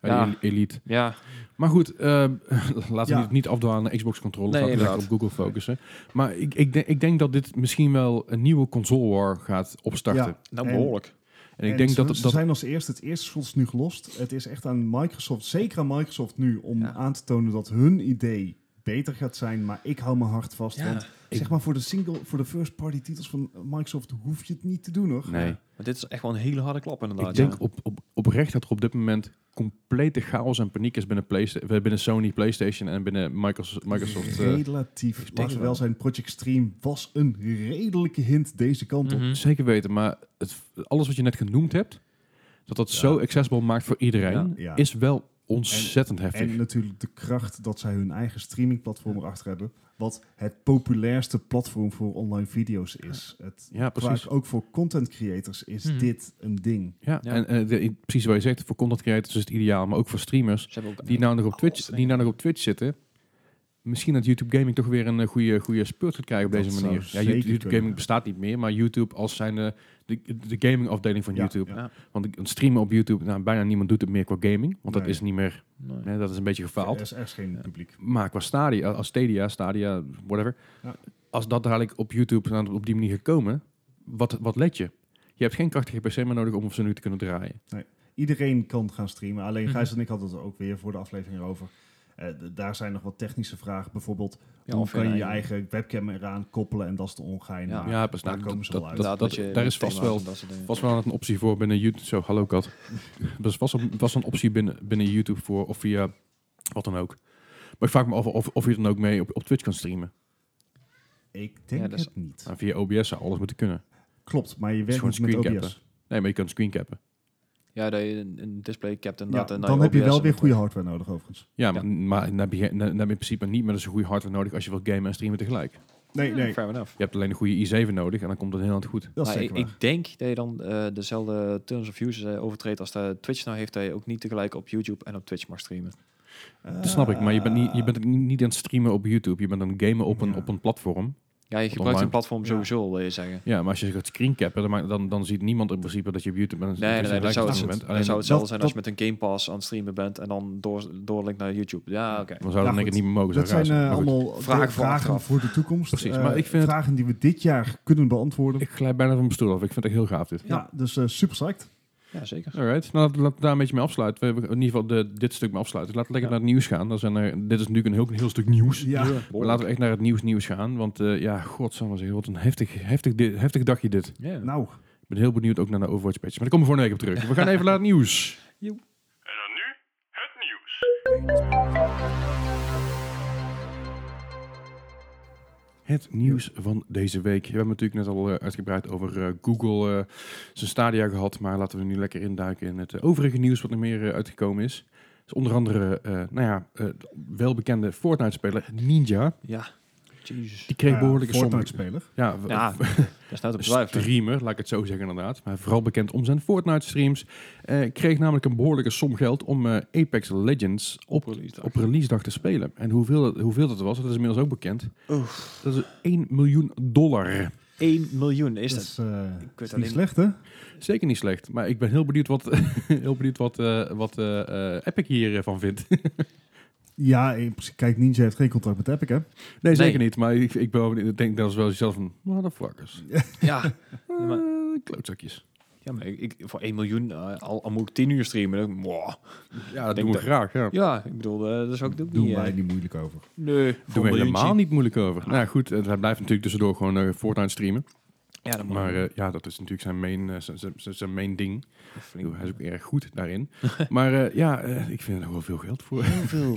Speaker 4: Ja,
Speaker 2: Ja.
Speaker 4: die Elite.
Speaker 2: Ja,
Speaker 4: Maar goed, ehm, laten
Speaker 3: Ja.
Speaker 4: we niet, niet afdwalen naar Xbox controllers.
Speaker 2: Nee,
Speaker 4: laten we lekker
Speaker 2: inderdaad.
Speaker 4: op Google focussen. Maar ik, ik, denk- ik denk dat dit misschien wel een nieuwe console war gaat opstarten.
Speaker 3: Ja,
Speaker 2: nou
Speaker 3: En-
Speaker 2: behoorlijk.
Speaker 4: En ik
Speaker 3: En
Speaker 4: denk
Speaker 3: ze,
Speaker 4: dat... dat
Speaker 3: ze zijn als eerste, het eerste schot is nu gelost. Het is echt aan Microsoft, zeker aan Microsoft nu, om
Speaker 2: Ja.
Speaker 3: aan te tonen dat hun idee beter gaat zijn. Maar ik hou mijn hart vast,
Speaker 2: Ja.
Speaker 3: want
Speaker 4: Ik-
Speaker 3: zeg maar voor de single, voor de first party titels van Microsoft hoef je het niet te doen, hoor.
Speaker 4: nee,
Speaker 2: Maar dit is echt wel een hele harde klap inderdaad.
Speaker 4: ik denk
Speaker 2: ja.
Speaker 4: op, op, oprecht dat er op dit moment complete chaos en paniek is binnen, Playsta- eh, binnen Sony, Playstation en binnen Microsoft. Microsoft eh,
Speaker 3: Relatief.
Speaker 4: denk
Speaker 3: Laten we
Speaker 4: wel.
Speaker 3: wel zijn, Project Stream was een redelijke hint deze kant op.
Speaker 2: Mhm.
Speaker 4: zeker weten, maar het, alles wat je net genoemd hebt, dat dat
Speaker 3: Ja.
Speaker 4: zo accessible maakt voor iedereen,
Speaker 3: Ja. Ja.
Speaker 4: is wel ontzettend heftig.
Speaker 3: En natuurlijk de kracht dat zij hun eigen streamingplatform erachter hebben. Wat het populairste platform voor online video's is. Het,
Speaker 4: ja,
Speaker 3: qua-
Speaker 4: precies.
Speaker 3: ook voor content creators is
Speaker 2: Mhm.
Speaker 3: dit een ding.
Speaker 4: Ja,
Speaker 2: Ja.
Speaker 4: en, eh, de- precies wat je zegt, voor content creators is het ideaal, maar ook voor streamers
Speaker 2: Ze hebben ook
Speaker 4: die nou nog
Speaker 3: Oh,
Speaker 4: op Twitch,
Speaker 2: Alles
Speaker 4: die nou nog op Twitch zitten. Misschien dat YouTube Gaming toch weer een eh, goede, goede spurt gaat krijgen op
Speaker 3: Dat
Speaker 4: deze
Speaker 3: zou
Speaker 4: manier. Ja,
Speaker 3: zeker
Speaker 4: YouTube, YouTube
Speaker 3: kunnen,
Speaker 4: Gaming
Speaker 3: ja.
Speaker 4: bestaat niet meer, maar YouTube als zijn eh, de, de, gaming afdeling van
Speaker 3: Ja,
Speaker 4: YouTube.
Speaker 3: ja.
Speaker 2: Ja.
Speaker 4: Want ik- want streamen op YouTube, nou, bijna niemand doet het meer qua gaming, want dat
Speaker 3: Nee.
Speaker 4: is niet meer,
Speaker 2: Nee.
Speaker 4: hè, dat is een beetje gefaald.
Speaker 3: Er is echt geen publiek.
Speaker 4: Maar qua Stadia, als Stadia, Stadia, whatever,
Speaker 3: Ja.
Speaker 4: als dat dadelijk op YouTube nou, op die manier gekomen, wat, wat let je? Je hebt geen krachtige PC meer nodig om ze nu te kunnen draaien.
Speaker 3: Iedereen kan gaan streamen. Alleen
Speaker 2: Mhm.
Speaker 3: Gijs en ik hadden het er ook weer voor de aflevering over. Eh, d- daar zijn nog wat technische vragen. Bijvoorbeeld,
Speaker 2: Ja,
Speaker 3: hoe
Speaker 2: of
Speaker 3: kan je
Speaker 2: een
Speaker 3: je
Speaker 2: eigen-
Speaker 3: eigen webcam eraan koppelen? En dat is de ongein.
Speaker 2: Ja.
Speaker 3: Maar
Speaker 4: Ja, pas
Speaker 3: daar
Speaker 4: nou,
Speaker 3: komen ze
Speaker 4: dat-
Speaker 3: wel uit.
Speaker 4: dat-
Speaker 2: Inderdaad, dat je
Speaker 4: daar is
Speaker 2: met
Speaker 4: vast
Speaker 2: thema's
Speaker 4: wel-
Speaker 2: en dat soort dingen.
Speaker 4: was wel een optie voor binnen YouTube. Zo, hallo kat. Dat was, was een optie binnen, binnen YouTube voor of via wat dan ook. Maar ik vraag me af of, of je dan ook mee op, op Twitch kan streamen.
Speaker 3: Ik denk
Speaker 2: Ja, dat is-
Speaker 3: het niet.
Speaker 4: Nou, via OBS zou alles moeten kunnen.
Speaker 3: Klopt, maar je
Speaker 4: is
Speaker 3: werkt niet
Speaker 4: gewoon
Speaker 3: met
Speaker 4: screencappen.
Speaker 3: OBS.
Speaker 4: Nee, maar je kan screencappen.
Speaker 2: Ja, dat je een, een display capt
Speaker 3: Ja,
Speaker 2: inderdaad. en dat
Speaker 3: dan heb je
Speaker 2: OBS
Speaker 3: wel
Speaker 2: en
Speaker 3: weer
Speaker 2: dat-
Speaker 3: goede hardware nodig, overigens.
Speaker 4: Ja,
Speaker 2: Ja.
Speaker 4: maar, maar dan, heb je, geen- dan dan heb je in principe niet meer zo'n goede hardware nodig als je wilt gamen en streamen tegelijk.
Speaker 3: Nee, nee.
Speaker 2: Fair enough.
Speaker 4: Je hebt alleen een goede i7 nodig en dan komt het heel erg goed.
Speaker 3: Dat is
Speaker 2: Maar
Speaker 3: zeker
Speaker 2: ik, ik denk dat je dan eh, dezelfde terms of use eh, overtreedt als de Twitch nou heeft, dat je ook niet tegelijk op YouTube en op Twitch mag streamen.
Speaker 3: waar.
Speaker 4: Dat snap ik, maar je bent, niet, je bent niet aan het streamen op YouTube. Je bent aan het gamen op een,
Speaker 3: Ja.
Speaker 4: op een platform.
Speaker 2: Ja, je gebruikt
Speaker 4: online. Dus
Speaker 2: een platform
Speaker 3: Ja.
Speaker 2: sowieso, wil je zeggen.
Speaker 4: Ja, maar als je gaat screencappen, dan, maakt- dan, dan ziet niemand in principe dat je op YouTube bent.
Speaker 2: Nee, nee, nee, dat zou, het,
Speaker 4: moment.
Speaker 2: dat
Speaker 4: Alleen-
Speaker 2: zou hetzelfde
Speaker 3: dat-
Speaker 2: zijn als je met een Game Pass aan het streamen bent en dan door, doorlink naar YouTube. Ja, oké.
Speaker 4: Dan zou
Speaker 3: Ja,
Speaker 4: dat denk ik
Speaker 3: goed.
Speaker 4: niet meer mogen.
Speaker 3: Dat
Speaker 4: zou raar
Speaker 3: zijn eh,
Speaker 4: Maar goed.
Speaker 3: allemaal
Speaker 2: Vragen voor
Speaker 3: vragen
Speaker 2: achteraf.
Speaker 3: voor de toekomst.
Speaker 4: Precies,
Speaker 3: Eh,
Speaker 4: maar ik vind het-
Speaker 3: vragen die we dit jaar kunnen beantwoorden.
Speaker 4: Ik glij bijna van mijn stoel af. Ik vind het echt heel gaaf dit.
Speaker 3: ja. dus eh, super psyched.
Speaker 2: Ja, zeker.
Speaker 4: Alright, nou, laten we- laten we daar een beetje mee afsluiten. We hebben in ieder geval de, dit stuk mee afsluiten. Laten we lekker
Speaker 2: Ja.
Speaker 4: naar het nieuws gaan. Dan zijn er, dit is natuurlijk een heel, een heel stuk nieuws.
Speaker 3: Ja.
Speaker 4: Maar laten we echt naar het nieuws nieuws gaan. Want eh, ja, god, zeggen, wat een heftig, heftig, di- heftig dagje dit.
Speaker 2: Ja.
Speaker 3: Nou,
Speaker 4: Ik ben heel benieuwd ook naar de Overwatch patch. Maar daar komen we volgende week op terug. We gaan even naar het nieuws.
Speaker 5: En dan nu het nieuws.
Speaker 4: het nieuws van deze week. We hebben natuurlijk net al eh, uitgebreid over eh, Google eh, zijn stadia gehad. Maar laten we nu lekker induiken in het eh, overige nieuws wat er meer eh, uitgekomen is. Dus onder andere, eh, nou ja, eh, de welbekende Fortnite-speler Ninja.
Speaker 2: Ja. Jezus.
Speaker 4: Die kreeg
Speaker 3: eh,
Speaker 4: behoorlijke som.
Speaker 3: Fortnite-speler.
Speaker 4: Ja, w-
Speaker 2: Ja, nou daar staat op twijfel.
Speaker 4: streamer, laat ik het zo zeggen inderdaad. Maar vooral bekend om zijn Fortnite-streams. eh, kreeg namelijk een behoorlijke som geld om eh, Apex Legends op,
Speaker 2: Op releasedag.
Speaker 4: op releasedag te spelen. En hoeveel, dat- hoeveel dat was, dat is inmiddels ook bekend. Dat is 1 miljoen dollar.
Speaker 2: 1 miljoen is
Speaker 3: Dat
Speaker 2: dat.
Speaker 3: is, eh,
Speaker 2: weet
Speaker 3: is
Speaker 2: alleen-
Speaker 3: niet slecht, hè?
Speaker 4: Zeker niet slecht. Maar ik ben heel benieuwd wat, heel benieuwd wat, eh, wat eh, eh, Epic hiervan vindt.
Speaker 3: Ja, in principe, kijk, Ninja heeft geen contract met Epic, hè?
Speaker 4: nee, zeker niet. Maar ik, ik, ben, wel benieuwd. ik denk dat is wel zelf van, motherfuckers.
Speaker 2: Ja. Ja, maar,
Speaker 4: Eh, klootzakjes.
Speaker 2: ja, maar ik, ik- voor 1 miljoen, eh, al, al moet ik 10 uur streamen. dan- mwah.
Speaker 4: Ja, dat
Speaker 2: Denk
Speaker 4: doen we
Speaker 2: dat-
Speaker 4: graag. Ja.
Speaker 2: Ja, ik bedoel, eh, dat is ook, dat ook
Speaker 3: Doen
Speaker 2: niet... eh,
Speaker 3: wij niet moeilijk over.
Speaker 2: Nee, voor
Speaker 4: Doen we
Speaker 2: een
Speaker 4: helemaal
Speaker 2: miljoentje.
Speaker 4: niet moeilijk over. Nou ja, goed, eh, hij blijft natuurlijk tussendoor gewoon eh, Fortnite streamen.
Speaker 2: Ja, dat moet
Speaker 4: Maar eh, ja, dat is natuurlijk zijn main, eh, zijn, zijn- zijn- zijn main ding. Ik bedoel,
Speaker 2: flink.
Speaker 4: eh, Hij is ook erg goed daarin. maar eh, ja, eh, ik vind er nog wel veel geld voor.
Speaker 2: Heel veel.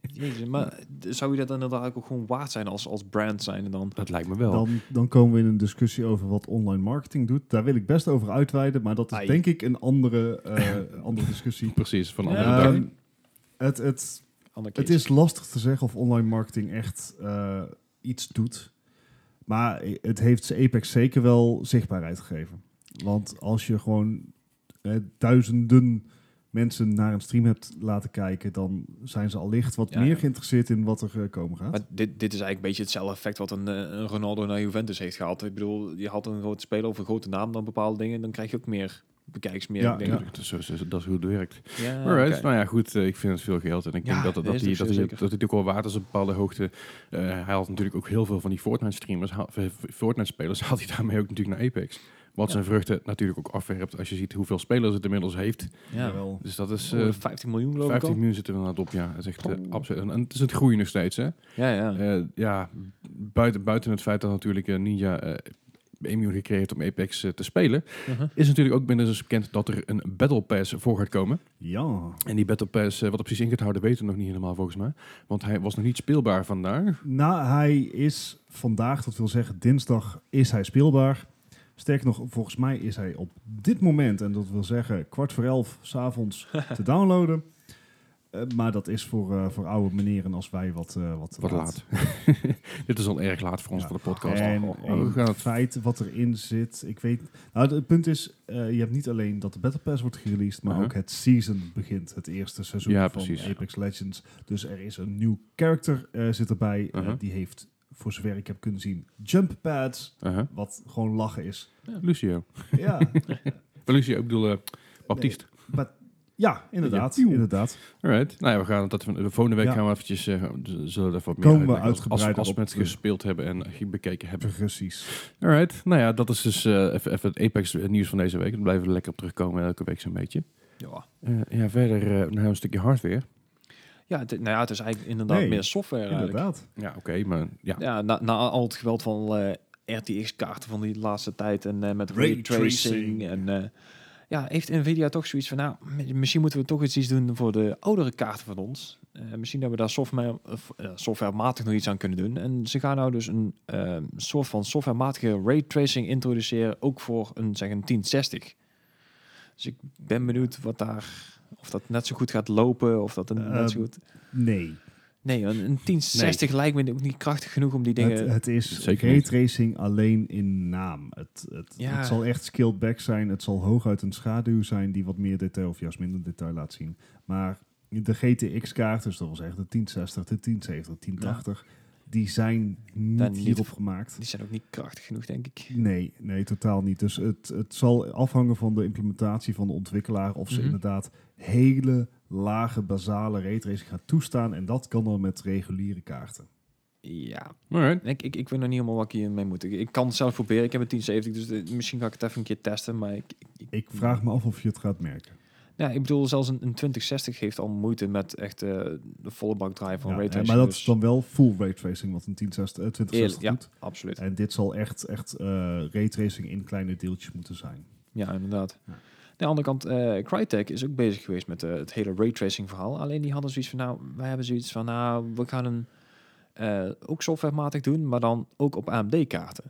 Speaker 2: Jezus, maar zou je dat inderdaad ook gewoon waard zijn als, als brand zijn en dan?
Speaker 4: dat lijkt me wel.
Speaker 3: Dan, dan komen we in een discussie over wat online marketing doet. Daar wil ik best over uitweiden, maar dat is
Speaker 2: Ai.
Speaker 3: denk ik een andere, eh, andere discussie.
Speaker 4: Precies, van andere
Speaker 2: Ja.
Speaker 4: dag.
Speaker 3: Ehm, het, het,
Speaker 2: Ander
Speaker 3: het
Speaker 2: keertje.
Speaker 3: is lastig te zeggen of online marketing echt eh, iets doet. Maar het heeft Apex zeker wel zichtbaarheid gegeven. Want als je gewoon eh, duizenden mensen naar een stream hebt laten kijken, dan zijn ze allicht wat
Speaker 2: Ja,
Speaker 3: meer
Speaker 2: ja.
Speaker 3: geïnteresseerd in wat er eh, komen gaat.
Speaker 2: Maar dit, dit is eigenlijk een beetje hetzelfde effect wat een, eh, een Ronaldo naar Juventus heeft gehad. Ik bedoel, je had een grote speler of een grote naam dan bepaalde dingen, dan krijg je ook meer bekijks, meer.
Speaker 3: Ja,
Speaker 2: ik denk
Speaker 4: Ja,
Speaker 2: ik.
Speaker 4: dat is, zo- zo- dat is hoe het werkt.
Speaker 2: ja
Speaker 4: Alright,
Speaker 2: oké.
Speaker 4: nou ja, goed. eh, ik vind het veel geld. En ik
Speaker 2: Ja,
Speaker 4: denk dat, dat,
Speaker 2: dat
Speaker 4: dat,
Speaker 2: is
Speaker 4: die,
Speaker 2: het
Speaker 4: dat, die,
Speaker 2: zeker.
Speaker 4: dat die ook wel waard is op bepaalde hoogte. Eh, hij had natuurlijk ook heel veel van die Fortnite-streamers, haal- eh, Fortnite-spelers, had hij daarmee ook natuurlijk naar Apex. Wat
Speaker 2: Ja.
Speaker 4: zijn vruchten natuurlijk ook afwerpt als je ziet hoeveel spelers het inmiddels heeft.
Speaker 2: ja.
Speaker 3: Jawel.
Speaker 4: Dus dat is eh,
Speaker 2: Oh, 15 miljoen geloof
Speaker 4: 15
Speaker 2: ik ook. Oh.
Speaker 4: miljoen zitten we inderdaad op, ja. Dat is echt eh, absoluut. En, en het is het groeien nog steeds, hè.
Speaker 2: Ja, ja.
Speaker 4: Eh, ja, buiten, buiten het feit dat natuurlijk eh, Ninja eh 1 miljoen gekregen heeft om Apex eh, te spelen,
Speaker 2: Mhm.
Speaker 4: is natuurlijk ook binnen dus bekend dat er een Battle Pass voor gaat komen.
Speaker 3: Ja.
Speaker 4: En die Battle Pass, eh, wat er precies in gaat houden, weten we nog niet helemaal volgens mij. Want hij was nog niet speelbaar vandaag.
Speaker 3: Nou, hij is vandaag, dat wil zeggen dinsdag, is hij speelbaar. Sterker nog, volgens mij is hij op dit moment, en dat wil zeggen kwart voor elf s'avonds, te downloaden. Eh, maar dat is voor, eh, voor oude meneren als wij wat, eh wat, te
Speaker 4: Wat laat. Dit is al erg laat voor ons,
Speaker 3: Ja.
Speaker 4: voor de podcast.
Speaker 3: En
Speaker 4: Oh, oh,
Speaker 3: in
Speaker 4: we gaan
Speaker 3: het
Speaker 4: het
Speaker 3: feit wat erin zit, ik weet... Nou, het punt is, eh, je hebt niet alleen dat de Battle Pass wordt gereleased, maar
Speaker 4: Uh-huh.
Speaker 3: ook het season begint. Het eerste seizoen
Speaker 4: Ja,
Speaker 3: van
Speaker 4: precies.
Speaker 3: Apex Legends. Dus er is een nieuw character eh, zit erbij. Eh,
Speaker 4: Uh-huh.
Speaker 3: die heeft, voor zover ik heb kunnen zien, jump pads.
Speaker 4: uh-huh.
Speaker 3: Wat gewoon lachen is.
Speaker 4: Lucio.
Speaker 3: ja,
Speaker 4: Eh, Lucio, ik bedoel eh, Baptiste.
Speaker 3: maar- ja, inderdaad.
Speaker 4: Ja.
Speaker 3: inderdaad.
Speaker 4: Alright. Nou ja, we gaan dat de volgende week
Speaker 3: Ja.
Speaker 4: gaan we eventjes eh, z- zullen we er wat meer
Speaker 3: Komen we
Speaker 4: uitleggen. Als- als,
Speaker 3: uitgebreider
Speaker 4: als
Speaker 3: op eh.
Speaker 4: we het
Speaker 3: terug.
Speaker 4: gespeeld hebben en bekeken hebben.
Speaker 3: Precies.
Speaker 4: Alright, nou ja, dat is dus eh, even, even het Apex nieuws van deze week. Daar blijven we lekker op terugkomen elke week zo'n beetje.
Speaker 2: ja.
Speaker 4: Eh, ja, verder eh, nou, een stukje hardware.
Speaker 2: Ja, het, nou ja, het is eigenlijk inderdaad
Speaker 3: Nee,
Speaker 2: meer software eigenlijk.
Speaker 3: Inderdaad.
Speaker 4: Ja, oké, maar ja.
Speaker 2: Ja, na, na al het geweld van eh, RTX-kaarten van die laatste tijd en eh, met
Speaker 3: Ray
Speaker 2: ray tracing
Speaker 3: tracing.
Speaker 2: en... eh, ja, heeft Nvidia toch zoiets van, nou, mi- misschien moeten we toch iets iets doen voor de oudere kaarten van ons. Eh, misschien dat we daar software, of, eh, softwarematig nog iets aan kunnen doen. En ze gaan nou dus een eh, soort van softwarematige ray tracing introduceren, ook voor een, zeg een 1060. Dus ik ben benieuwd wat daar, of dat net zo goed gaat lopen, of dat een, net zo
Speaker 3: Ehm,
Speaker 2: goed...
Speaker 3: Nee.
Speaker 2: Nee, een, een 1060 lijkt me ook niet krachtig genoeg om die dingen...
Speaker 3: Het, het is
Speaker 4: Zeker niet.
Speaker 3: raytracing alleen in naam. Het, het,
Speaker 2: Ja.
Speaker 3: het zal echt scaled back zijn. Het zal hooguit een schaduw zijn die wat meer detail of juist minder detail laat zien. Maar de GTX-kaart, dus dat wil zeggen de 1060, de 1070, 1080, die zijn
Speaker 2: Daar
Speaker 3: niet
Speaker 2: niet
Speaker 3: hierop
Speaker 2: voor-
Speaker 3: gemaakt.
Speaker 2: Die zijn ook niet krachtig genoeg, denk ik.
Speaker 3: Nee, nee, totaal niet. Dus het, het zal afhangen van de implementatie van de ontwikkelaar of ze
Speaker 2: Mhm.
Speaker 3: inderdaad hele lage basale raytracing gaan toestaan. En dat kan dan met reguliere kaarten.
Speaker 2: Ja,
Speaker 4: Alright.
Speaker 2: ik, ik, ik weet nog niet helemaal wat ik hiermee moet. Ik, ik kan het zelf proberen. Ik heb een 1070, dus eh, misschien ga ik het even een keer testen. Maar ik, ik, ik-
Speaker 3: Ik vraag me af of je het gaat merken.
Speaker 2: ja, ik bedoel, zelfs een, een 2060 heeft al moeite met echt eh, de volle bak draaien van
Speaker 3: Ja,
Speaker 2: ray
Speaker 3: eh,
Speaker 2: tracing.
Speaker 3: maar dat
Speaker 2: dus
Speaker 3: is dan wel full raytracing, wat een 1060, eh,
Speaker 2: eerlijk,
Speaker 3: 2060
Speaker 2: ja,
Speaker 3: doet.
Speaker 2: absoluut.
Speaker 3: En dit zal echt, echt eh raytracing in kleine deeltjes moeten zijn.
Speaker 2: Ja, inderdaad.
Speaker 3: Ja.
Speaker 2: Aan de andere kant, eh Crytek is ook bezig geweest met eh, het hele raytracing verhaal. Alleen die hadden zoiets van, nou, wij hebben zoiets van, nou, we gaan een, eh, ook softwarematig doen, maar dan ook op AMD-kaarten.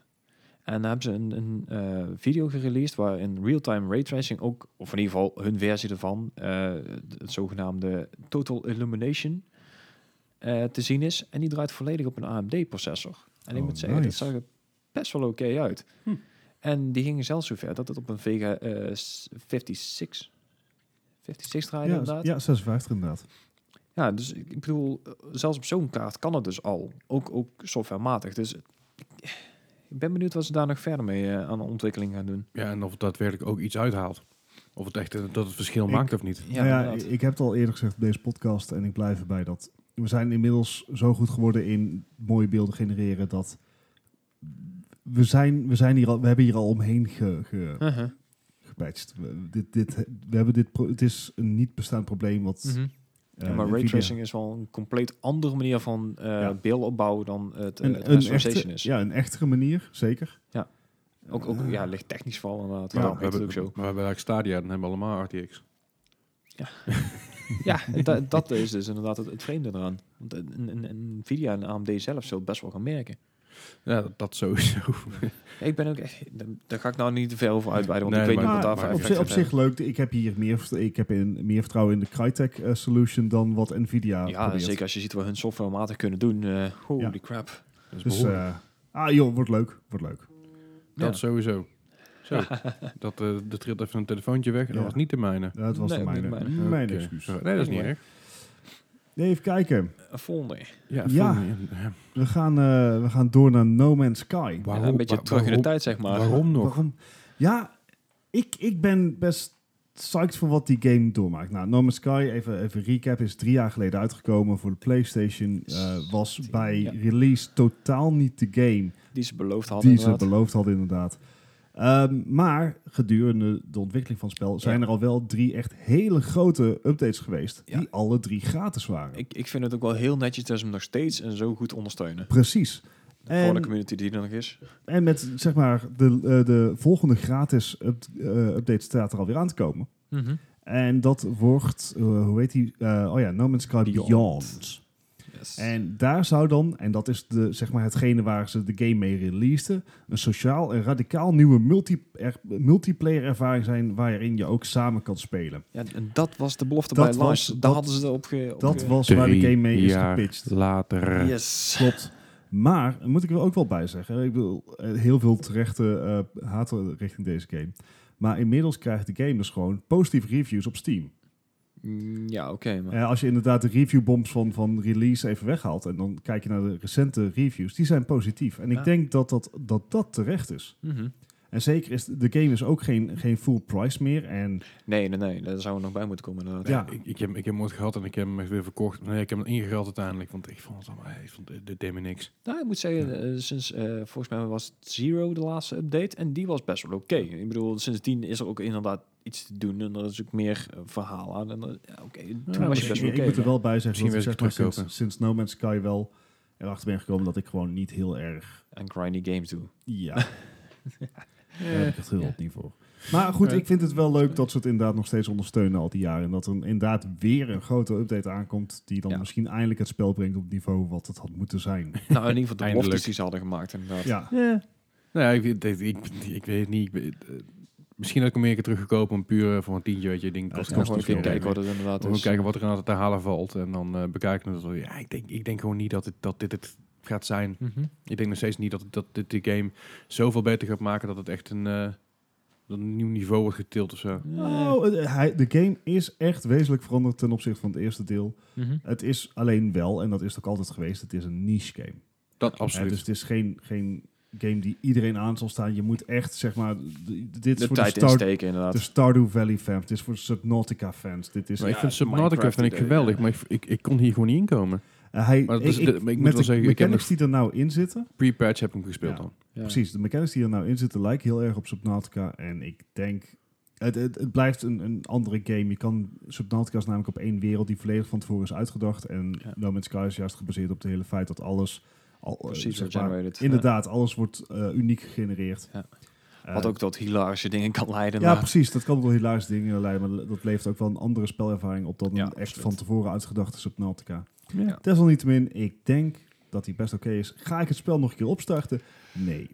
Speaker 2: En daar hebben ze een, een eh, video gereleased waarin real-time raytracing ook, of in ieder geval hun versie ervan, eh, het zogenaamde Total Illumination, eh, te zien is. En die draait volledig op een AMD-processor. En ik
Speaker 3: Oh,
Speaker 2: moet zeggen,
Speaker 3: nice.
Speaker 2: dat zag er best wel oké uit.
Speaker 4: Hm.
Speaker 2: En die gingen zelfs zover dat het op een Vega eh, s- 56, 56 draaide
Speaker 3: Ja,
Speaker 2: inderdaad.
Speaker 3: ja, 56 inderdaad.
Speaker 2: Ja, dus ik ik bedoel, eh, zelfs op zo'n kaart kan het dus al. Ook, ook softwarematig. Dus eh, ik ben benieuwd wat ze daar nog verder mee eh, aan de ontwikkeling gaan doen.
Speaker 4: Ja, en of het daadwerkelijk ook iets uithaalt. Of het echt eh, dat het verschil
Speaker 3: Ik-
Speaker 4: maakt of niet.
Speaker 2: Ja, eh,
Speaker 3: nou ja,
Speaker 2: inderdaad.
Speaker 3: ik heb het al eerder gezegd op deze podcast en ik blijf erbij dat we zijn inmiddels zo goed geworden in mooie beelden genereren dat we zijn, we zijn hier al, we hebben hier al omheen ge, ge,
Speaker 2: Uh-huh.
Speaker 3: gepatcht. We, dit, dit, we hebben dit pro- het is een niet bestaand probleem wat
Speaker 2: Mhm.
Speaker 3: eh,
Speaker 2: Ja, maar
Speaker 3: Nvidia-
Speaker 2: raytracing is wel een compleet andere manier van eh
Speaker 3: Ja.
Speaker 2: beeldopbouw dan het, eh,
Speaker 3: een,
Speaker 2: het
Speaker 3: een
Speaker 2: rasterization
Speaker 3: echte,
Speaker 2: is.
Speaker 3: ja, een echtere manier, zeker.
Speaker 2: Ja. Ook, ook ja, ligt technisch vooral inderdaad.
Speaker 3: Ja,
Speaker 2: Ja,
Speaker 4: Nou,
Speaker 2: dat
Speaker 4: we, hebben,
Speaker 2: ook zo.
Speaker 4: we hebben eigenlijk Stadia, dan hebben we allemaal RTX.
Speaker 2: ja, da- dat is dus inderdaad het, het vreemde eraan. Want eh, een- een- een Nvidia en AMD zelf zullen het best wel gaan merken.
Speaker 4: Ja, dat, dat sowieso.
Speaker 2: Ik ben ook echt, daar ga ik nou niet te veel over uitweiden, want
Speaker 4: Nee,
Speaker 2: ik weet
Speaker 4: maar-
Speaker 2: niet wat
Speaker 3: Maar
Speaker 2: daarvoor
Speaker 3: op,
Speaker 4: maar
Speaker 2: effect
Speaker 3: zich, op
Speaker 2: gaat
Speaker 3: zich leuk. Ik heb hier meer, vertr- ik heb in, meer vertrouwen in de Crytek eh, solution dan wat Nvidia
Speaker 2: Ja,
Speaker 3: probeert.
Speaker 2: zeker als je ziet wat hun softwarematig kunnen doen. eh, holy
Speaker 3: Ja.
Speaker 2: crap.
Speaker 4: Dat is
Speaker 3: Dus
Speaker 4: behoorlijk.
Speaker 3: eh, ah joh, wordt leuk, wordt leuk.
Speaker 2: ja.
Speaker 4: dat sowieso. Zo, dat, eh er trilt even een telefoontje weg.
Speaker 3: Ja.
Speaker 4: Dat was niet de mijne.
Speaker 3: Ja, dat was
Speaker 2: Nee,
Speaker 3: de mijne.
Speaker 2: niet mijne.
Speaker 3: Mijn
Speaker 4: Oké.
Speaker 3: excuus.
Speaker 4: Nee, dat is niet
Speaker 2: Anyway.
Speaker 4: erg.
Speaker 3: Nee, even kijken.
Speaker 2: Een Volgende.
Speaker 4: Ja,
Speaker 3: Ja.
Speaker 4: volgende. Ja,
Speaker 3: We gaan, eh, we gaan door naar No Man's Sky.
Speaker 4: waarom-
Speaker 2: Ja, een beetje
Speaker 4: waar-
Speaker 2: terug in de
Speaker 4: waarom-
Speaker 2: tijd, zeg maar.
Speaker 4: Waarom nog?
Speaker 3: Waarom? Ja, ik, ik ben best psyched voor wat die game doormaakt. Nou, No Man's Sky, even, even recap, is drie jaar geleden uitgekomen voor de PlayStation. eh, was bij
Speaker 2: Ja.
Speaker 3: release totaal niet de game
Speaker 2: Die ze beloofd hadden.
Speaker 3: die
Speaker 2: inderdaad.
Speaker 3: ze beloofd hadden, inderdaad. Ehm, maar gedurende de ontwikkeling van het spel zijn
Speaker 2: Ja.
Speaker 3: er al wel drie echt hele grote updates geweest.
Speaker 2: Ja.
Speaker 3: Die alle drie gratis waren.
Speaker 2: ik, ik vind het ook wel heel netjes dat ze hem nog steeds en zo goed ondersteunen.
Speaker 3: Precies.
Speaker 2: Voor
Speaker 3: En-
Speaker 2: de community die er nog is.
Speaker 3: En met zeg maar de, eh, de volgende gratis up- eh, update staat er alweer aan te komen. En dat wordt, eh, hoe heet die? Eh, oh ja, No Man's Sky Beyond.
Speaker 2: Beyond. Yes.
Speaker 3: En daar zou dan, en dat is de, zeg maar hetgene waar ze de game mee releaseden, een sociaal en radicaal nieuwe multi er- multiplayer ervaring zijn waarin je ook samen kan spelen.
Speaker 2: ja, en dat was de belofte
Speaker 3: Dat
Speaker 2: bij
Speaker 3: was-
Speaker 2: launch. Daar
Speaker 3: dat-
Speaker 2: hadden ze erop ge... op
Speaker 3: Dat
Speaker 2: ge-
Speaker 3: was waar de
Speaker 4: Drie
Speaker 3: game mee is
Speaker 4: jaar
Speaker 3: gepitcht.
Speaker 4: later.
Speaker 2: Yes.
Speaker 3: Klopt. Maar, daar moet ik er ook wel bij zeggen, ik bedoel, eh, heel veel terechte eh haat richting deze game. Maar inmiddels krijgt de game dus gewoon positieve reviews op Steam.
Speaker 2: Mm, Ja, oké. maar
Speaker 3: Eh, als je inderdaad de reviewbombs van, van release even weghaalt en dan kijk je naar de recente reviews, die zijn positief. En ik
Speaker 2: Ja.
Speaker 3: denk dat dat, dat dat terecht is.
Speaker 2: Mhm.
Speaker 3: En zeker is de game is ook geen, geen full price meer. En
Speaker 2: Nee, nee, nee. Daar zouden we nog bij moeten komen inderdaad.
Speaker 3: Ja.
Speaker 4: Ik, ik, heb, ik heb hem ooit gehad en ik heb hem echt weer verkocht. Nee, ik heb hem ingeruild uiteindelijk, want ik vond het allemaal, ik vond dit, dit deed me niks.
Speaker 2: Nou, ik moet zeggen, eh, sinds eh, volgens mij was het Zero de laatste update. En die was best wel oké. Ik bedoel, sindsdien is er ook inderdaad iets te doen. En er is ook meer eh, verhaal aan. En, eh, ja, oké, toen
Speaker 4: Ja,
Speaker 2: was
Speaker 3: ik,
Speaker 2: je best wel
Speaker 3: ik
Speaker 2: oké.
Speaker 3: moet er wel bij zeggen
Speaker 4: Misschien
Speaker 3: dat ik zeg
Speaker 4: wil ik
Speaker 3: maar
Speaker 4: het
Speaker 3: sinds,
Speaker 4: terugkopen.
Speaker 3: sinds No Man's Sky wel erachter ben gekomen dat ik gewoon niet heel erg...
Speaker 2: En grindy games doen.
Speaker 3: Ja, daar heb ik het heel
Speaker 2: Ja.
Speaker 3: niet voor. Maar goed,
Speaker 4: Ja.
Speaker 3: ik vind het wel leuk dat ze het inderdaad nog steeds ondersteunen al die jaren. En dat er inderdaad weer een grote update aankomt die dan
Speaker 2: Ja.
Speaker 3: misschien eindelijk het spel brengt op het niveau wat het had moeten zijn.
Speaker 2: Nou, in ieder geval de beloftes
Speaker 4: Eindelijk.
Speaker 2: die ze hadden gemaakt inderdaad.
Speaker 3: Ja,
Speaker 4: Nou ja, ik, weet- ik, ik, ik weet het niet. Ik, weet- eh, misschien had ik hem meer keer teruggekopen, om puur eh, voor een tientje, weet je, ding.
Speaker 3: Ja,
Speaker 4: kost
Speaker 2: Ja,
Speaker 4: kost
Speaker 2: gewoon een
Speaker 4: niet
Speaker 2: keer
Speaker 4: veel.
Speaker 2: kijken wat het inderdaad
Speaker 4: Gewoon
Speaker 2: is.
Speaker 4: kijken wat er aan het te halen valt en dan eh, bekijken we het. Ja, ik denk, ik denk gewoon niet dat, het, dat dit het gaat zijn.
Speaker 2: Mhm.
Speaker 4: Ik denk nog steeds niet dat, dat dit de game zoveel beter gaat maken dat het echt een, eh, dat een nieuw niveau wordt getild of zo.
Speaker 3: Oh, het- hij, de game is echt wezenlijk veranderd ten opzichte van het eerste deel.
Speaker 2: Mhm.
Speaker 3: Het is alleen wel, en dat is het ook altijd geweest, het is een niche game.
Speaker 4: Dat
Speaker 3: Hè,
Speaker 4: absoluut.
Speaker 3: dus het is geen, geen game die iedereen aan zal staan. Je moet echt, zeg maar, d- d- dit is
Speaker 2: De
Speaker 3: voor de,
Speaker 2: tijd
Speaker 3: Star,
Speaker 2: insteken inderdaad.
Speaker 3: de Stardew Valley fans, dit is voor de Subnautica fans. Dit is,
Speaker 4: maar ik
Speaker 2: Ja,
Speaker 4: vind
Speaker 2: het
Speaker 4: Subnautica vind ik
Speaker 2: Minecraft-idee,
Speaker 4: geweldig,
Speaker 2: ja.
Speaker 4: maar ik, ik, ik kon hier gewoon niet inkomen.
Speaker 3: Eh, hij,
Speaker 4: Maar
Speaker 3: ik,
Speaker 4: dat is
Speaker 3: ik-
Speaker 4: de- maar ik moet
Speaker 3: met
Speaker 4: wel
Speaker 3: de
Speaker 4: zeggen, ik heb
Speaker 3: mechanics die er nou in zitten,
Speaker 4: Pre-patch heb ik hem gespeeld
Speaker 3: Ja.
Speaker 4: dan.
Speaker 2: Ja.
Speaker 3: precies, de mechanics die er nou in zitten lijken heel erg op Subnautica. En ik denk, het, het, het blijft een, een andere game. Je kan, Subnautica is namelijk op één wereld die volledig van tevoren is uitgedacht. En
Speaker 2: Ja.
Speaker 3: No Man's Sky is juist gebaseerd op het hele feit dat alles... Al, eh,
Speaker 2: Precies,
Speaker 3: zeg maar,
Speaker 2: generated. Ja.
Speaker 3: Inderdaad, alles wordt eh, uniek gegenereerd.
Speaker 2: Ja.
Speaker 3: Eh,
Speaker 2: Wat ook tot hilarische dingen kan leiden.
Speaker 3: Ja,
Speaker 2: maar-
Speaker 3: precies. Dat kan wel hilarische dingen leiden, maar dat levert ook wel een andere spelervaring op dan
Speaker 2: Ja,
Speaker 3: een echt
Speaker 2: absoluut.
Speaker 3: van tevoren uitgedachte Subnautica.
Speaker 2: Ja.
Speaker 3: Desalniettemin, ik denk dat die best oké is. Ga ik het spel nog een keer opstarten? Nee.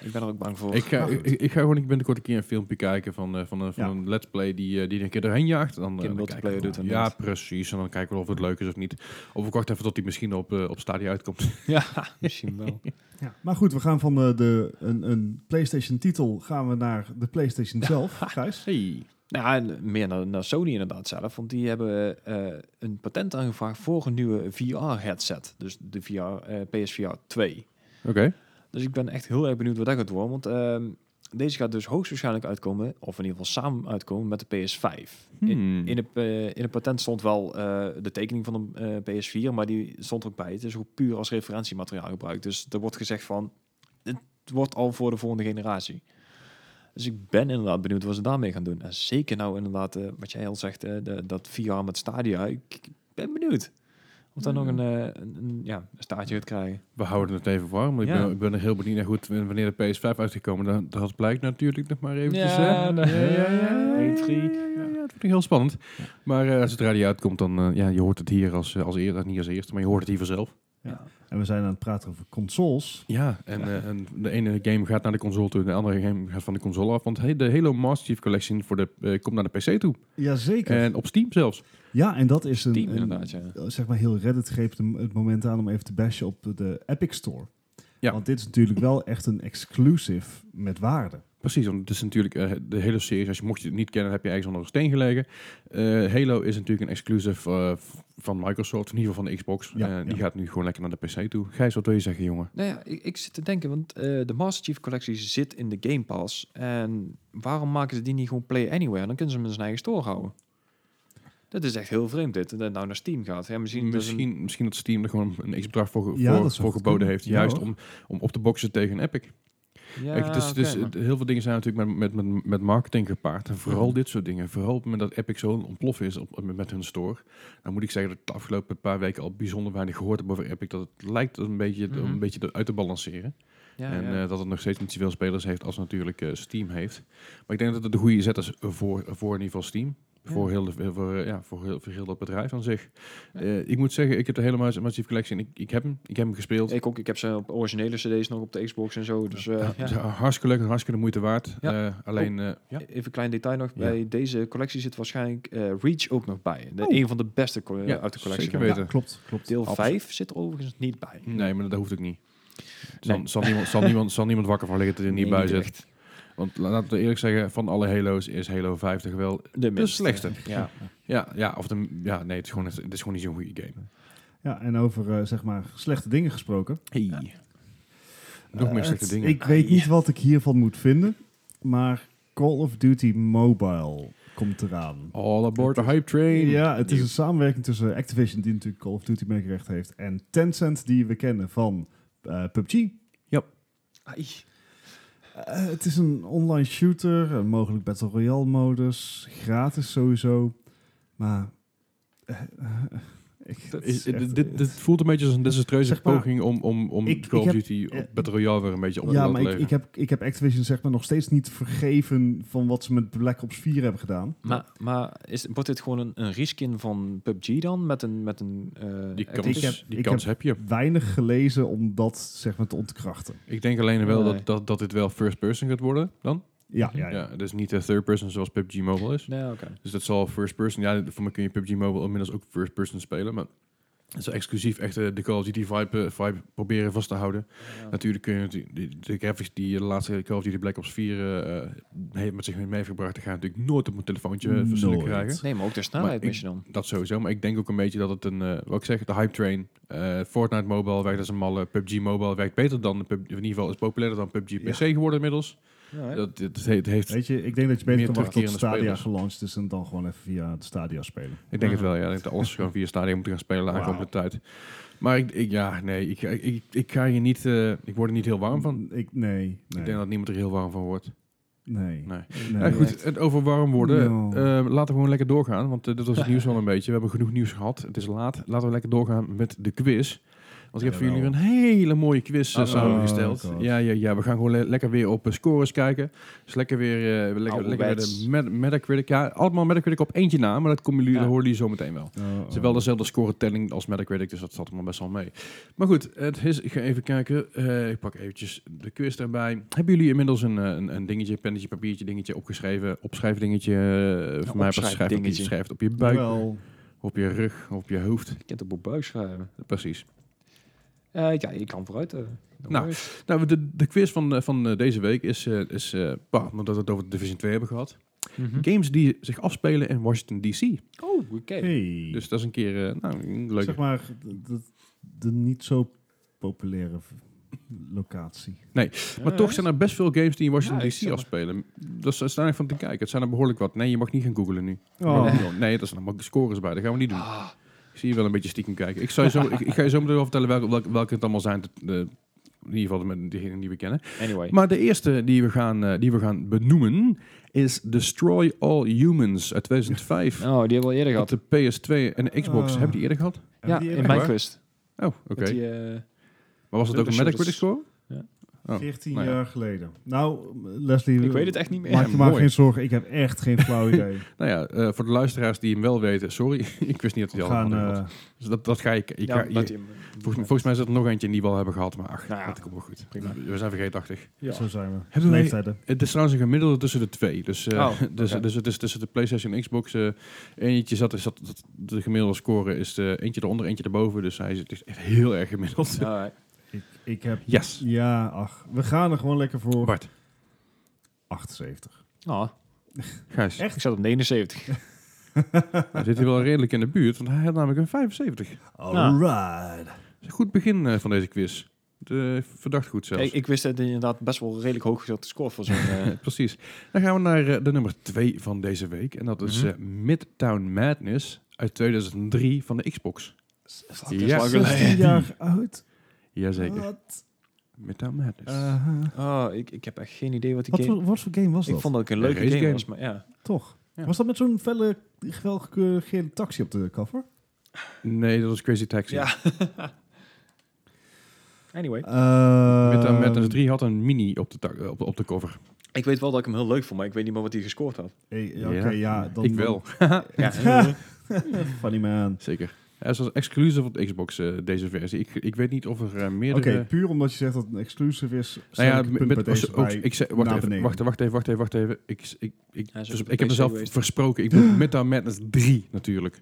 Speaker 2: Ik ben er ook bang voor.
Speaker 4: Ik ga,
Speaker 3: Maar
Speaker 4: ik,
Speaker 3: goed.
Speaker 4: ik ga gewoon binnenkort een keer een filmpje kijken van, eh, van, een, van
Speaker 3: Ja.
Speaker 4: een let's play die, eh, die er een keer doorheen jaagt. Dan, eh,
Speaker 2: Keer
Speaker 4: dan
Speaker 2: multiplayer
Speaker 4: kijken we
Speaker 2: doet
Speaker 4: wel. Ja,
Speaker 2: en
Speaker 4: precies. En dan kijken we of het leuk is of niet. Of ik wacht even tot die misschien op, eh, op Stadia uitkomt.
Speaker 2: ja, misschien wel.
Speaker 3: Ja. Maar goed, we gaan van eh, de, een, een PlayStation-titel gaan we naar de PlayStation zelf, Gijs.
Speaker 4: Hey.
Speaker 2: Nou, ja, en meer naar, naar Sony inderdaad zelf. Want die hebben eh, een patent aangevraagd voor een nieuwe VR-headset. Dus de VR, eh, PSVR 2.
Speaker 4: Oké.
Speaker 2: Dus ik ben echt heel erg benieuwd wat dat gaat worden. Want ehm, deze gaat dus hoogstwaarschijnlijk uitkomen, of in ieder geval samen uitkomen met de PS5. In,
Speaker 4: Hmm.
Speaker 2: in, het, eh, in het patent stond wel eh, de tekening van de eh, PS4, maar die stond er ook bij. Het is ook puur als referentiemateriaal gebruikt. Dus er wordt gezegd van, dit wordt al voor de volgende generatie. Dus ik ben inderdaad benieuwd wat ze daarmee gaan doen. En zeker nou inderdaad, eh, wat jij al zegt, eh, de- dat VR met Stadia. Ik ben benieuwd of daar nog een, eh, een, een, ja, een staartje gaat krijgen.
Speaker 4: We houden het even warm. Ik,
Speaker 2: Ja.
Speaker 4: ben, ik ben er heel benieuwd naar goed w- wanneer de PS5 uit is gekomen. Dat, dat blijkt natuurlijk nog maar eventjes.
Speaker 2: Ja,
Speaker 4: hè?
Speaker 2: nou,
Speaker 4: ja,
Speaker 2: 1-3.
Speaker 4: ja, ja, het wordt nog heel spannend. Maar eh, als het radio uitkomt, dan eh, ja, je hoort het hier als, eh, als eerder, niet als eerste, maar je hoort het hier vanzelf.
Speaker 3: En we zijn aan het praten over consoles.
Speaker 4: Ja, en, eh, en de ene game gaat naar de console toe, en de andere game gaat van de console af. Want he- de Halo Master Chief Collection voor de, eh, komt naar de PC toe.
Speaker 3: Jazeker.
Speaker 4: En op Steam zelfs.
Speaker 3: ja, en dat is een...
Speaker 2: Team
Speaker 3: een-
Speaker 2: Eh,
Speaker 3: eh,
Speaker 2: inderdaad, ja.
Speaker 3: zeg maar heel Reddit greep de- het moment aan om even te bashen op de Epic Store.
Speaker 4: Ja.
Speaker 3: Want dit is natuurlijk wel echt een exclusive met waarde.
Speaker 4: Precies, want het is natuurlijk eh, de hele serie. Als je mocht je het niet kennen, heb je ergens onder een steen gelegen. Eh, Halo is natuurlijk een exclusive eh, v- van Microsoft, in ieder geval van de Xbox.
Speaker 3: Ja,
Speaker 4: Eh, die
Speaker 3: ja.
Speaker 4: gaat nu gewoon lekker naar de PC toe. Gijs, wat wil je zeggen, jongen?
Speaker 2: Nou ja, ik, ik zit te denken, want eh, de Master Chief collectie zit in de Game Pass. En waarom maken ze die niet gewoon Play Anywhere? Dan kunnen ze hem in zijn eigen store houden. Dat is echt heel vreemd dit, dat het nou naar Steam gaat. Ja, misschien, dat is een-
Speaker 4: Misschien, misschien dat Steam er gewoon een x-bedrag voor, ge-
Speaker 3: Ja,
Speaker 4: voor,
Speaker 3: dat zou goed
Speaker 4: voor geboden
Speaker 3: kunnen.
Speaker 4: heeft.
Speaker 3: Ja,
Speaker 4: juist
Speaker 3: hoor.
Speaker 4: om, om op te boksen tegen Epic.
Speaker 2: ja,
Speaker 4: Kijk, dus- het is, het is-
Speaker 2: oké, maar-
Speaker 4: het- heel veel dingen zijn natuurlijk met, met, met, met marketing gepaard. En vooral
Speaker 2: Mhm.
Speaker 4: dit soort dingen. Vooral op het moment dat Epic zo ontplof is op, met- met hun store. Dan moet ik zeggen dat ik de afgelopen paar weken al bijzonder weinig gehoord heb over Epic. Dat het lijkt een beetje,
Speaker 2: Mhm.
Speaker 4: om een beetje uit te balanceren.
Speaker 2: ja,
Speaker 4: en
Speaker 2: ja.
Speaker 4: eh, dat het nog steeds niet zoveel spelers heeft als natuurlijk eh, Steam heeft. Maar ik denk dat het de goede zet is voor, voor in ieder geval Steam.
Speaker 2: Ja.
Speaker 4: Voor, heel de, voor, eh, ja, voor, heel, voor heel dat bedrijf aan zich. Eh, ik moet zeggen, ik heb de hele Mas- Massive Collection. Ik, ik heb hem. Ik heb hem gespeeld.
Speaker 2: ik, ook, ik heb ze op originele cd's nog op de Xbox en zo. Dus eh,
Speaker 4: Ja,
Speaker 2: ja.
Speaker 4: dus, eh, hartstikke leuk en hartstikke de moeite waard.
Speaker 2: Ja.
Speaker 4: Eh, alleen, eh, ja.
Speaker 2: even een klein detail nog.
Speaker 4: Ja.
Speaker 2: Bij deze collectie zit waarschijnlijk eh, Reach ook nog bij. De,
Speaker 4: Oh.
Speaker 2: Een van de beste co-
Speaker 4: Ja,
Speaker 2: uit de collectie.
Speaker 4: zeker weten.
Speaker 3: Ja, klopt, klopt.
Speaker 2: Deel
Speaker 4: Absoluut.
Speaker 2: 5 zit er overigens niet bij.
Speaker 4: Nee, maar dat hoeft ook niet. Zal,
Speaker 2: Nee.
Speaker 4: zal, niemand, zal, niemand, zal niemand wakker van liggen dat hij er niet
Speaker 2: Nee,
Speaker 4: bij zit.
Speaker 2: echt.
Speaker 4: Want la- laten we eerlijk zeggen, van alle Halo's is Halo 50 wel...
Speaker 2: De, minste.
Speaker 4: slechtste.
Speaker 2: Ja.
Speaker 4: Ja, ja, of de, ja nee, het is gewoon, het is gewoon niet zo'n goede game.
Speaker 3: Ja, en over eh, zeg maar slechte dingen gesproken.
Speaker 4: Nog meer
Speaker 3: Eh,
Speaker 4: slechte
Speaker 3: het-
Speaker 4: dingen.
Speaker 3: Ik weet niet wat ik hiervan moet vinden, maar Call of Duty Mobile komt eraan.
Speaker 4: All aboard the hype train.
Speaker 3: Ja, het is een samenwerking tussen Activision, die natuurlijk Call of Duty meegerecht heeft, en Tencent, die we kennen van eh, PUBG.
Speaker 2: Ai.
Speaker 3: Eh, het is een online shooter, een mogelijk Battle Royale modus, gratis sowieso. Maar. eh, eh, ik, het
Speaker 4: Is-
Speaker 3: is
Speaker 4: dit-
Speaker 3: echt-
Speaker 4: dit, dit voelt een beetje als een desastreuze
Speaker 3: Zeg maar,
Speaker 4: poging om, om, om
Speaker 3: ik-
Speaker 4: Call
Speaker 3: ik
Speaker 4: of
Speaker 3: heb-
Speaker 4: Duty op
Speaker 3: eh,
Speaker 4: Battle Royale weer een beetje op te
Speaker 3: ja,
Speaker 4: laten
Speaker 3: maar ik,
Speaker 4: leven.
Speaker 3: ik, heb, ik heb Activision zeg maar nog steeds niet vergeven van wat ze met Black Ops 4 hebben gedaan.
Speaker 2: Maar, maar is, wordt dit gewoon een, een reskin van PUBG dan? Met een... Met een eh,
Speaker 4: die kans,
Speaker 2: Activision?
Speaker 3: ik heb-
Speaker 4: die
Speaker 3: ik
Speaker 4: kans heb je.
Speaker 3: Weinig gelezen om dat zeg maar te ontkrachten.
Speaker 4: Ik denk alleen wel
Speaker 2: Nee.
Speaker 4: dat, dat, dat dit wel first person gaat worden dan.
Speaker 3: Ja, ja,
Speaker 4: Ja,
Speaker 3: ja.
Speaker 4: dus niet eh, third person zoals PUBG Mobile is.
Speaker 2: Nee, oké.
Speaker 4: Dus dat zal first person. Ja, voor mij kun je PUBG Mobile inmiddels ook first person spelen. Maar dat is exclusief echt eh, de Call of Duty vibe, eh, vibe proberen vast te houden. Natuurlijk kun je natu- die- de graphics die eh, de laatste Call of Duty Black Ops 4 eh, eh, heeft met zich mee meegebracht, die ga je natuurlijk nooit op mijn telefoontje eh, verzonnen
Speaker 3: Nooit.
Speaker 4: krijgen.
Speaker 2: Nee, maar ook de
Speaker 4: Maar
Speaker 2: snelheid
Speaker 4: ik-
Speaker 2: mis je dan.
Speaker 4: Dat sowieso, maar ik denk ook een beetje dat het een, eh, wat ik zeg, de hype train. eh, Fortnite Mobile werkt als een malle, PUBG Mobile werkt beter dan, de PUBG, in ieder geval is populairder dan PUBG
Speaker 3: Ja.
Speaker 4: PC geworden inmiddels.
Speaker 2: Ja,
Speaker 4: Dat, het, het heeft,
Speaker 3: Weet je, ik denk dat je beter
Speaker 4: Meer
Speaker 3: kan wachten tot
Speaker 4: terugkerende
Speaker 3: Stadia
Speaker 4: spelers.
Speaker 3: gelanceerd is en dan gewoon even via de Stadia spelen.
Speaker 4: Ik denk het wel, ja. Ik denk dat alles gewoon via stadion moeten gaan spelen de
Speaker 3: Mhm. Wauw.
Speaker 4: aankomende tijd. Maar ik, ik- ja, nee, ik, ik, ik ga hier niet, eh, ik word er niet heel warm van.
Speaker 3: Ik, nee, nee,
Speaker 4: Ik denk dat niemand er heel warm van wordt.
Speaker 3: nee.
Speaker 4: Nee.
Speaker 3: nee.
Speaker 4: Nou goed, het over warm worden.
Speaker 3: No.
Speaker 4: Eh, laten we gewoon lekker doorgaan, want eh, dit was het nieuws al een beetje. We hebben genoeg nieuws gehad. Het is laat. Laten we lekker doorgaan met de quiz. Want ik heb voor
Speaker 3: Jawel.
Speaker 4: jullie weer een hele mooie quiz eh,
Speaker 3: Oh,
Speaker 4: samengesteld.
Speaker 3: God.
Speaker 4: ja, ja, ja, we gaan gewoon le- lekker weer op eh, scores kijken. Dus lekker weer, eh, lekker,
Speaker 2: Ouderwets.
Speaker 4: lekker weer de met, Metacritic. Ja, allemaal Metacritic op eentje na, maar dat komen jullie,
Speaker 2: Ja.
Speaker 4: dat horen jullie zo meteen wel.
Speaker 3: Oh,
Speaker 4: Het is wel dezelfde scoretelling als Metacritic, dus dat zat allemaal best wel mee. Maar goed, het is, ik ga even kijken. Eh, ik pak eventjes de quiz erbij. Hebben jullie inmiddels een, eh, een, een dingetje, pennetje, papiertje, dingetje opgeschreven? Opschrijfdingetje, eh, voor mij
Speaker 2: opschrijfdingetje.
Speaker 4: schrijf je schrijft op je buik,
Speaker 3: Jawel.
Speaker 4: op je rug, op je hoofd.
Speaker 2: Je kunt op boek buik schrijven.
Speaker 4: Precies.
Speaker 2: Eh, ja, je kan vooruit. eh. No
Speaker 4: Nou,
Speaker 2: worries.
Speaker 4: Nou, de, de quiz van, eh, van eh, deze week is, eh, is eh, bah, omdat we het over Division 2 hebben gehad.
Speaker 2: Mhm.
Speaker 4: Games die zich afspelen in Washington DC.
Speaker 2: Oh, oké.
Speaker 3: Hey.
Speaker 4: Dus dat is een keer eh, nou, een leuke.
Speaker 3: Zeg maar, de, de- de niet zo populaire v- locatie.
Speaker 4: Maar toch zijn er best veel games die in Washington
Speaker 2: Ja, ik
Speaker 4: DC
Speaker 2: zeg maar.
Speaker 4: afspelen. Dat is staan van te kijken. Het zijn er behoorlijk wat. Nee, je mag niet gaan googlen nu.
Speaker 3: Oh.
Speaker 4: Nee, dat zijn allemaal scores bij. Dat gaan we niet doen.
Speaker 2: Ah.
Speaker 4: Ik zie je wel een beetje stiekem kijken. Ik, zou je zo, ik, ik ga je zo meteen wel vertellen welke, welke, welke het allemaal zijn. De- de- in ieder geval met diegenen die we kennen.
Speaker 2: Anyway.
Speaker 4: Maar de eerste die we gaan, eh, die we gaan benoemen is Destroy All Humans uit 2005.
Speaker 2: oh, die hebben we al eerder
Speaker 4: Op
Speaker 2: gehad.
Speaker 4: de PS2 en de Xbox.
Speaker 3: Ah.
Speaker 4: Heb je die eerder gehad?
Speaker 2: Ja,
Speaker 3: Die
Speaker 2: in
Speaker 3: hebben
Speaker 4: mijn-
Speaker 2: mijn
Speaker 4: waar?
Speaker 2: quest.
Speaker 4: Oh, oké.
Speaker 2: Met die, eh,
Speaker 4: Maar was het ook een
Speaker 2: Dubbele
Speaker 4: Metacritic
Speaker 2: shoulders.
Speaker 4: score? Oh,
Speaker 3: 14
Speaker 4: nou ja.
Speaker 3: jaar geleden. Nou, Leslie,
Speaker 2: ik weet het echt niet meer.
Speaker 4: Maar-
Speaker 3: maak je maar
Speaker 4: mooi.
Speaker 3: geen zorgen. Ik heb echt geen flauw idee.
Speaker 4: Nou ja, eh, voor de luisteraars die hem wel weten, sorry, ik wist niet dat hij
Speaker 3: We
Speaker 4: al
Speaker 3: gaan,
Speaker 4: had.
Speaker 3: eh,
Speaker 4: Dus dat, dat ga ik. ik
Speaker 2: Ja,
Speaker 4: ga,
Speaker 2: dat
Speaker 4: je-
Speaker 2: die hem-
Speaker 4: volgens, volgens mij zit er nog eentje in die we al hebben gehad, maar ach,
Speaker 2: Nou ja.
Speaker 4: dat komt wel goed.
Speaker 2: Prima.
Speaker 4: We zijn vergeetachtig.
Speaker 2: Ja.
Speaker 3: zo zijn we.
Speaker 4: Hebben wij-
Speaker 3: Leeftijden.
Speaker 4: Het is trouwens een gemiddelde tussen de twee. Dus, eh,
Speaker 2: Oh,
Speaker 4: dus,
Speaker 2: oké.
Speaker 4: dus het is tussen de PlayStation en Xbox. eh, eentje zat, zat, dat- de gemiddelde score is eh, eentje eronder, eentje erboven. Dus hij is, het is echt heel erg gemiddeld.
Speaker 2: Alright.
Speaker 3: Ik, ik heb...
Speaker 4: Yes.
Speaker 3: Ja, ach. We gaan er gewoon lekker voor.
Speaker 4: Bart,
Speaker 3: 78.
Speaker 2: Oh,
Speaker 4: Gijs,
Speaker 2: ik zat op 79.
Speaker 4: nou zit hij wel redelijk in de buurt, want hij had namelijk een 75.
Speaker 2: Nou.
Speaker 3: Alright.
Speaker 4: Een Goed begin eh, van deze quiz. De, verdacht goed zelfs.
Speaker 2: Ik, ik wist dat hij inderdaad best wel redelijk hoog zat te scoren voor zo'n... eh,
Speaker 4: Precies. Dan gaan we naar eh, de nummer 2 van deze week. En dat is
Speaker 2: Mhm.
Speaker 4: eh, Midtown Madness uit 2003 van de Xbox.
Speaker 2: fuck,
Speaker 4: Ja.
Speaker 2: dat is lang geleden.
Speaker 3: 16 jaar oud.
Speaker 4: Jazeker.
Speaker 3: Wat?
Speaker 4: Midtown Madness.
Speaker 3: Eh,
Speaker 2: Oh, ik, ik heb echt geen idee wat die
Speaker 3: wat,
Speaker 2: game...
Speaker 3: voor, wat voor game was dat?
Speaker 2: Ik vond dat ook een
Speaker 4: Een
Speaker 2: leuke
Speaker 4: race
Speaker 2: game,
Speaker 4: game.
Speaker 2: was, maar ja.
Speaker 3: Toch?
Speaker 4: Ja.
Speaker 3: Was dat met zo'n felle, geweldige gele taxi op de cover?
Speaker 4: nee, dat was Crazy Taxi.
Speaker 2: Ja. Anyway.
Speaker 3: Ehm.
Speaker 4: Midtown Madness 3 had een mini op de, tak- op, de- op de cover.
Speaker 2: Ik weet wel dat ik hem heel leuk vond, maar ik weet niet meer wat hij gescoord had.
Speaker 3: Hey, Eh, Oké,
Speaker 4: Ja.
Speaker 3: ja. Dan,
Speaker 4: ik wel.
Speaker 2: Ja,
Speaker 3: dan- Funny man.
Speaker 4: Zeker. Hij was exclusief op de Xbox, eh, deze versie. Ik, ik weet niet of er eh,
Speaker 3: Oké,
Speaker 4: meerdere...
Speaker 3: puur omdat je zegt dat het een exclusive is,
Speaker 4: Nou ja,
Speaker 3: zet ik het punt
Speaker 4: met,
Speaker 3: bij deze
Speaker 4: ook-
Speaker 3: bij.
Speaker 4: ik zei, wacht,
Speaker 3: naar
Speaker 4: even,
Speaker 3: beneden.
Speaker 4: wacht, wacht even, wacht even, wacht even. Ik, ik, ik,
Speaker 2: Hij is
Speaker 4: dus
Speaker 2: op de
Speaker 4: ik heb
Speaker 2: PC
Speaker 4: mezelf
Speaker 2: geweest.
Speaker 4: versproken. Ik bedoel Midtown Madness 3 natuurlijk.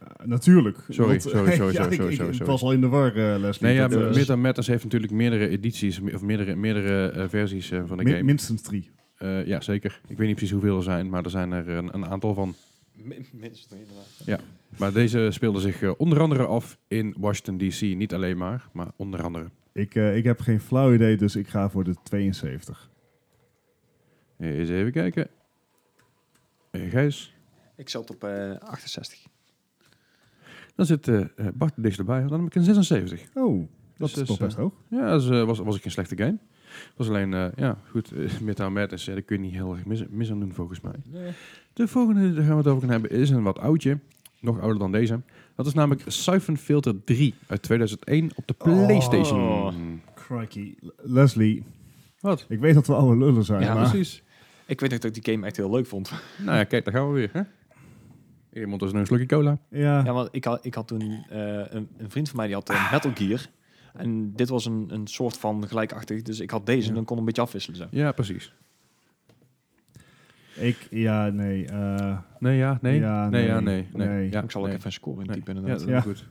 Speaker 3: Ja, Eh, natuurlijk.
Speaker 4: Sorry, sorry, sorry,
Speaker 3: ja,
Speaker 4: sorry,
Speaker 3: ik-
Speaker 4: sorry,
Speaker 3: ik-
Speaker 4: sorry,
Speaker 3: Ik
Speaker 4: sorry.
Speaker 3: was al in de war, eh, Leslie.
Speaker 4: Nee, ja,
Speaker 3: Dat, eh,
Speaker 4: Midtown Madness heeft natuurlijk meerdere edities, me- of meerdere, meerdere eh, versies eh, van de
Speaker 3: min-
Speaker 4: game.
Speaker 3: minstens drie.
Speaker 4: Eh, ja, zeker. Ik weet niet precies hoeveel er zijn, maar er zijn er eh, een, een aantal van.
Speaker 2: Min- Minstens drie, inderdaad.
Speaker 4: Maar deze speelde zich eh, onder andere af in Washington DC. Niet alleen maar, maar onder andere.
Speaker 3: Ik, eh, ik heb geen flauw idee, dus ik ga voor de 72.
Speaker 4: Eens even kijken. Eh, Gijs.
Speaker 2: Ik zat op eh, 68.
Speaker 4: Dan zit eh, eh, Bart dichtst erbij. Dan heb ik een 76.
Speaker 3: Oh, dat
Speaker 4: Dus,
Speaker 3: is toch
Speaker 4: eh,
Speaker 3: best hoog.
Speaker 4: Ja, dat is, eh, was, was ik geen slechte game. was alleen, eh, ja, goed, eh, Midtown Madness, eh, daar kun je niet heel erg mis, mis aan doen volgens mij. De volgende daar gaan we het over gaan hebben is een wat oudje. Nog ouder dan deze. Dat is namelijk Siphon Filter 3 uit 2001 op de PlayStation.
Speaker 3: Crikey. L- Leslie,
Speaker 4: Wat?
Speaker 3: ik weet dat we oude lullen zijn,
Speaker 2: Ja,
Speaker 3: maar
Speaker 4: Precies.
Speaker 2: Ik weet nog dat ik die game echt heel leuk vond.
Speaker 4: Nou ja, kijk, daar gaan we weer. Hè? Iemand is nu een slokje cola.
Speaker 3: ja,
Speaker 2: Ja, want ik had, ik had toen eh, een, een vriend van mij die had een Metal Gear. En dit was een, een soort van gelijkachtig. Dus ik had deze en dan kon een beetje afwisselen. Zo.
Speaker 4: Ja, precies.
Speaker 3: ik, ja, nee. eh,
Speaker 4: Nee, ja, nee.
Speaker 3: Ja,
Speaker 4: nee, ja,
Speaker 3: nee.
Speaker 4: nee. nee.
Speaker 3: Nee.
Speaker 4: Ja,
Speaker 2: Ah, ik zal ook
Speaker 4: nee.
Speaker 2: even een score in
Speaker 4: Nee.
Speaker 2: typen.
Speaker 4: Ja,
Speaker 2: Inderdaad.
Speaker 4: dat is
Speaker 3: Ja.
Speaker 4: goed.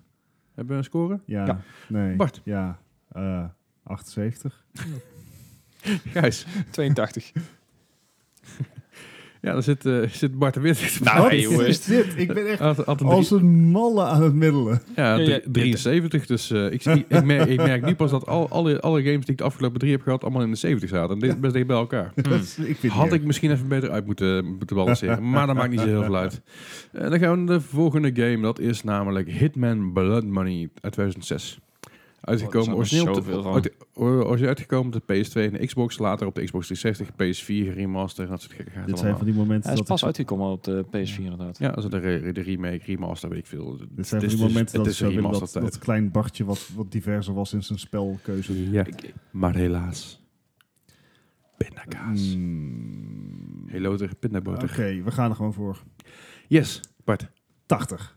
Speaker 4: Hebben we een score?
Speaker 3: ja,
Speaker 2: Ja.
Speaker 3: nee.
Speaker 4: Bart.
Speaker 3: Ja, eh, 78.
Speaker 4: Gijs.
Speaker 2: 82.
Speaker 4: Dus Ja, daar zit, eh, zit Bart de Wit.
Speaker 2: Nou,
Speaker 3: Wat
Speaker 2: hey, jongens.
Speaker 3: is dit? Ik ben echt
Speaker 4: Had- had een
Speaker 3: als een malle aan het middelen.
Speaker 4: Ja,
Speaker 2: Ja, ja,
Speaker 4: drie- 73. Dus eh, ik, zie- ik, merk, ik merk nu pas dat al, alle, alle games die ik de afgelopen drie heb gehad, allemaal in de 70 zaten. En dit is best dicht bij elkaar.
Speaker 3: Dat is- ik vind
Speaker 4: Had
Speaker 3: het
Speaker 4: ik misschien even beter uit moeten, moeten balanceren. maar dat maakt niet zo heel veel uit. Eh, En dan gaan we naar de volgende game. Dat is namelijk Hitman Blood Money uit 2006. Uitgekomen
Speaker 2: Oh, er zijn er
Speaker 4: origineel op de-
Speaker 2: zoveel van.
Speaker 4: uit- or- origineel uitgekomen op de PS2 en de Xbox, later op de Xbox 360, PS4 remaster en dat soort gekke
Speaker 3: Dit zijn van die momenten
Speaker 2: Hij is
Speaker 3: dat
Speaker 2: pas
Speaker 3: ik-
Speaker 2: uitgekomen op de PS4 inderdaad.
Speaker 4: Ja, also de, re- de remake, remaster, weet ik veel.
Speaker 3: dit zijn
Speaker 4: Het
Speaker 3: van
Speaker 4: is- dus-
Speaker 3: die momenten
Speaker 4: het
Speaker 3: dat ik
Speaker 4: is een
Speaker 3: zou willen dat,
Speaker 4: remaster
Speaker 3: dat klein Bartje wat, wat diverser was in zijn spelkeuze.
Speaker 4: Ja,
Speaker 2: Ik-
Speaker 4: maar helaas. Pindakaas.
Speaker 3: Mm,
Speaker 4: Heloter,
Speaker 3: Oké,
Speaker 4: pindaboter.
Speaker 3: we gaan er gewoon voor.
Speaker 4: Oh. Yes, Bart.
Speaker 3: 80.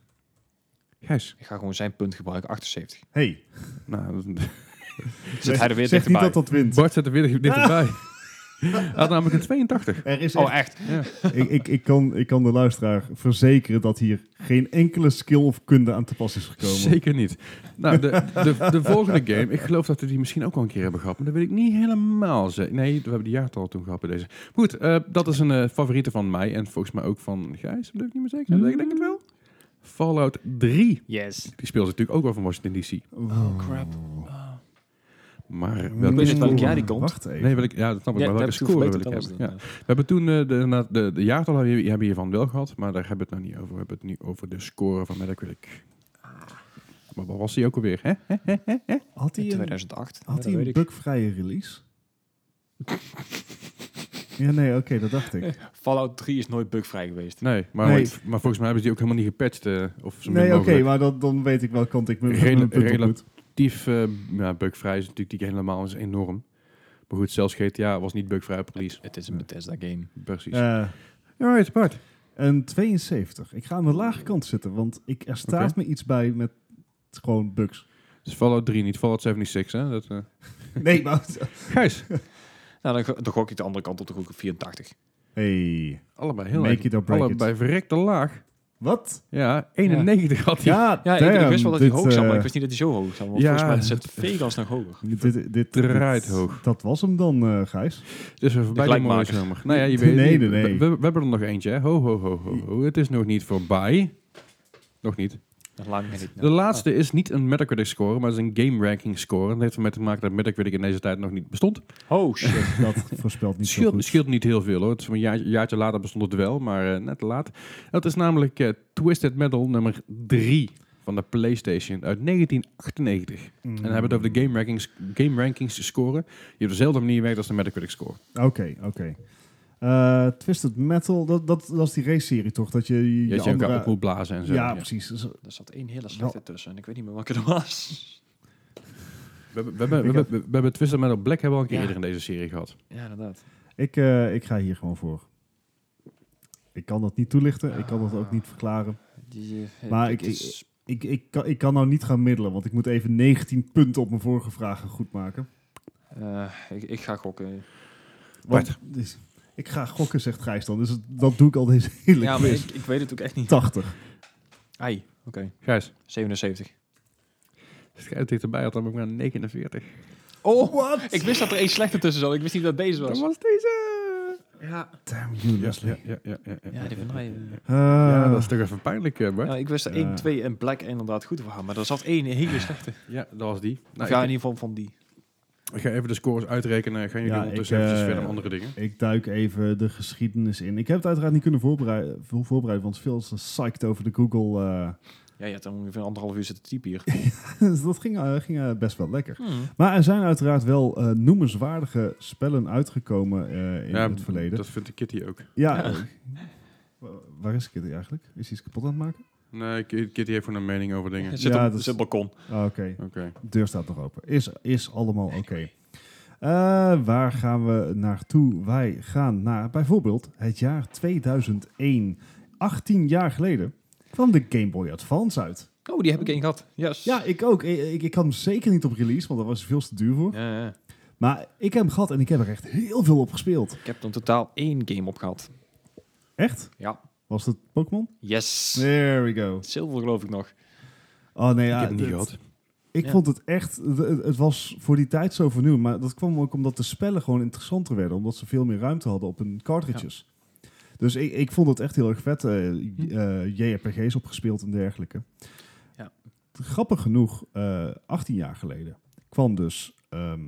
Speaker 4: Gijs.
Speaker 2: Ik ga gewoon zijn punt gebruiken, 78.
Speaker 3: Hey,
Speaker 4: Nou,
Speaker 2: Zit hij er weer
Speaker 3: zeg niet
Speaker 2: dichterbij?
Speaker 3: dat dat wint.
Speaker 4: Bart zit er weer dichterbij.
Speaker 2: Ah.
Speaker 4: Hij had namelijk een 82.
Speaker 3: Er is
Speaker 2: Oh, echt?
Speaker 4: Ja.
Speaker 3: ik, ik, ik, kan, ik kan de luisteraar verzekeren dat hier geen enkele skill of kunde aan te pas is gekomen.
Speaker 4: Zeker niet. Nou, de, de, de volgende game, ik geloof dat we die misschien ook al een keer hebben gehad, maar dat weet ik niet helemaal zeker. Nee, we hebben die jaartal toen gehad bij deze. Goed, eh, dat is een eh, favoriete van mij en volgens mij ook van Gijs, dat weet ik niet meer zeker. Ik denk het wel. Fallout 3.
Speaker 2: Yes.
Speaker 4: Die speelt natuurlijk ook al van Washington DC.
Speaker 3: Oh,
Speaker 2: crap.
Speaker 4: Maar
Speaker 3: Ik
Speaker 4: welke
Speaker 2: weet niet
Speaker 4: score-
Speaker 2: welk jaar die komt.
Speaker 3: Wacht even.
Speaker 4: Nee, wil ik, ja, dat snap ik.
Speaker 2: Ja,
Speaker 4: maar
Speaker 2: dat heb
Speaker 4: welke
Speaker 2: ik toen
Speaker 4: score wil ik
Speaker 2: verbeterd,
Speaker 4: hebben?
Speaker 2: dat
Speaker 4: Ja.
Speaker 2: was het,
Speaker 4: We hebben toen eh, de, inderdaad de, de jaartal hebben we- hebben we hiervan wel gehad, maar daar hebben we het nou niet over. We hebben het nu over de score van Metacritic.
Speaker 3: Ah.
Speaker 4: Maar wat was die ook alweer? Hè?
Speaker 3: Had
Speaker 2: ja.
Speaker 3: hij een,
Speaker 2: 2008.
Speaker 3: had
Speaker 2: Ja,
Speaker 3: hij
Speaker 2: dat
Speaker 3: een
Speaker 2: weet ik.
Speaker 3: bugvrije release? ja, nee, oké, dat dacht ik.
Speaker 2: Fallout 3 is nooit bugvrij geweest.
Speaker 4: Nee, maar,
Speaker 3: Nee.
Speaker 4: want- maar volgens mij hebben ze die ook helemaal niet gepatcht. eh, of zo min
Speaker 3: Nee, oké,
Speaker 4: mogelijk.
Speaker 3: maar dat, dan weet ik wel kant ik me
Speaker 4: Rela-
Speaker 3: mijn punt op
Speaker 4: rela-
Speaker 3: moet.
Speaker 4: Actief, eh, ja, bugvrij is natuurlijk die game helemaal is enorm. Maar goed, zelfs GTA was niet bugvrij op release.
Speaker 2: Het is een Bethesda game.
Speaker 4: Precies.
Speaker 3: Eh,
Speaker 4: Alright, Bart.
Speaker 3: een 72. Ik ga aan de lage kant zitten, want ik, er staat me iets bij met gewoon bugs.
Speaker 4: Dus Fallout 3, niet Fallout 76, hè? Dat, eh.
Speaker 3: Nee, maar...
Speaker 4: Gijs.
Speaker 2: Nou, dan, go- dan gok ik de andere kant op de groep op 84.
Speaker 3: Hey,
Speaker 4: Allebei heel
Speaker 3: Make
Speaker 4: erg.
Speaker 3: it or break it.
Speaker 4: Allebei verrekte laag.
Speaker 3: wat?
Speaker 4: Ja, 91 had hij.
Speaker 3: Ja,
Speaker 2: Ja, ik, ik
Speaker 3: damn,
Speaker 2: wist wel dat hij
Speaker 3: dit,
Speaker 2: hoog zat, maar
Speaker 3: eh,
Speaker 2: ik wist niet dat hij zo hoog zat. Want
Speaker 4: ja,
Speaker 2: volgens mij zit Vegas nog hoger.
Speaker 3: Dit, eh, dit, dit,
Speaker 4: Draait hoog.
Speaker 3: Dat was hem dan, eh, Gijs.
Speaker 4: Dus we voorbij de mooie
Speaker 2: gelijkmaker.
Speaker 4: zomer. Nou ja, je
Speaker 3: Nee,
Speaker 4: weet
Speaker 3: nee,
Speaker 4: niet.
Speaker 3: nee.
Speaker 4: We, we- we hebben er nog eentje, hè? Ho, ho, ho, ho, ho. Het is nog niet voorbij. Nog niet.
Speaker 2: Dat laat ik me niet.
Speaker 4: De laatste is niet een Metacritic score, maar het is een game ranking score. En dat heeft ermee te maken dat Metacritic in deze tijd nog niet bestond.
Speaker 2: Oh, shit.
Speaker 3: Dat voorspelt
Speaker 4: Het
Speaker 3: niet zo
Speaker 4: scheelt,
Speaker 3: goed.
Speaker 4: scheelt niet heel veel hoor. Het is een jaar- jaartje later bestond het wel, maar eh, net te laat. Dat is namelijk eh, Twisted Metal nummer 3 van de PlayStation uit 1998.
Speaker 3: Mm.
Speaker 4: En dan hebben we het over de game rankings, game rankings score. Die op dezelfde manier werkt als de Metacritic score.
Speaker 3: Oké, oké. Eh, Twisted Metal, dat, dat, dat is die race-serie toch? Dat je je,
Speaker 4: Je, dat je
Speaker 3: andere...
Speaker 4: elkaar op moet blazen en zo.
Speaker 3: ja, precies. Dus, eh,
Speaker 2: Er zat één hele slechte tussen en ik weet niet meer welke dat was.
Speaker 4: We, hebben- we, hebben- we, hebben- we hebben Twisted Metal Black hebben we al een keer
Speaker 2: Ja.
Speaker 4: eerder in deze serie gehad.
Speaker 2: Ja, inderdaad.
Speaker 3: Ik, eh, ik ga hier gewoon voor. Ik kan dat niet toelichten. Ik kan dat ook niet verklaren.
Speaker 2: Die, eh,
Speaker 3: Maar
Speaker 2: dit
Speaker 3: ik- ik-
Speaker 2: is-
Speaker 3: Ik, ik, kan, ik kan nou niet gaan middelen, want ik moet even 19 punten op mijn vorige vragen goedmaken.
Speaker 2: eh, ik, ik ga gokken.
Speaker 3: Want, dus, ik ga gokken, zegt Gijs dan. Dus dat doe ik al deze hele
Speaker 2: Ja, maar
Speaker 3: quiz.
Speaker 2: ik, ik weet het ook echt niet.
Speaker 3: 80.
Speaker 2: Ai, oké.
Speaker 4: Gijs,
Speaker 2: 77.
Speaker 4: het schijnt dichterbij had dan ook maar 49.
Speaker 2: Oh,
Speaker 3: What?
Speaker 2: ik wist dat er één slechte tussen zat. Ik wist niet dat deze was.
Speaker 4: was deze.
Speaker 2: Ja,
Speaker 3: Damn you,
Speaker 4: Ja,
Speaker 3: Leslie.
Speaker 4: ja, ja, ja, ja,
Speaker 2: ja die van mij. eh.
Speaker 4: Ja,
Speaker 3: Eh,
Speaker 4: dat is toch even pijnlijk, eh, Bart?
Speaker 2: Ja, ik wist er
Speaker 3: Ja.
Speaker 2: één, twee en Black inderdaad goed waren, maar er zat één hele slechte.
Speaker 4: Ja, dat was die.
Speaker 2: Of
Speaker 4: Nou,
Speaker 2: ja, in
Speaker 4: ik,
Speaker 2: ieder geval van die.
Speaker 4: ik ga even de scores uitrekenen. Gaan jullie
Speaker 3: Ja,
Speaker 4: ondertussen
Speaker 3: ik, eh,
Speaker 4: eventjes verder met andere dingen?
Speaker 3: Ik duik even de geschiedenis in. Ik heb het uiteraard niet kunnen voorbereiden, voor- voorbereiden want veel is psyched over de Google. eh.
Speaker 2: Ja, je hebt er ongeveer anderhalf uur zitten typen hier.
Speaker 3: dus dat ging, eh, ging eh, best wel
Speaker 2: Hmm.
Speaker 3: lekker. Maar er zijn uiteraard wel eh, noemenswaardige spellen uitgekomen eh, in
Speaker 4: Ja,
Speaker 3: het verleden.
Speaker 4: Dat vindt de kitty ook.
Speaker 3: Ja. eh, wa- Waar is Kitty eigenlijk? Is hij iets kapot aan het maken?
Speaker 4: Nee, Ki- kitty heeft gewoon een mening over dingen.
Speaker 2: Zit
Speaker 3: Ja,
Speaker 2: op
Speaker 3: dat is-
Speaker 2: zit op het balkon.
Speaker 3: Ah, Oké,
Speaker 4: Oké.
Speaker 3: de deur staat nog open. Is, is allemaal oké. Eh, waar gaan we naartoe? Wij gaan naar bijvoorbeeld het jaar 2001. 18 jaar geleden kwam de Game Boy Advance uit.
Speaker 2: Oh, die heb ik één gehad. Yes.
Speaker 3: Ja, ik ook. Ik, ik, ik had hem zeker niet op release, want daar was hij veel te duur voor.
Speaker 2: Ja, ja.
Speaker 3: Maar ik heb hem gehad en ik heb er echt heel veel op gespeeld.
Speaker 2: Ik heb er in totaal één game op gehad.
Speaker 3: Echt?
Speaker 2: Ja.
Speaker 3: Was het Pokémon?
Speaker 2: Yes.
Speaker 3: There we go.
Speaker 2: Zilver geloof ik nog.
Speaker 3: Oh nee,
Speaker 4: ik
Speaker 3: ja,
Speaker 4: heb hem niet
Speaker 3: het-
Speaker 4: gehad.
Speaker 3: Ik
Speaker 2: Ja.
Speaker 3: vond het echt, het, het was voor die tijd zo vernieuwend. Maar dat kwam ook omdat de spellen gewoon interessanter werden. Omdat ze veel meer ruimte hadden op hun cartridges. Dus ik, ik vond het echt heel erg vet.
Speaker 2: Hm.
Speaker 3: eh, eh, JRPG's opgespeeld en dergelijke.
Speaker 2: Ja.
Speaker 3: Grappig genoeg, eh, 18 jaar geleden kwam dus ehm,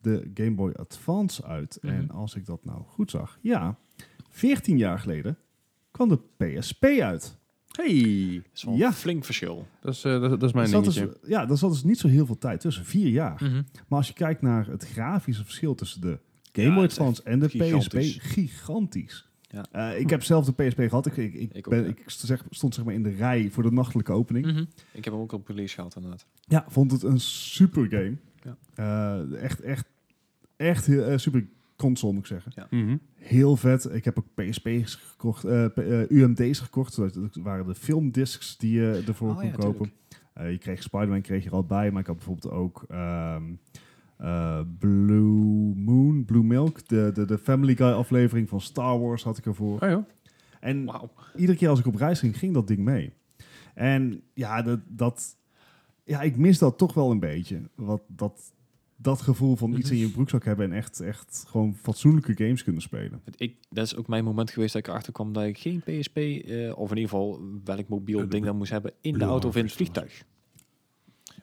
Speaker 3: de Game Boy Advance uit.
Speaker 2: Mhm.
Speaker 3: En als ik dat nou goed zag, ja, 14 jaar geleden kwam de PSP uit.
Speaker 4: Hey,
Speaker 2: Dat is wel
Speaker 3: Ja.
Speaker 2: een flink verschil.
Speaker 4: dat is, eh, dat, dat is mijn
Speaker 3: Er zat
Speaker 4: dingetje.
Speaker 3: dus- ja, daar zat dus niet zo heel veel tijd tussen. Vier jaar. Maar als je kijkt naar het grafische verschil tussen de Game
Speaker 2: Ja,
Speaker 3: Boy
Speaker 2: het is
Speaker 3: Advance en de
Speaker 2: gigantisch.
Speaker 3: PSP, gigantisch.
Speaker 2: Ja.
Speaker 3: Eh, ik heb zelf de PSP gehad. Ik, ik, ik,
Speaker 2: Ik ook,
Speaker 3: ben,
Speaker 2: ja.
Speaker 3: ik st- zeg, stond zeg maar in de rij voor de nachtelijke
Speaker 2: Mhm.
Speaker 3: opening.
Speaker 2: Ik heb hem ook op release gehad inderdaad.
Speaker 3: Ja, vond het een super game. Eh, echt, echt, echt eh, super console moet ik zeggen.
Speaker 2: dus-
Speaker 4: Mhm.
Speaker 3: Heel vet. Ik heb ook PSP's gekocht, eh, P- eh, UMD's gekocht. Dat dat waren de filmdiscs die je ervoor
Speaker 2: Oh,
Speaker 3: kon
Speaker 2: ja,
Speaker 3: kopen.
Speaker 2: tuurlijk.
Speaker 3: Eh, je kreeg Spider-Man kreeg je er al bij, maar ik had bijvoorbeeld ook ehm, eh, Blue Moon, Blue Milk, de, de, de Family Guy aflevering van Star Wars had ik ervoor.
Speaker 2: Oh
Speaker 4: Ah, joh.
Speaker 3: En
Speaker 2: Wauw.
Speaker 3: iedere keer als ik op reis ging, ging dat ding mee. En ja, dat, dat, ja ik mis dat toch wel een beetje. Wat, dat, dat gevoel
Speaker 2: Mhm.
Speaker 3: van iets in je broekzak hebben en echt, echt gewoon fatsoenlijke games kunnen spelen.
Speaker 2: Want Ik, dat is ook mijn moment geweest dat ik erachter kwam dat ik geen PSP, eh, of in ieder geval welk mobiel
Speaker 4: Eh, de
Speaker 2: ding dan moest hebben, in de
Speaker 4: Blue
Speaker 2: auto of in het
Speaker 4: Harvest was.
Speaker 2: vliegtuig.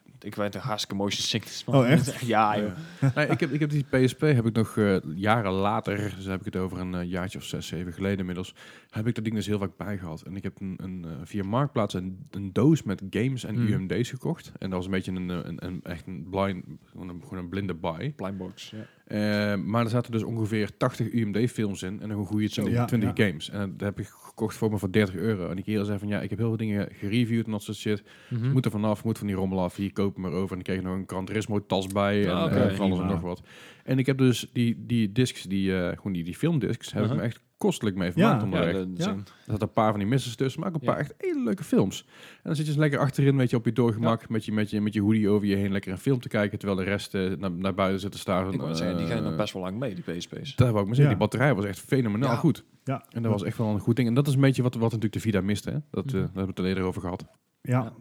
Speaker 2: Want Ik werd een hartstikke motion sickness. man.
Speaker 3: Oh, echt?
Speaker 2: Ja, joh.
Speaker 4: Nee, ik, heb, ik heb die PSP heb ik nog eh, jaren later, dus heb ik het over een eh, jaartje of zes, zeven geleden inmiddels, heb ik dat ding dus heel vaak bij gehad. En ik heb een, een, eh, via Marktplaats een, een doos met games en
Speaker 2: Hmm.
Speaker 4: UMD's gekocht. En dat was een beetje een, eh, een, een echt een blind, gewoon een, gewoon een blinde buy.
Speaker 2: Blindbox. Ja.
Speaker 4: Eh, maar er zaten dus ongeveer 80 UMD-films in en nog een goede 20,
Speaker 3: Ja,
Speaker 4: 20 games. En dat heb ik gekocht voor me voor 30 euro. En die kerel zei van, ja, ik heb heel veel dingen gereviewd en dat soort shit.
Speaker 2: Hm?
Speaker 4: Moet er vanaf, moet van die rommel af. Hier, koop hem erover. En ik kreeg nog een Gran Turismo tas bij. En
Speaker 2: Ah, oké.
Speaker 4: eh, van alles en
Speaker 3: Prima.
Speaker 4: nog wat. En ik heb dus die, die discs, die, eh, gewoon die, die filmdiscs, heb
Speaker 2: Aha.
Speaker 4: ik me echt kostelijk mee
Speaker 3: Uh-huh. Ja.
Speaker 4: vermaakt
Speaker 2: Ja,
Speaker 4: onderweg.
Speaker 2: dat
Speaker 3: Ja.
Speaker 2: zijn-
Speaker 4: Er zaten een paar van die missers tussen, maar ook een
Speaker 2: Ja.
Speaker 4: paar echt hele leuke films. En dan zit je dus lekker achterin, weet je, op je doorgemak, met, je, met, je, met je hoodie over je heen, lekker een film te kijken, terwijl de rest eh, naar, naar buiten zit te staren.
Speaker 2: Ik wou net zeggen, die gaan nog
Speaker 4: Eh,
Speaker 2: best wel lang mee, die PSP's.
Speaker 4: Daar wou ik maar zeggen,
Speaker 3: Ja.
Speaker 4: die batterij was echt fenomenaal
Speaker 2: Ja.
Speaker 4: goed.
Speaker 3: Ja,
Speaker 4: En dat was echt wel een goed ding. En dat is een beetje wat, wat natuurlijk de Vida miste, hè? Dat, eh,
Speaker 2: Mhm.
Speaker 4: daar hebben we het al eerder over gehad.
Speaker 3: Ja.
Speaker 2: Ja.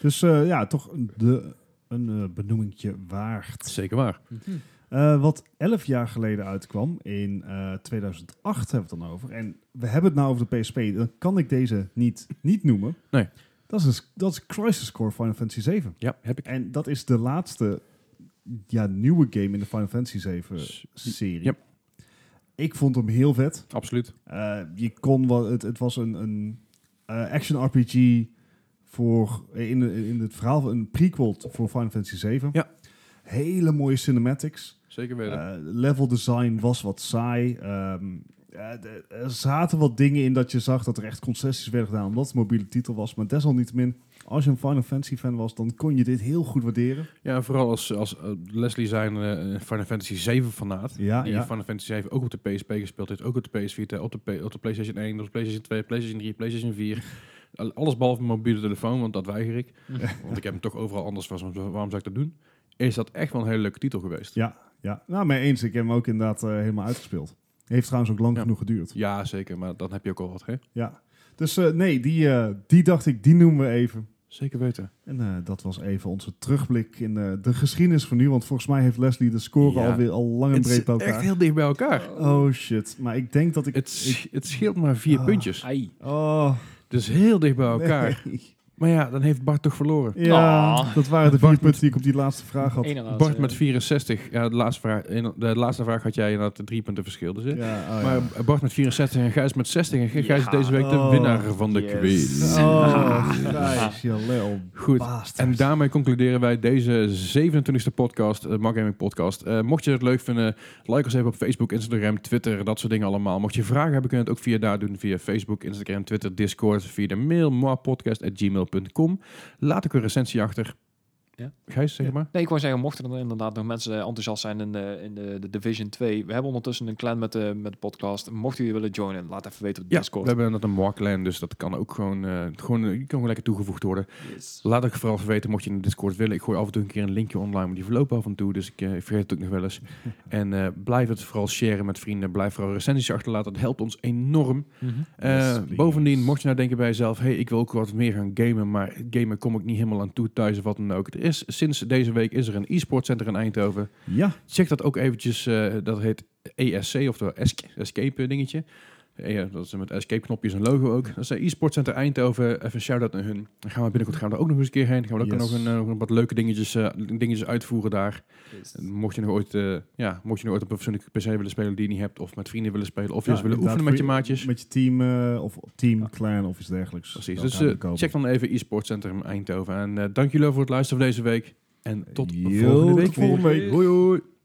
Speaker 3: Dus eh, ja, toch de, een eh, benoemingje waard.
Speaker 4: Zeker waar.
Speaker 3: Eh, wat elf jaar geleden uitkwam, in eh, 2008 hebben we het dan over. En we hebben het nou over de PSP, dan kan ik deze niet, niet noemen.
Speaker 4: Nee.
Speaker 3: Dat is, dus, dat is Crisis Core Final Fantasy 7.
Speaker 4: Ja, heb ik.
Speaker 3: En dat is de laatste ja, nieuwe game in de Final Fantasy 7
Speaker 4: S-
Speaker 3: serie.
Speaker 4: Yep.
Speaker 3: Ik vond hem heel vet.
Speaker 4: Absoluut.
Speaker 3: Eh, je kon wel, het, het was een, een eh, action RPG voor in, de- in het verhaal van een prequel t- voor Final Fantasy 7.
Speaker 4: Ja.
Speaker 3: Hele mooie cinematics.
Speaker 4: Zeker weten.
Speaker 3: Eh, level design was wat saai. Ehm, eh, de- er zaten wat dingen in dat je zag dat er echt concessies werden gedaan omdat het een mobiele titel was. Maar desalniettemin, als je een Final Fantasy fan was, dan kon je dit heel goed waarderen.
Speaker 4: ja, en vooral als, als eh, Leslie zijn eh, Final Fantasy 7 fanaat.
Speaker 3: Ja,
Speaker 4: die
Speaker 3: ja.
Speaker 4: Final Fantasy 7 ook op de PSP gespeeld heeft, ook op de PS Vita, op de, P- op de PlayStation 1, op de PlayStation 2, PlayStation 3, PlayStation 4. Al- Alles behalve mijn mobiele telefoon, want dat weiger ik. Want ik heb hem toch overal anders, was, waarom zou ik dat doen? Is dat echt wel een hele leuke titel geweest.
Speaker 3: Ja, ja. Nou, mee eens. Ik heb hem ook inderdaad eh, helemaal uitgespeeld. Heeft trouwens ook lang
Speaker 4: Ja.
Speaker 3: genoeg geduurd.
Speaker 4: Ja, zeker, maar dan heb je ook al wat, hè?
Speaker 3: Ja. Dus eh, nee, die, eh, die dacht ik, die noemen we even.
Speaker 4: Zeker weten.
Speaker 3: En eh, dat was even onze terugblik in eh, de geschiedenis van nu. Want volgens mij heeft Leslie de score
Speaker 4: Ja.
Speaker 3: alweer al lang en
Speaker 4: Het is
Speaker 3: breed bij
Speaker 4: echt
Speaker 3: elkaar.
Speaker 4: heel dicht bij elkaar.
Speaker 3: Oh shit. Maar ik denk dat ik...
Speaker 4: Het,
Speaker 3: ik-
Speaker 4: sch- het scheelt maar vier
Speaker 3: Ah.
Speaker 4: puntjes.
Speaker 2: Ai.
Speaker 3: oh,
Speaker 4: Dus heel dicht bij elkaar. Oh.
Speaker 3: nee.
Speaker 4: Maar ja, dan heeft Bart toch verloren.
Speaker 3: Ja,
Speaker 2: Ah.
Speaker 3: dat waren de vier punten die ik op die laatste vraag had.
Speaker 2: Inderdaad,
Speaker 4: Bart
Speaker 2: eh,
Speaker 4: met 64. Ja, de laatste vraag, in- de laatste vraag had jij inderdaad drie punten verschil. Dus, hè?
Speaker 3: Ja, oh, ja.
Speaker 4: Maar Bart met 64 en Gijs met 60. En Gijs is
Speaker 2: Ja.
Speaker 4: deze week de
Speaker 3: Oh.
Speaker 4: winnaar van de
Speaker 2: Yes.
Speaker 4: quiz.
Speaker 3: Oh, Gijs, je lel
Speaker 4: Goed.
Speaker 3: bastard.
Speaker 4: En daarmee concluderen wij deze 27e podcast, de Mag Gaming Podcast. Eh, mocht je het leuk vinden, like ons even op Facebook, Instagram, Twitter, dat soort dingen allemaal. Mocht je vragen hebben, kun je het ook via daar doen. Via Facebook, Instagram, Twitter, Discord, via de mail moapodcast.gmail.com. Laat ook een recensie achter.
Speaker 2: Ja.
Speaker 4: Gijs, zeg
Speaker 3: Ja.
Speaker 4: maar.
Speaker 2: Nee, ik wou zeggen, mochten er inderdaad nog mensen eh, enthousiast zijn in de, in de, de Division 2. We hebben ondertussen een clan met de, met de podcast. Mocht jullie willen joinen, laat even weten op
Speaker 4: Ja, we
Speaker 2: Discord.
Speaker 4: hebben net een Markland, dus dat kan ook gewoon, eh, gewoon, eh, je kan gewoon lekker toegevoegd worden.
Speaker 2: Yes.
Speaker 4: Laat ook vooral even weten, mocht je in de Discord willen. Ik gooi af en toe een keer een linkje online, maar die verlopen af en toe. Dus ik, eh, ik vergeet het ook nog wel eens. En eh, blijf het vooral sharen met vrienden. Blijf vooral recensies achterlaten. Dat helpt ons enorm. Eh,
Speaker 3: please.
Speaker 4: bovendien, mocht je nou denken bij jezelf... hey, ik wil ook wat meer gaan gamen, maar gamen kom ik niet helemaal aan toe thuis of wat dan ook. Er is, sinds deze week is er een e-sportcenter in Eindhoven.
Speaker 3: Ja,
Speaker 4: E Check dat ook eventjes. eh, dat heet ESC, oftewel Escape, escape dingetje. Eh, ja, dat is met escape-knopjes en logo ook. Dat is eh, e-sport Center Eindhoven. Even een shout-out naar hun. Dan gaan we binnenkort gaan we daar ook nog eens een keer heen. Dan gaan we ook
Speaker 3: Yes.
Speaker 4: nog een, eh, wat leuke dingetjes, eh, dingetjes uitvoeren daar. En Mocht je nog ooit, eh, ja, mocht je nog ooit op een persoonlijke PC willen spelen die je niet hebt, of met vrienden willen spelen, of je eens willen
Speaker 3: inderdaad,
Speaker 4: oefenen met
Speaker 3: voor
Speaker 4: je maatjes.
Speaker 3: Met je team eh, of team,
Speaker 2: Ja.
Speaker 3: clan of iets dergelijks.
Speaker 4: Precies.
Speaker 3: bij
Speaker 4: Dus
Speaker 3: elkaar
Speaker 4: eh,
Speaker 3: te kopen.
Speaker 4: check dan even e-sport Centrum Eindhoven. En eh, dank jullie wel voor het luisteren van deze week. En tot
Speaker 3: Yo, tot
Speaker 4: volgende week. weer.
Speaker 3: volgende week.
Speaker 4: Hoi hoi.